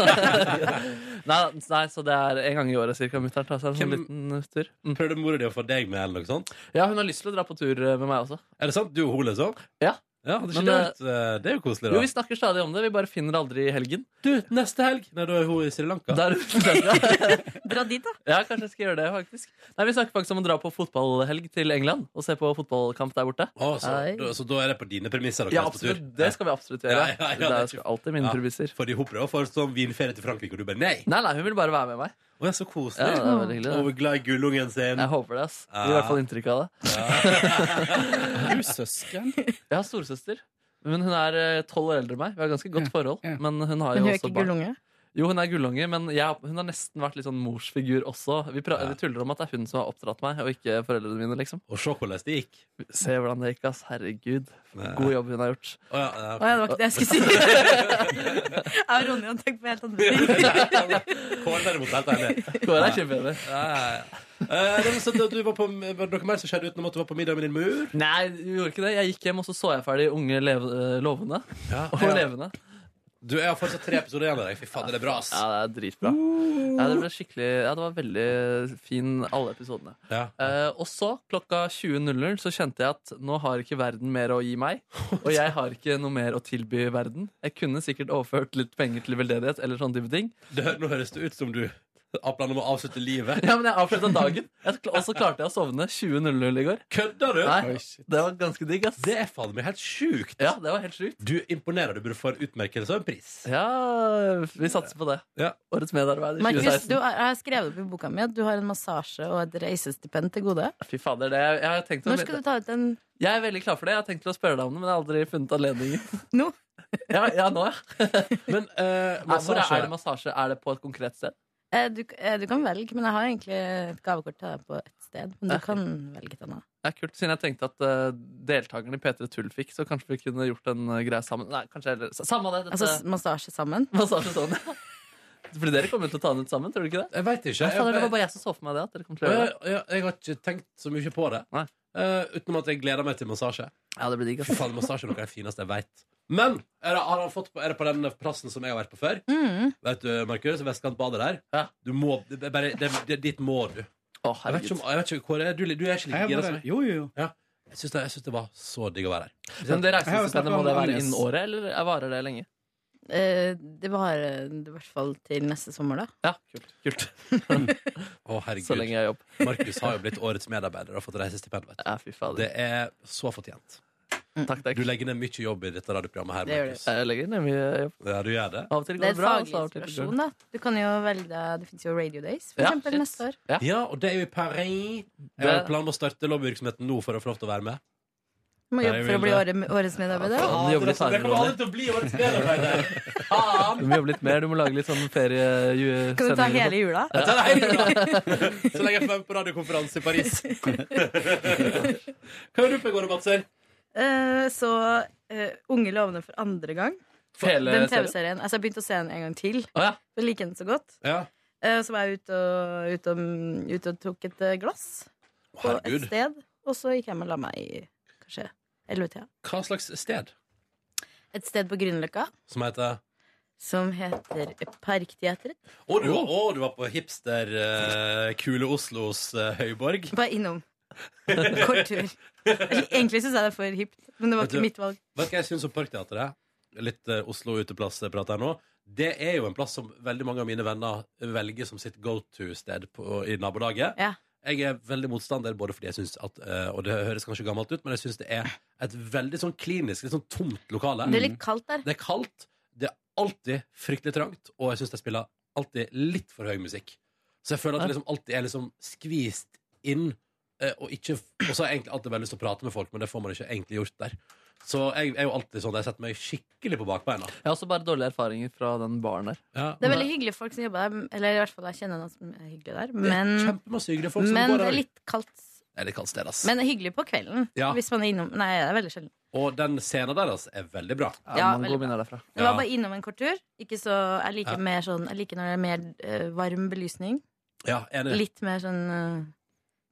Speaker 3: nei, nei, så det er en gang i året cirka mutter'n tar seg en sånn liten tur. Mm.
Speaker 2: Prøvde mora di å få deg med, eller noe sånt?
Speaker 3: Ja, hun har lyst til å dra på tur uh, med meg også.
Speaker 2: Er det sant? Du og hun, liksom?
Speaker 3: Ja.
Speaker 2: Ja, hadde ikke
Speaker 3: Men,
Speaker 2: det vært eh, Det er jo koselig, da.
Speaker 3: Jo, vi snakker stadig om det, vi bare finner det aldri i helgen.
Speaker 2: Du, neste helg Nei, da er hun i Sri Lanka.
Speaker 3: Der, der,
Speaker 7: Dra dit, da.
Speaker 3: Ja, kanskje jeg skal gjøre det, faktisk. Nei, Vi snakker faktisk om å dra på fotballhelg til England og se på fotballkamp der borte.
Speaker 2: Å, så,
Speaker 7: Hei.
Speaker 2: da, så da er det på dine premisser? dere
Speaker 3: Ja,
Speaker 2: er på tur.
Speaker 3: absolutt. Det skal vi absolutt gjøre.
Speaker 2: Ja, ja, ja,
Speaker 3: det
Speaker 2: det er
Speaker 3: er skal alltid mine
Speaker 2: Ja.
Speaker 3: premisser.
Speaker 2: For de hopper over sånn vinferie til Frankrike, og du bare nei!
Speaker 3: Nei, nei, hun vil bare være med meg.
Speaker 2: Å, ja, så
Speaker 3: Ja,
Speaker 2: koselig.
Speaker 3: det er veldig hyggelig.
Speaker 2: og glad i gullungen
Speaker 3: det.
Speaker 2: sin.
Speaker 3: Jeg håper det, ass. Det blir i hvert fall inntrykk av det.
Speaker 9: Du søsken?
Speaker 3: Jeg har storesøster. Men hun er eh, tolv år eldre enn meg. Vi har ganske godt forhold.
Speaker 9: ja.
Speaker 3: Men hun har
Speaker 7: Men hun
Speaker 3: jo
Speaker 7: er
Speaker 3: også
Speaker 7: ikke
Speaker 3: barn.
Speaker 7: gullunge.
Speaker 3: Jo, hun er gullunge, men jeg, hun har nesten vært litt sånn morsfigur også. Vi, prø-
Speaker 2: Ja.
Speaker 3: vi tuller om at det er hun som har oppdratt meg, og ikke foreldrene mine, liksom.
Speaker 2: Og se hvordan det gikk.
Speaker 3: Se hvordan det gikk, ass. Herregud.
Speaker 2: Nei.
Speaker 3: God jobb hun har gjort.
Speaker 2: Å, ja,
Speaker 7: Å ja, det var ikke det jeg skulle si. Jeg og Ronny hadde tenkt på helt andre ting.
Speaker 2: ja. Kåre derimot, helt enig.
Speaker 3: Kåre er kjempeenig.
Speaker 2: Ja, ja, ja. Eh, det var sånn at du var på, var det noe mer som skjedde utenom at du var på middag med din mur?
Speaker 3: Nei, du gjorde ikke det. Jeg gikk hjem, og så så jeg ferdig Unge lev eh, lovende.
Speaker 2: Ja.
Speaker 3: Og levende.
Speaker 2: Du, jeg har fortsatt tre episoder igjen av deg. Fy faen, det er bra, ass.
Speaker 3: Ja, det er dritbra. Ja, det ble skikkelig Ja, det var veldig fin, alle episodene.
Speaker 2: Ja.
Speaker 3: Eh, og så, klokka 20.00, så kjente jeg at nå har ikke verden mer å gi meg. Og jeg har ikke noe mer å tilby verden. Jeg kunne sikkert overført litt penger til veldedighet eller sånne type ting.
Speaker 2: Det, nå høres det ut som du har planer om å avslutte livet.
Speaker 3: Ja, men jeg avslutta dagen. Jeg kl- Og så klarte jeg å sovne 20.00 i går.
Speaker 2: Kødder du?
Speaker 3: Nei, det var ganske digg, ass.
Speaker 2: Det er faen meg helt sjukt.
Speaker 3: Ja, det var helt sjukt.
Speaker 2: Du imponerer. Du burde få en utmerkelse og en pris.
Speaker 3: Ja, vi satser på det.
Speaker 2: Ja.
Speaker 3: Årets medarbeider
Speaker 7: Markus,
Speaker 3: 2016.
Speaker 7: du har- jeg har skrevet opp i boka mi at du har en massasje og et reisestipend til gode.
Speaker 3: Fy fader, det jeg har tenkt å
Speaker 7: Når skal du ta ut en
Speaker 3: Jeg er veldig klar for det. Jeg har tenkt til å spørre deg om det, men jeg har aldri funnet anledningen.
Speaker 7: Nå?
Speaker 3: Ja, ja nå, ja.
Speaker 2: Men eh,
Speaker 3: Nei, Hvor er,
Speaker 2: massasje
Speaker 3: det massasje? Er det på et konkret sted?
Speaker 7: Eh, Du, eh, du kan velge, men jeg har egentlig et gavekort til deg på ett sted. Men du
Speaker 3: Ok.
Speaker 7: kan velge et annet.
Speaker 3: Det er kult, siden jeg tenkte at eh, deltakerne i P3 Tull fikk, så kanskje vi kunne gjort en eh, greie sammen. Nei, kanskje heller Samme det, dette
Speaker 7: Altså s- massasje sammen.
Speaker 3: massasje sånn. Fordi dere kommer jo til å ta den ut sammen, tror du ikke det?
Speaker 2: Jeg veit ikke.
Speaker 3: Nei,
Speaker 2: Jeg,
Speaker 3: fader, det var
Speaker 2: jeg,
Speaker 3: bare jeg som så for meg det. At dere kom til å gjøre
Speaker 2: jeg,
Speaker 3: det.
Speaker 2: Eh, jeg har ikke tenkt så mye på det.
Speaker 3: Nei.
Speaker 2: Eh, utenom at jeg gleder meg til massasje.
Speaker 3: Ja, det blir digg, ass.
Speaker 2: Fy faen, massasje er noe av det fineste jeg veit. Men er det, har han fått på, er det på den plassen som jeg har vært på før?
Speaker 9: Mm.
Speaker 2: Vet du, Markus, Vestkantbadet der.
Speaker 3: Ja.
Speaker 2: Du må, det, er bare, det, det, dit må du.
Speaker 3: Å,
Speaker 2: Jeg vet ikke,
Speaker 3: herregud.
Speaker 2: om, jeg vet ikke Kåre, du, du er ikke like
Speaker 9: Jeg
Speaker 2: gira
Speaker 9: var
Speaker 2: som
Speaker 9: der.
Speaker 2: meg.
Speaker 9: Jo, jo, jo.
Speaker 2: Jeg syns det, jeg synes det var så digg å være her.
Speaker 3: Men det
Speaker 9: Jeg har jo
Speaker 3: reisestipendet,
Speaker 9: snakket
Speaker 3: må
Speaker 9: om
Speaker 3: det være
Speaker 9: Agnes.
Speaker 3: innen året, eller er- varer det lenge?
Speaker 7: Eh, Det varer i hvert fall til neste sommer, da.
Speaker 3: Ja, kult. kult.
Speaker 2: Å,
Speaker 3: Så
Speaker 2: herregud.
Speaker 3: lenge jeg har jobb.
Speaker 2: Markus har jo blitt årets medarbeider og fått reisestipend. vet du.
Speaker 3: Ja, fy fader. Mm,
Speaker 2: Det er så fortjent. Du legger ned mye jobb i dette radioprogrammet her.
Speaker 7: Det gjør
Speaker 2: Markus.
Speaker 3: Jeg legger ned mye jobb.
Speaker 2: Ja, du gjør det?
Speaker 3: Av og til
Speaker 7: Det
Speaker 3: går
Speaker 7: er
Speaker 3: det bra. altså,
Speaker 7: faglig
Speaker 3: så av og til går det
Speaker 7: inspirasjon, da. Du kan jo velge Det fins jo Radio Days, for
Speaker 2: Ja,
Speaker 7: eksempel,
Speaker 2: shit.
Speaker 7: neste år.
Speaker 3: Ja.
Speaker 2: og det er jo i Paris. Jeg har
Speaker 3: Det-
Speaker 2: planer om å starte lobbyvirksomheten nå for å få lov til å være med.
Speaker 7: Du må
Speaker 2: Nei,
Speaker 7: jobbe
Speaker 2: jeg
Speaker 7: for å
Speaker 2: vil
Speaker 7: bli
Speaker 2: det.
Speaker 7: åre- årets medarbeider.
Speaker 3: faen, de jobber litt hardere,
Speaker 2: Det kommer aldri til å bli årets medarbeider!
Speaker 3: Du må jobbe litt mer, du må lage litt sånn feriesendinger.
Speaker 7: Kan du ta hele
Speaker 3: sånn.
Speaker 7: jula?
Speaker 2: Jeg tar det hele jula! Så lenge jeg får være med på radiokonferanse i Paris. Hva gjør du på i går, Batser?
Speaker 7: Eh, så eh, Unge lovende for andre gang.
Speaker 3: Hele
Speaker 7: Den
Speaker 3: serien?
Speaker 7: TV-serien. Altså, jeg begynte å se den en gang til.
Speaker 3: Å ja.
Speaker 7: Jeg liker den så godt.
Speaker 2: Ja.
Speaker 7: Eh, så var jeg ute og, ute og, mm, ute og tok et eh, glass på et
Speaker 2: Herregud.
Speaker 7: sted. Og så gikk jeg hjem og la meg i kanskje 11-tida.
Speaker 2: Hva slags sted
Speaker 7: Et sted på Grünerløkka
Speaker 2: som heter
Speaker 7: som heter Parkteatret.
Speaker 2: Å, du, var- å, du var på hipster eh, Kule Oslos eh, høyborg.
Speaker 7: Bare innom. Kort tur. Egentlig syns jeg det er for hipt, men det var
Speaker 2: Vet du-
Speaker 7: ikke mitt valg.
Speaker 2: Vet du hva jeg syns om Parkteatret? Litt eh, Oslo uteplassprat her nå. Det er jo en plass som veldig mange av mine venner velger som sitt go to-sted på- i nabolaget.
Speaker 7: Ja.
Speaker 2: Jeg er veldig motstander, både fordi jeg synes at eh, Og det høres kanskje gammelt ut, men jeg syns det er et veldig sånn klinisk, litt sånn tomt lokale.
Speaker 7: Det er litt kaldt der.
Speaker 2: Det er kaldt, det er alltid fryktelig trangt, og jeg syns de spiller alltid litt for høy musikk. Så jeg føler at det liksom alltid er liksom skvist inn, eh, og ikke Og så har jeg egentlig alltid veldig lyst til å prate med folk, men det får man ikke egentlig gjort der. Så jeg er jo alltid sånn, jeg setter meg skikkelig på bakbeina.
Speaker 3: Jeg har også bare dårlige erfaringer fra den baren der.
Speaker 2: Ja,
Speaker 7: Det er veldig hyggelige folk som jobber der. Eller i hvert fall jeg kjenner noen som er hyggelige der.
Speaker 2: det er
Speaker 7: Men,
Speaker 2: Kjempemasse hyggelige folk som
Speaker 7: men
Speaker 2: går
Speaker 7: det
Speaker 2: der.
Speaker 7: er litt kaldt.
Speaker 2: Det er litt kaldt sted, ass.
Speaker 7: Men det er hyggelig på kvelden.
Speaker 2: Ja.
Speaker 7: Hvis man er innom Nei, det er veldig sjelden.
Speaker 2: Og den scenen der, altså, er veldig bra.
Speaker 3: Ja,
Speaker 7: Ja,
Speaker 3: mange
Speaker 7: veldig
Speaker 3: gode minner derfra.
Speaker 7: Jeg
Speaker 2: Ja.
Speaker 7: var bare innom en kort tur. Ikke så, jeg liker
Speaker 2: Ja.
Speaker 7: mer sånn Jeg liker når det er mer eh, varm belysning.
Speaker 2: Ja, enig.
Speaker 7: Litt mer sånn eh,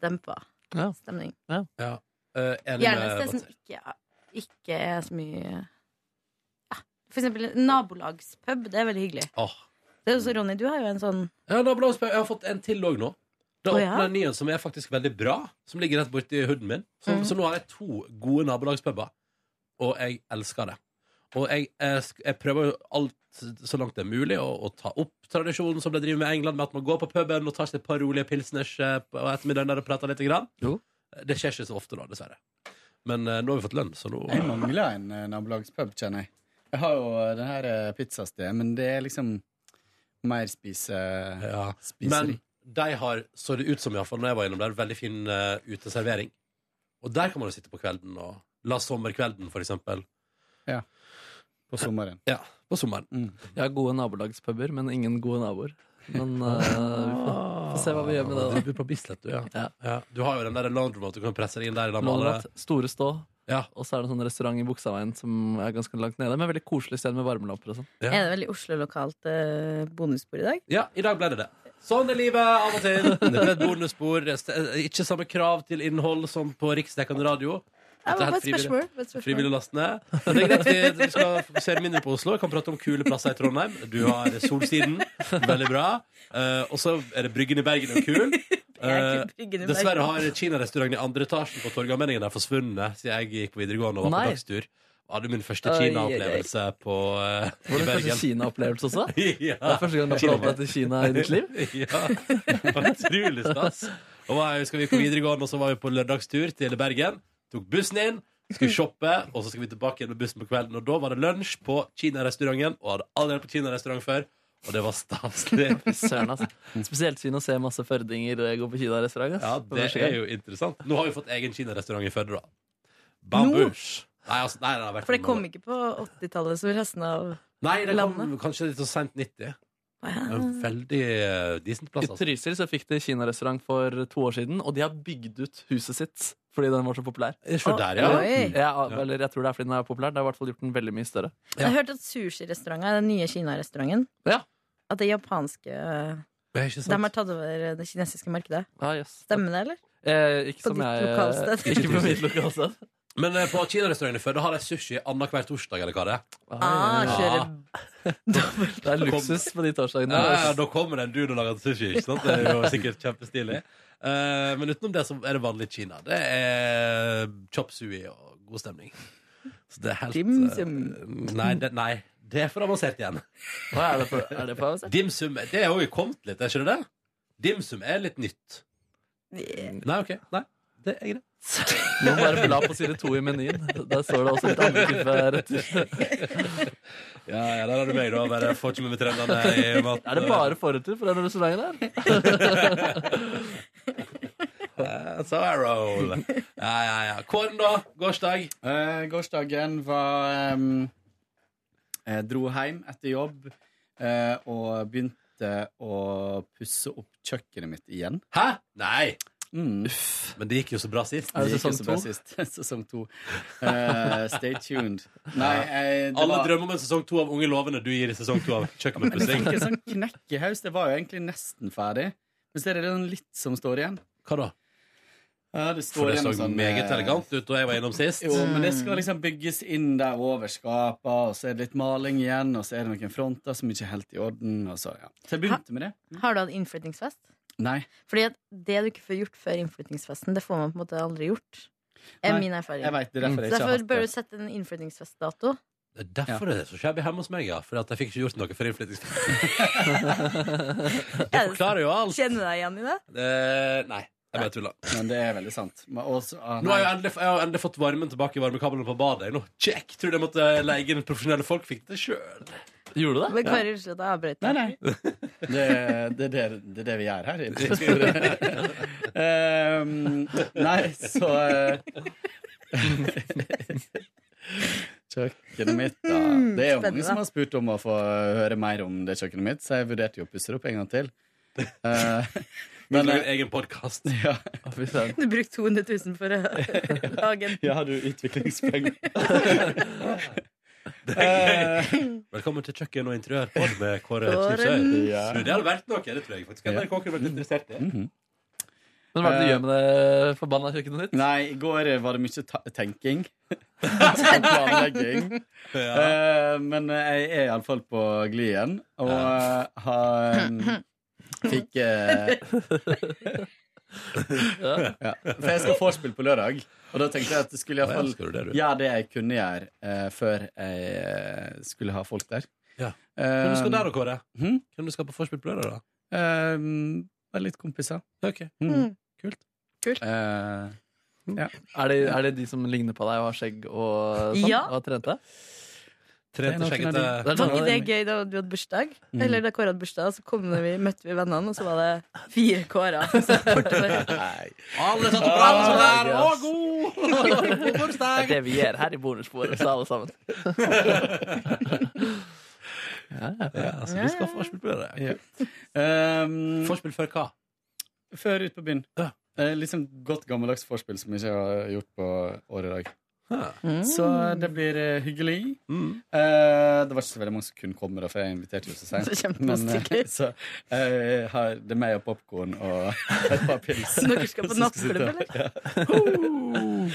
Speaker 7: dempa
Speaker 3: Ja.
Speaker 7: stemning.
Speaker 2: Eh, enig
Speaker 7: Gjerne
Speaker 2: med
Speaker 7: et sted som ikke, ikke er så mye ja. For eksempel en nabolagspub. Det er veldig hyggelig.
Speaker 2: Åh.
Speaker 7: Det er også, Ronny, du har jo en sånn
Speaker 2: Ja, nabolagspub. Jeg har fått en til òg nå. Da
Speaker 7: Å,
Speaker 2: åpner
Speaker 7: ja?
Speaker 2: jeg en ny en som er faktisk veldig bra, som ligger rett borti hooden min. Så,
Speaker 7: Mm.
Speaker 2: så nå har jeg to gode nabolagspuber, og jeg elsker det. Og jeg, jeg, sk- jeg prøver jo alt så langt det er mulig å, å ta opp tradisjonen som de driver med i England, med at man går på puben og tar seg et par rolige pilsners eh, på ettermiddagen der og prater litt. Grann.
Speaker 3: Jo.
Speaker 2: Det skjer ikke så ofte, da, dessverre. Men eh, nå har vi fått lønn, så nå
Speaker 9: Jeg mangler en eh, nabolagspub, kjenner jeg. Jeg har jo eh, det her eh, pizzastedet, men det er liksom mer spise...
Speaker 2: ja.
Speaker 9: spiseri.
Speaker 2: Men de har, så det ut som i hvert fall når jeg var innom der, veldig fin eh, uteservering. Og der kan man jo sitte på kvelden og la sommerkvelden, for eksempel.
Speaker 9: på sommeren. Mm.
Speaker 2: Ja, på sommeren.
Speaker 3: Jeg har gode nabolagspuber, men ingen gode naboer. Men eh, vi får, får se hva vi gjør med det. da.
Speaker 2: Du er på Bislett, du, ja.
Speaker 3: Ja.
Speaker 2: ja. Du har jo den der laundromat, du kan presse deg inn der i lag med alle.
Speaker 3: Lånemat, Store Stå,
Speaker 2: Ja.
Speaker 3: og så er det en sånn restaurant i Buksaveien som er ganske langt nede, men veldig koselig sted med varmelamper og sånn.
Speaker 2: Ja.
Speaker 7: Er det veldig Oslo-lokalt eh, bonusbord i dag?
Speaker 2: ja, i dag ble det det. Sånn er livet av og til. Det ble et bonusspor. Ikke samme krav til innhold som på riksdekkende radio.
Speaker 7: Ja,
Speaker 2: Dette er
Speaker 7: bare
Speaker 2: helt
Speaker 7: et spørsmål. bare et spørsmål.
Speaker 2: Frivillig last ned. Men Det er greit, vi- vi skal fokusere mindre på Oslo. Jeg kan prate om kule plasser i Trondheim. Du har Solsiden. Veldig bra. Eh, og så er det Bryggen i Bergen og kul. Eh,
Speaker 7: Bryggen i
Speaker 2: dessverre
Speaker 7: Bergen.
Speaker 2: har kinarestauranten i andre etasjen på Torgallmenningen der forsvunnet siden jeg gikk på videregående og var på
Speaker 3: Nei.
Speaker 2: dagstur. Jeg hadde min første
Speaker 3: Oi, oi, oi.
Speaker 2: Kina-opplevelse på eh, i
Speaker 3: Var det kanskje
Speaker 2: Bergen.
Speaker 3: Kina-opplevelse også? Det
Speaker 2: Ja.
Speaker 3: er første gang du har forholdt deg til Kina i ditt liv?
Speaker 2: Ja, det var utrolig stas. Og var, jeg husker vi gikk på videregående, og så var vi på lørdagstur til Bergen. Tok bussen inn, skulle shoppe, og så skal vi tilbake igjen med bussen på kvelden. Og da var det lunsj på Kina-restauranten, og hadde aldri vært på Kina-restaurant før. Og det var staselig.
Speaker 3: Søren, altså. Spesielt synd å se masse førdinger eh, gå på Kina-restaurant. ass.
Speaker 2: Ja,
Speaker 3: For
Speaker 2: det
Speaker 3: første gang.
Speaker 2: er jo interessant. Nå har vi fått egen Kina-restaurant i Førde, da. Bambus. Nei, altså, nei, det har vært
Speaker 7: For det kom ikke på 80-tallet som resten av
Speaker 2: Nei, det kom
Speaker 7: landet.
Speaker 2: kanskje litt så sent 90.
Speaker 7: Ja.
Speaker 2: En veldig eh, decent
Speaker 3: I
Speaker 2: plass, altså.
Speaker 3: Trysil så fikk de Kina-restaurant for to år siden, og de har bygd ut huset sitt fordi den var så populær.
Speaker 2: Se der, ja.
Speaker 7: Oi.
Speaker 3: Jeg, eller, jeg tror det er fordi den er populær. Det har i hvert fall gjort den veldig mye større.
Speaker 7: Jeg har hørt at sushirestauranten er den nye Kina-restauranten.
Speaker 3: Ja.
Speaker 7: At det japanske De
Speaker 2: Det er ikke
Speaker 7: har
Speaker 2: sant.
Speaker 7: tatt over det kinesiske markedet.
Speaker 3: Ja, Ah, jøss.
Speaker 7: Stemmer det, eller?
Speaker 3: Eh, ikke
Speaker 7: På
Speaker 3: som
Speaker 7: ditt
Speaker 3: jeg,
Speaker 7: lokalsted.
Speaker 3: Ikke på mitt lokalsted.
Speaker 2: Men eh, på Kina-restauranten i Førde har de sushi annenhver torsdag, eller hva det er.
Speaker 7: Ah,
Speaker 3: ja.
Speaker 7: kjører
Speaker 3: Det er luksus på de torsdagene.
Speaker 2: Ja, ja,
Speaker 3: ass.
Speaker 2: da kommer det en dude og lager sushi. Ikke sant? Det er jo sikkert kjempestilig. Eh, men utenom det så er det vanlig Kina. Det er chop sui og god stemning. Så det er helt
Speaker 7: Dim
Speaker 2: eh,
Speaker 7: sum.
Speaker 2: Nei, det, nei, det er for avansert igjen.
Speaker 3: Hva er det for, er det for
Speaker 2: Dim sum det er jo kommet litt, er ikke det det? Dim sum er litt nytt. Nei, OK. Nei. det er greit.
Speaker 3: Nå bare bla på side to i menyen. Der står det også litt andre typer retter.
Speaker 2: Ja, ja, der har du meg, da. Bare får ikke med meg trendene i maten.
Speaker 3: Er det bare forretter fra den restauranten der?
Speaker 2: That's how I roll. Ja, ja, ja. Kåren, da? Gårsdag?
Speaker 9: Eh, gårsdagen var em, Jeg dro hjem etter jobb eh, og begynte å pusse opp kjøkkenet mitt igjen.
Speaker 2: Hæ? Nei!
Speaker 9: Uff.
Speaker 2: Men det gikk jo så bra sist.
Speaker 9: Mm. Det gikk jo så bra sist. Altså, sesong to. Eh, stay tuned. Nei, jeg, det
Speaker 2: Alle
Speaker 9: var-
Speaker 2: drømmer om en sesong to av Unge lovende. Du gir i sesong to av
Speaker 9: Men jeg
Speaker 2: Kjøkkenutpussing.
Speaker 9: fikk en sånn knekk i haus. Det var jo egentlig nesten ferdig. Men så er det sånn litt som står igjen.
Speaker 2: Hva da?
Speaker 9: Ja, det står
Speaker 2: For det
Speaker 9: igjen
Speaker 2: så
Speaker 9: noe sånn,
Speaker 2: meget
Speaker 9: eh,
Speaker 2: elegant ut da jeg var innom sist.
Speaker 9: Jo, men det skal liksom bygges inn der over skapa, og så er det litt maling igjen, og så er det noen fronter som ikke er helt i orden, og så, ja. Så jeg begynte med det.
Speaker 7: Har du hatt innflyttingsfest?
Speaker 9: Nei.
Speaker 7: Fordi at det du ikke får gjort før innflyttingsfesten, det får man på en måte aldri gjort. Er
Speaker 9: Nei,
Speaker 7: min erfaring.
Speaker 9: jeg vet det, derfor
Speaker 7: Så
Speaker 9: jeg ikke har
Speaker 7: derfor
Speaker 9: hatt
Speaker 7: bør
Speaker 9: det.
Speaker 7: du sette en innflyttingsfestdato.
Speaker 2: Det er derfor det er så skjebig hjemme hos meg, ja. For at jeg fikk ikke gjort noe før innflyttingsfest. Det forklarer jo alt.
Speaker 7: Kjenner du deg igjen i det?
Speaker 2: Eh, nei, jeg bare tulla.
Speaker 9: Men det er veldig sant. Men også, ah,
Speaker 2: Nå har jeg, endelig, jeg har endelig fått varmen tilbake i varmekabelen på badet. jeg Nå, check! Tror du jeg måtte leie inn profesjonelle folk? Fikk det sjøl.
Speaker 3: Gjorde du det?
Speaker 7: Men Kari, unnskyld at jeg avbrøt
Speaker 9: Nei,
Speaker 7: deg.
Speaker 9: nei. Det, det, er det, det er det vi gjør her. i Brisbane. Ehm, nei, så eh, Kjøkkenet mitt, da. Det er jo mange
Speaker 7: Spennende.
Speaker 9: som har spurt om å få høre mer om det kjøkkenet mitt, så jeg vurderte jo å pusse det opp en gang til. Eh,
Speaker 2: Men
Speaker 9: men
Speaker 2: det er
Speaker 9: eh,
Speaker 2: en egen podcast
Speaker 9: ja,
Speaker 3: Å, fy søren.
Speaker 7: Du brukte 200 000 for å lage en
Speaker 9: ja, du utviklingsspreng.
Speaker 2: Det
Speaker 9: Eh.
Speaker 2: er gøy. Velkommen til kjøkken og interiørpod med Kåre Knutshøy.
Speaker 9: Ja.
Speaker 2: Du, Det Mhm. hadde vært noe, det tror jeg faktisk.
Speaker 9: Ja.
Speaker 2: NRK kunne vært interessert i.
Speaker 3: Men hva er det du gjør med det forbanna kjøkkenet ditt?
Speaker 9: Eh, Nei, i går var det mye ta tenking. Planlegging.
Speaker 2: Ja.
Speaker 9: Eh, men jeg er iallfall på glid igjen, og eh, har mm, Fikk eh, ja. For jeg skal vorspiel på lørdag, og da tenkte jeg at jeg skulle iallfall
Speaker 2: Skal du det, du?
Speaker 9: gjøre det jeg kunne gjøre eh, før jeg eh, skulle ha folk der.
Speaker 2: Ja.
Speaker 9: Eh,
Speaker 2: Hvem du skal der, da, Kåre?
Speaker 9: Hm?
Speaker 2: Hvem du skal på Forspill på lørdag, da?
Speaker 9: eh, det er litt kompiser.
Speaker 2: Ok.
Speaker 9: Mm.
Speaker 2: Kult.
Speaker 7: Kult.
Speaker 9: Eh,
Speaker 2: Mm.
Speaker 3: Er det, er det de som ligner på deg og har skjegg og sånn?
Speaker 7: Ja.
Speaker 3: Og har trent deg?
Speaker 2: Tre
Speaker 9: Det er
Speaker 2: til
Speaker 9: Mm. noen
Speaker 2: skjeggete
Speaker 9: av
Speaker 3: Det er
Speaker 7: Var
Speaker 3: noen av
Speaker 7: ikke
Speaker 3: dem-
Speaker 7: det gøy da du hadde bursdag? Eller da Kåre hadde bursdag, så kom vi, møtte vi vennene, og så var det fire Kårer. som supportet deg.
Speaker 2: Alle satt opp alle som der! Å,
Speaker 3: Ah, Yes.
Speaker 2: god! God
Speaker 3: Det er
Speaker 2: bursdag!
Speaker 3: det vi gjør her i bonusbordet, så alle sammen.
Speaker 2: Ja,
Speaker 9: altså,
Speaker 2: så du skal ha Forspill på lørdag. ja.
Speaker 9: Ja. ehm,
Speaker 2: Forspill før hva?
Speaker 9: før ut på byen.
Speaker 2: Ja.
Speaker 9: Eh, liksom godt gammeldags vorspiel som jeg ikke har gjort på år i dag.
Speaker 2: Ah.
Speaker 9: Så det blir eh, hyggelig.
Speaker 2: Mm.
Speaker 9: Eh, det var ikke så veldig mange som kunne komme, da, for jeg inviterte jo så
Speaker 7: Så
Speaker 9: seint.
Speaker 7: kjempe masse stykker.
Speaker 9: så eh, har det er meg og popkorn og et par pils.
Speaker 7: Så dere skal på
Speaker 9: Så skal vi
Speaker 7: nattklubb,
Speaker 9: sitte-
Speaker 7: eller?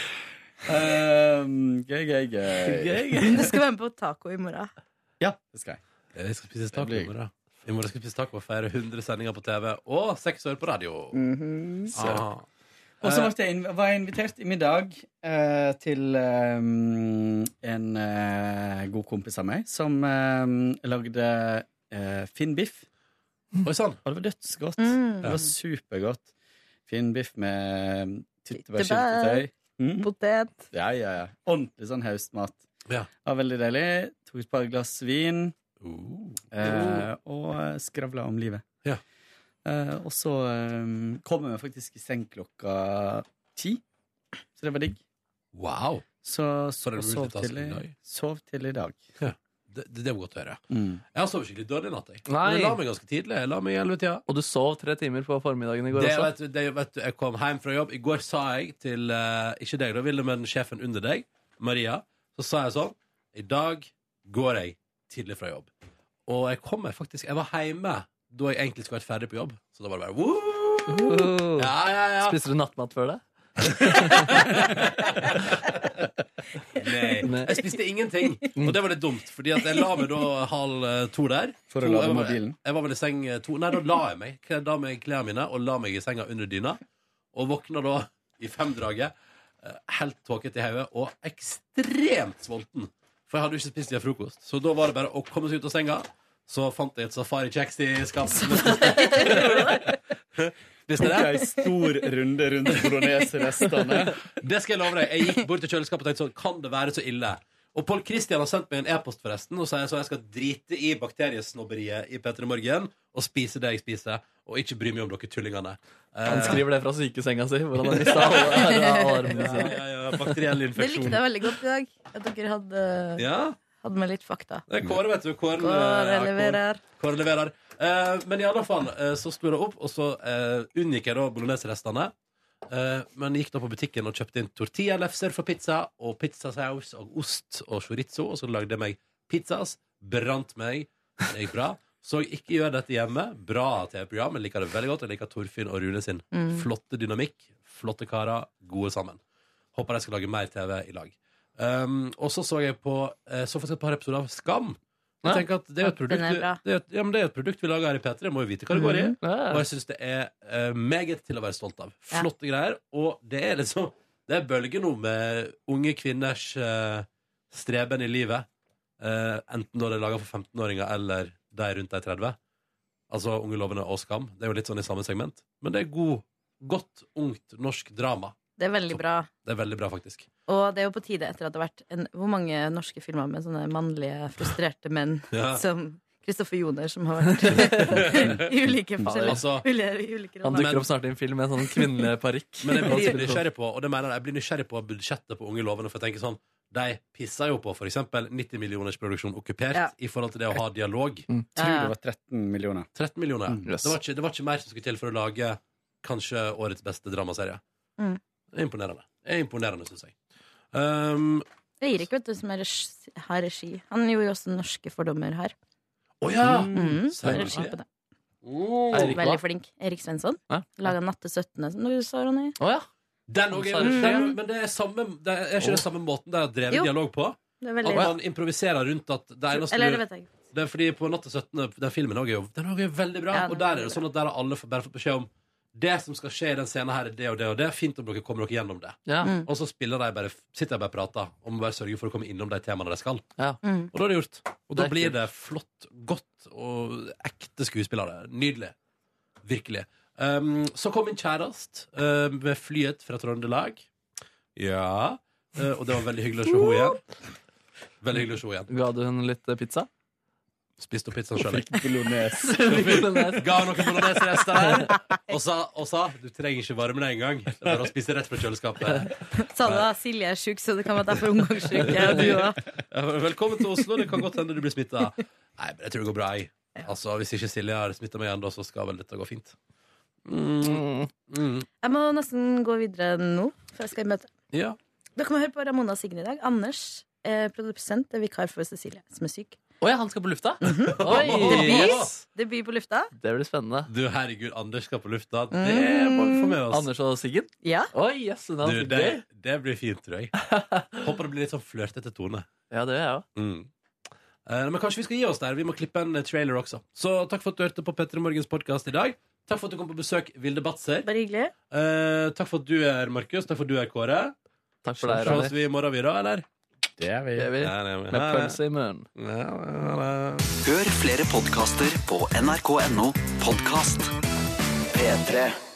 Speaker 9: Eh, gøy, gøy, gøy.
Speaker 7: Du skal være med på taco i morgen.
Speaker 9: Ja, det skal jeg.
Speaker 2: Ja, Jeg skal spise
Speaker 9: Det
Speaker 2: taco
Speaker 9: blir-
Speaker 2: i morgen. I morgen skal jeg spise taco og feire 100 sendinger på TV og seks år på radio.
Speaker 9: Ah.
Speaker 2: Ah.
Speaker 9: Og så ble jeg inv- var jeg invitert i middag eh, til eh, en eh, god kompis av meg som eh, lagde eh, Finn biff.
Speaker 2: Oi sann!
Speaker 9: Og det var dødsgodt.
Speaker 7: Mm.
Speaker 9: Det var supergodt. Fin biff med
Speaker 7: Tyttebær.
Speaker 9: tyttebærsyltetøy. Mm.
Speaker 7: Potet.
Speaker 9: Ja, ja, ja. Ordentlig sånn høstmat.
Speaker 2: Ja.
Speaker 9: Det var veldig deilig. Tok et par glass vin
Speaker 2: Uh.
Speaker 9: eh, og skravla om livet.
Speaker 2: Ja.
Speaker 9: Eh, og så eh, kom jeg meg faktisk i seng klokka ti, så det var digg.
Speaker 2: Wow!
Speaker 9: Så,
Speaker 2: Så det er
Speaker 9: og sov,
Speaker 2: multitasking
Speaker 9: til,
Speaker 2: i dag?
Speaker 9: sov til i dag.
Speaker 2: Det, det, det var godt å høre.
Speaker 9: Mm.
Speaker 2: Jeg har sovet skikkelig dårlig i natt. Jeg.
Speaker 3: Nei.
Speaker 2: Men jeg la meg ganske tidlig. Jeg la meg i 11-tida.
Speaker 3: Og du sov tre timer på formiddagen i går
Speaker 2: Det,
Speaker 3: også?
Speaker 2: vet, du- det, vet du, jeg kom hjem fra jobb. I går sa jeg til eh, ikke deg, da, Ville, men sjefen under deg, Maria, så sa jeg sånn I dag går jeg tidlig fra jobb. Og jeg kom meg faktisk Jeg var hjemme da jeg egentlig skulle vært ferdig på jobb. Så da var det bare Woo!
Speaker 3: Uh.
Speaker 2: Ja, ja, ja.
Speaker 3: Spiste du nattmat før det?
Speaker 2: Nei.
Speaker 3: Nei.
Speaker 2: Jeg spiste ingenting, og det var litt dumt. Fordi at jeg la meg da halv eh, to der.
Speaker 9: For å
Speaker 2: To-
Speaker 9: lade
Speaker 2: jeg var-
Speaker 9: mobilen?
Speaker 2: Jeg var vel i seng eh, to Nei, da la jeg meg. Kledde av meg klærne mine og la meg i senga under dyna. Og våkna da i femdraget, eh, helt tåket i hodet og ekstremt sulten. For jeg hadde jo ikke spist siden frokost. Så da var det bare å komme seg ut av senga. Så fant jeg et safari-kjeks i skapet. Hvis
Speaker 9: Tok
Speaker 2: det er
Speaker 9: ei stor runde rundt bolognesrestene.
Speaker 2: Det skal jeg love deg. Jeg gikk bort til kjøleskapet og tenkte sånn, kan det være så ille? Og Pål Kristian har sendt meg en e-post forresten og sier så jeg skal drite i bakteriesnobberiet i P3 Morgen og spise det jeg spiser, og ikke bry meg om dere tullingene.
Speaker 3: Han skriver det fra sykesenga si, hvor han har mista alle alle armene
Speaker 2: Ja,
Speaker 3: sine.
Speaker 2: ja, ja, bakteriell
Speaker 7: Det likte
Speaker 2: infeksjon.
Speaker 7: jeg veldig godt i dag. At dere hadde,
Speaker 2: Ja,
Speaker 7: hadde med litt fakta.
Speaker 2: det er Eh, Kåre, vet du. Kåre, eh,
Speaker 7: Kåre
Speaker 2: ja,
Speaker 7: leverer.
Speaker 2: Kåre leverer. Eh, men i alle fall eh, så sto det opp, og så eh, unngikk jeg da bolognesrestene. Eh, men gikk da på butikken og kjøpte inn tortillalefser for pizza, og pizzasaus og ost og chorizo, og så lagde jeg meg pizzas. Brant meg. Det gikk bra. Så ikke gjør dette hjemme. Bra TV-program. Jeg liker det veldig godt. Jeg liker Torfinn og Rune sin
Speaker 7: Mm.
Speaker 2: flotte dynamikk. Flotte karer. Gode sammen. Håper de skal lage mer TV i lag. Um, og så så jeg på eh, Så faktisk et par episoder av Skam. Jeg
Speaker 3: Ja.
Speaker 2: tenker at det er jo et
Speaker 7: Den
Speaker 2: produkt,
Speaker 7: er bra.
Speaker 2: det er, et- ja, men det er et produkt vi lager her i P3. Må jo vite hva det går i. Og
Speaker 3: Mm-hmm. Ja.
Speaker 2: jeg syns det er eh, meget til å være stolt av.
Speaker 7: Ja.
Speaker 2: Flotte greier. Og det er liksom Det er bølger nå med unge kvinners eh, streben i livet. Eh, enten når det er laga for 15-åringer eller de rundt de 30. Altså Unge lovende og Skam. Det er jo litt sånn i samme segment. Men det er god, godt, ungt norsk drama.
Speaker 7: Det er veldig bra.
Speaker 2: Det er veldig bra, faktisk.
Speaker 7: Og det er jo på tide etter at det har vært en, Hvor mange norske filmer med sånne mannlige, frustrerte menn
Speaker 2: Ja.
Speaker 7: som Kristoffer Joner, som har vært i ulike forskjellige
Speaker 2: Altså,
Speaker 7: uli- ulike
Speaker 3: Han
Speaker 7: roller.
Speaker 3: dukker opp snart i en film med en sånn kvinnelig parykk.
Speaker 2: Men jeg blir nysgjerrig på Og det mener jeg, jeg blir nysgjerrig på budsjettet på Unge lovende. For jeg tenker sånn De pisser jo på for eksempel 90 millioners produksjon okkupert
Speaker 7: Ja.
Speaker 2: i forhold til det å ha dialog.
Speaker 9: Tror det var 13 millioner.
Speaker 2: 13 millioner.
Speaker 9: Mm.
Speaker 3: Mm. Yes.
Speaker 2: Det, var ikke, det var ikke mer som skulle til for å lage kanskje årets beste dramaserie.
Speaker 7: Mm.
Speaker 2: Det er imponerende. Det er imponerende, syns jeg. Um,
Speaker 7: Det gir ikke, vet du, som er regi, har regi. Han gjorde jo også norske fordommer her.
Speaker 2: å ja!
Speaker 7: Mm,
Speaker 2: Så er det
Speaker 7: regi
Speaker 2: regi.
Speaker 7: på det.
Speaker 3: Eirik, hva?
Speaker 7: Veldig flink. Erik Svensson.
Speaker 3: Ja.
Speaker 7: Laga 'Natt til 17.', som du sa, Ronny.
Speaker 3: Å ja.
Speaker 2: Den òg er jo
Speaker 3: Mm.
Speaker 2: den- Men det er, samme, det er ikke den samme måten de har drevet
Speaker 7: Jo.
Speaker 2: dialog på.
Speaker 7: Det er
Speaker 2: At
Speaker 7: veldig
Speaker 2: man improviserer rundt at det eneste
Speaker 7: Eller det
Speaker 2: du-
Speaker 7: vet jeg ikke.
Speaker 2: Det er fordi på Natt til 17. Den filmen også er jo
Speaker 3: sånn-
Speaker 2: den også er veldig bra.
Speaker 7: Ja, den
Speaker 2: og
Speaker 7: er
Speaker 2: der er det
Speaker 7: veldig
Speaker 2: sånn at der har alle fått- bare fått beskjed om det som skal skje i den scenen her, er det og det og det. Fint om dere kommer dere gjennom det.
Speaker 3: Ja.
Speaker 7: Mm.
Speaker 2: Og så spiller de bare, sitter de bare og prater og må bare sørge for å komme innom de temaene de skal.
Speaker 7: Mm.
Speaker 2: Og da er det gjort. Og
Speaker 3: Det
Speaker 2: da
Speaker 3: er
Speaker 2: blir
Speaker 3: kult.
Speaker 2: det flott, godt og ekte skuespillere. Nydelig. Virkelig. Um, så kom min kjæreste eh, med flyet fra Trøndelag. Ja. Eh, og det var veldig hyggelig å se henne igjen. Veldig hyggelig å se henne igjen.
Speaker 3: Ga du henne litt eh, pizza?
Speaker 2: Spiste opp pizzaen sjøl.
Speaker 9: Bolognese.
Speaker 2: Ga noen bolognesrester der og sa, og sa du trenger ikke varme deg engang. Det er bare å spise rett fra kjøleskapet.
Speaker 7: Sa du da Silje er sjuk, så det kan være derfor hun er sjuk. Ja, du òg.
Speaker 2: Ja, Velkommen til Oslo. Det kan godt hende du blir smitta. Nei, men jeg tror det går bra. Jeg. Altså, Hvis ikke Silje har smitta meg ennå, så skal vel dette gå fint.
Speaker 3: Mm.
Speaker 2: Mm.
Speaker 7: Jeg må nesten gå videre nå, for jeg skal i møte.
Speaker 2: Ja.
Speaker 7: Dere må høre på Ramona og Signe i dag. Anders, eh, produsent, er vikar for Cecilie, som er syk.
Speaker 3: Å ja, han skal på lufta?
Speaker 9: Mhm.
Speaker 7: det
Speaker 3: Oi!
Speaker 7: blir- Debut på lufta.
Speaker 3: Det blir spennende. Mm.
Speaker 2: Du, herregud, Anders skal på lufta. Det må vi få med oss.
Speaker 3: Anders og Siggen?
Speaker 7: Ja.
Speaker 3: Oi, jøss.
Speaker 2: Du,
Speaker 3: Yes,
Speaker 2: det, det blir fint, tror jeg. Håper det blir litt sånn flørtete tone.
Speaker 3: Ja, det gjør jeg òg.
Speaker 2: Mm. Eh, men kanskje vi skal gi oss der. Vi må klippe en eh, trailer også. Så takk for at du hørte på Petter Morgens podkast i dag. Takk for at du kom på besøk, Vilde Batzer.
Speaker 7: Bare hyggelig.
Speaker 2: Eh, takk for at du er Markus. Takk for at du er Kåre.
Speaker 3: Takk for
Speaker 2: Så
Speaker 3: deg,
Speaker 2: oss
Speaker 3: Ronny.
Speaker 2: vi i morgen, vi da, eller?
Speaker 9: Det er vi.
Speaker 3: Det er vi.
Speaker 2: Nei, nei, men-
Speaker 3: Med pølse i munnen.
Speaker 2: Ja, ja, ja.
Speaker 11: Hør flere podkaster på nrk.no podkast. P3.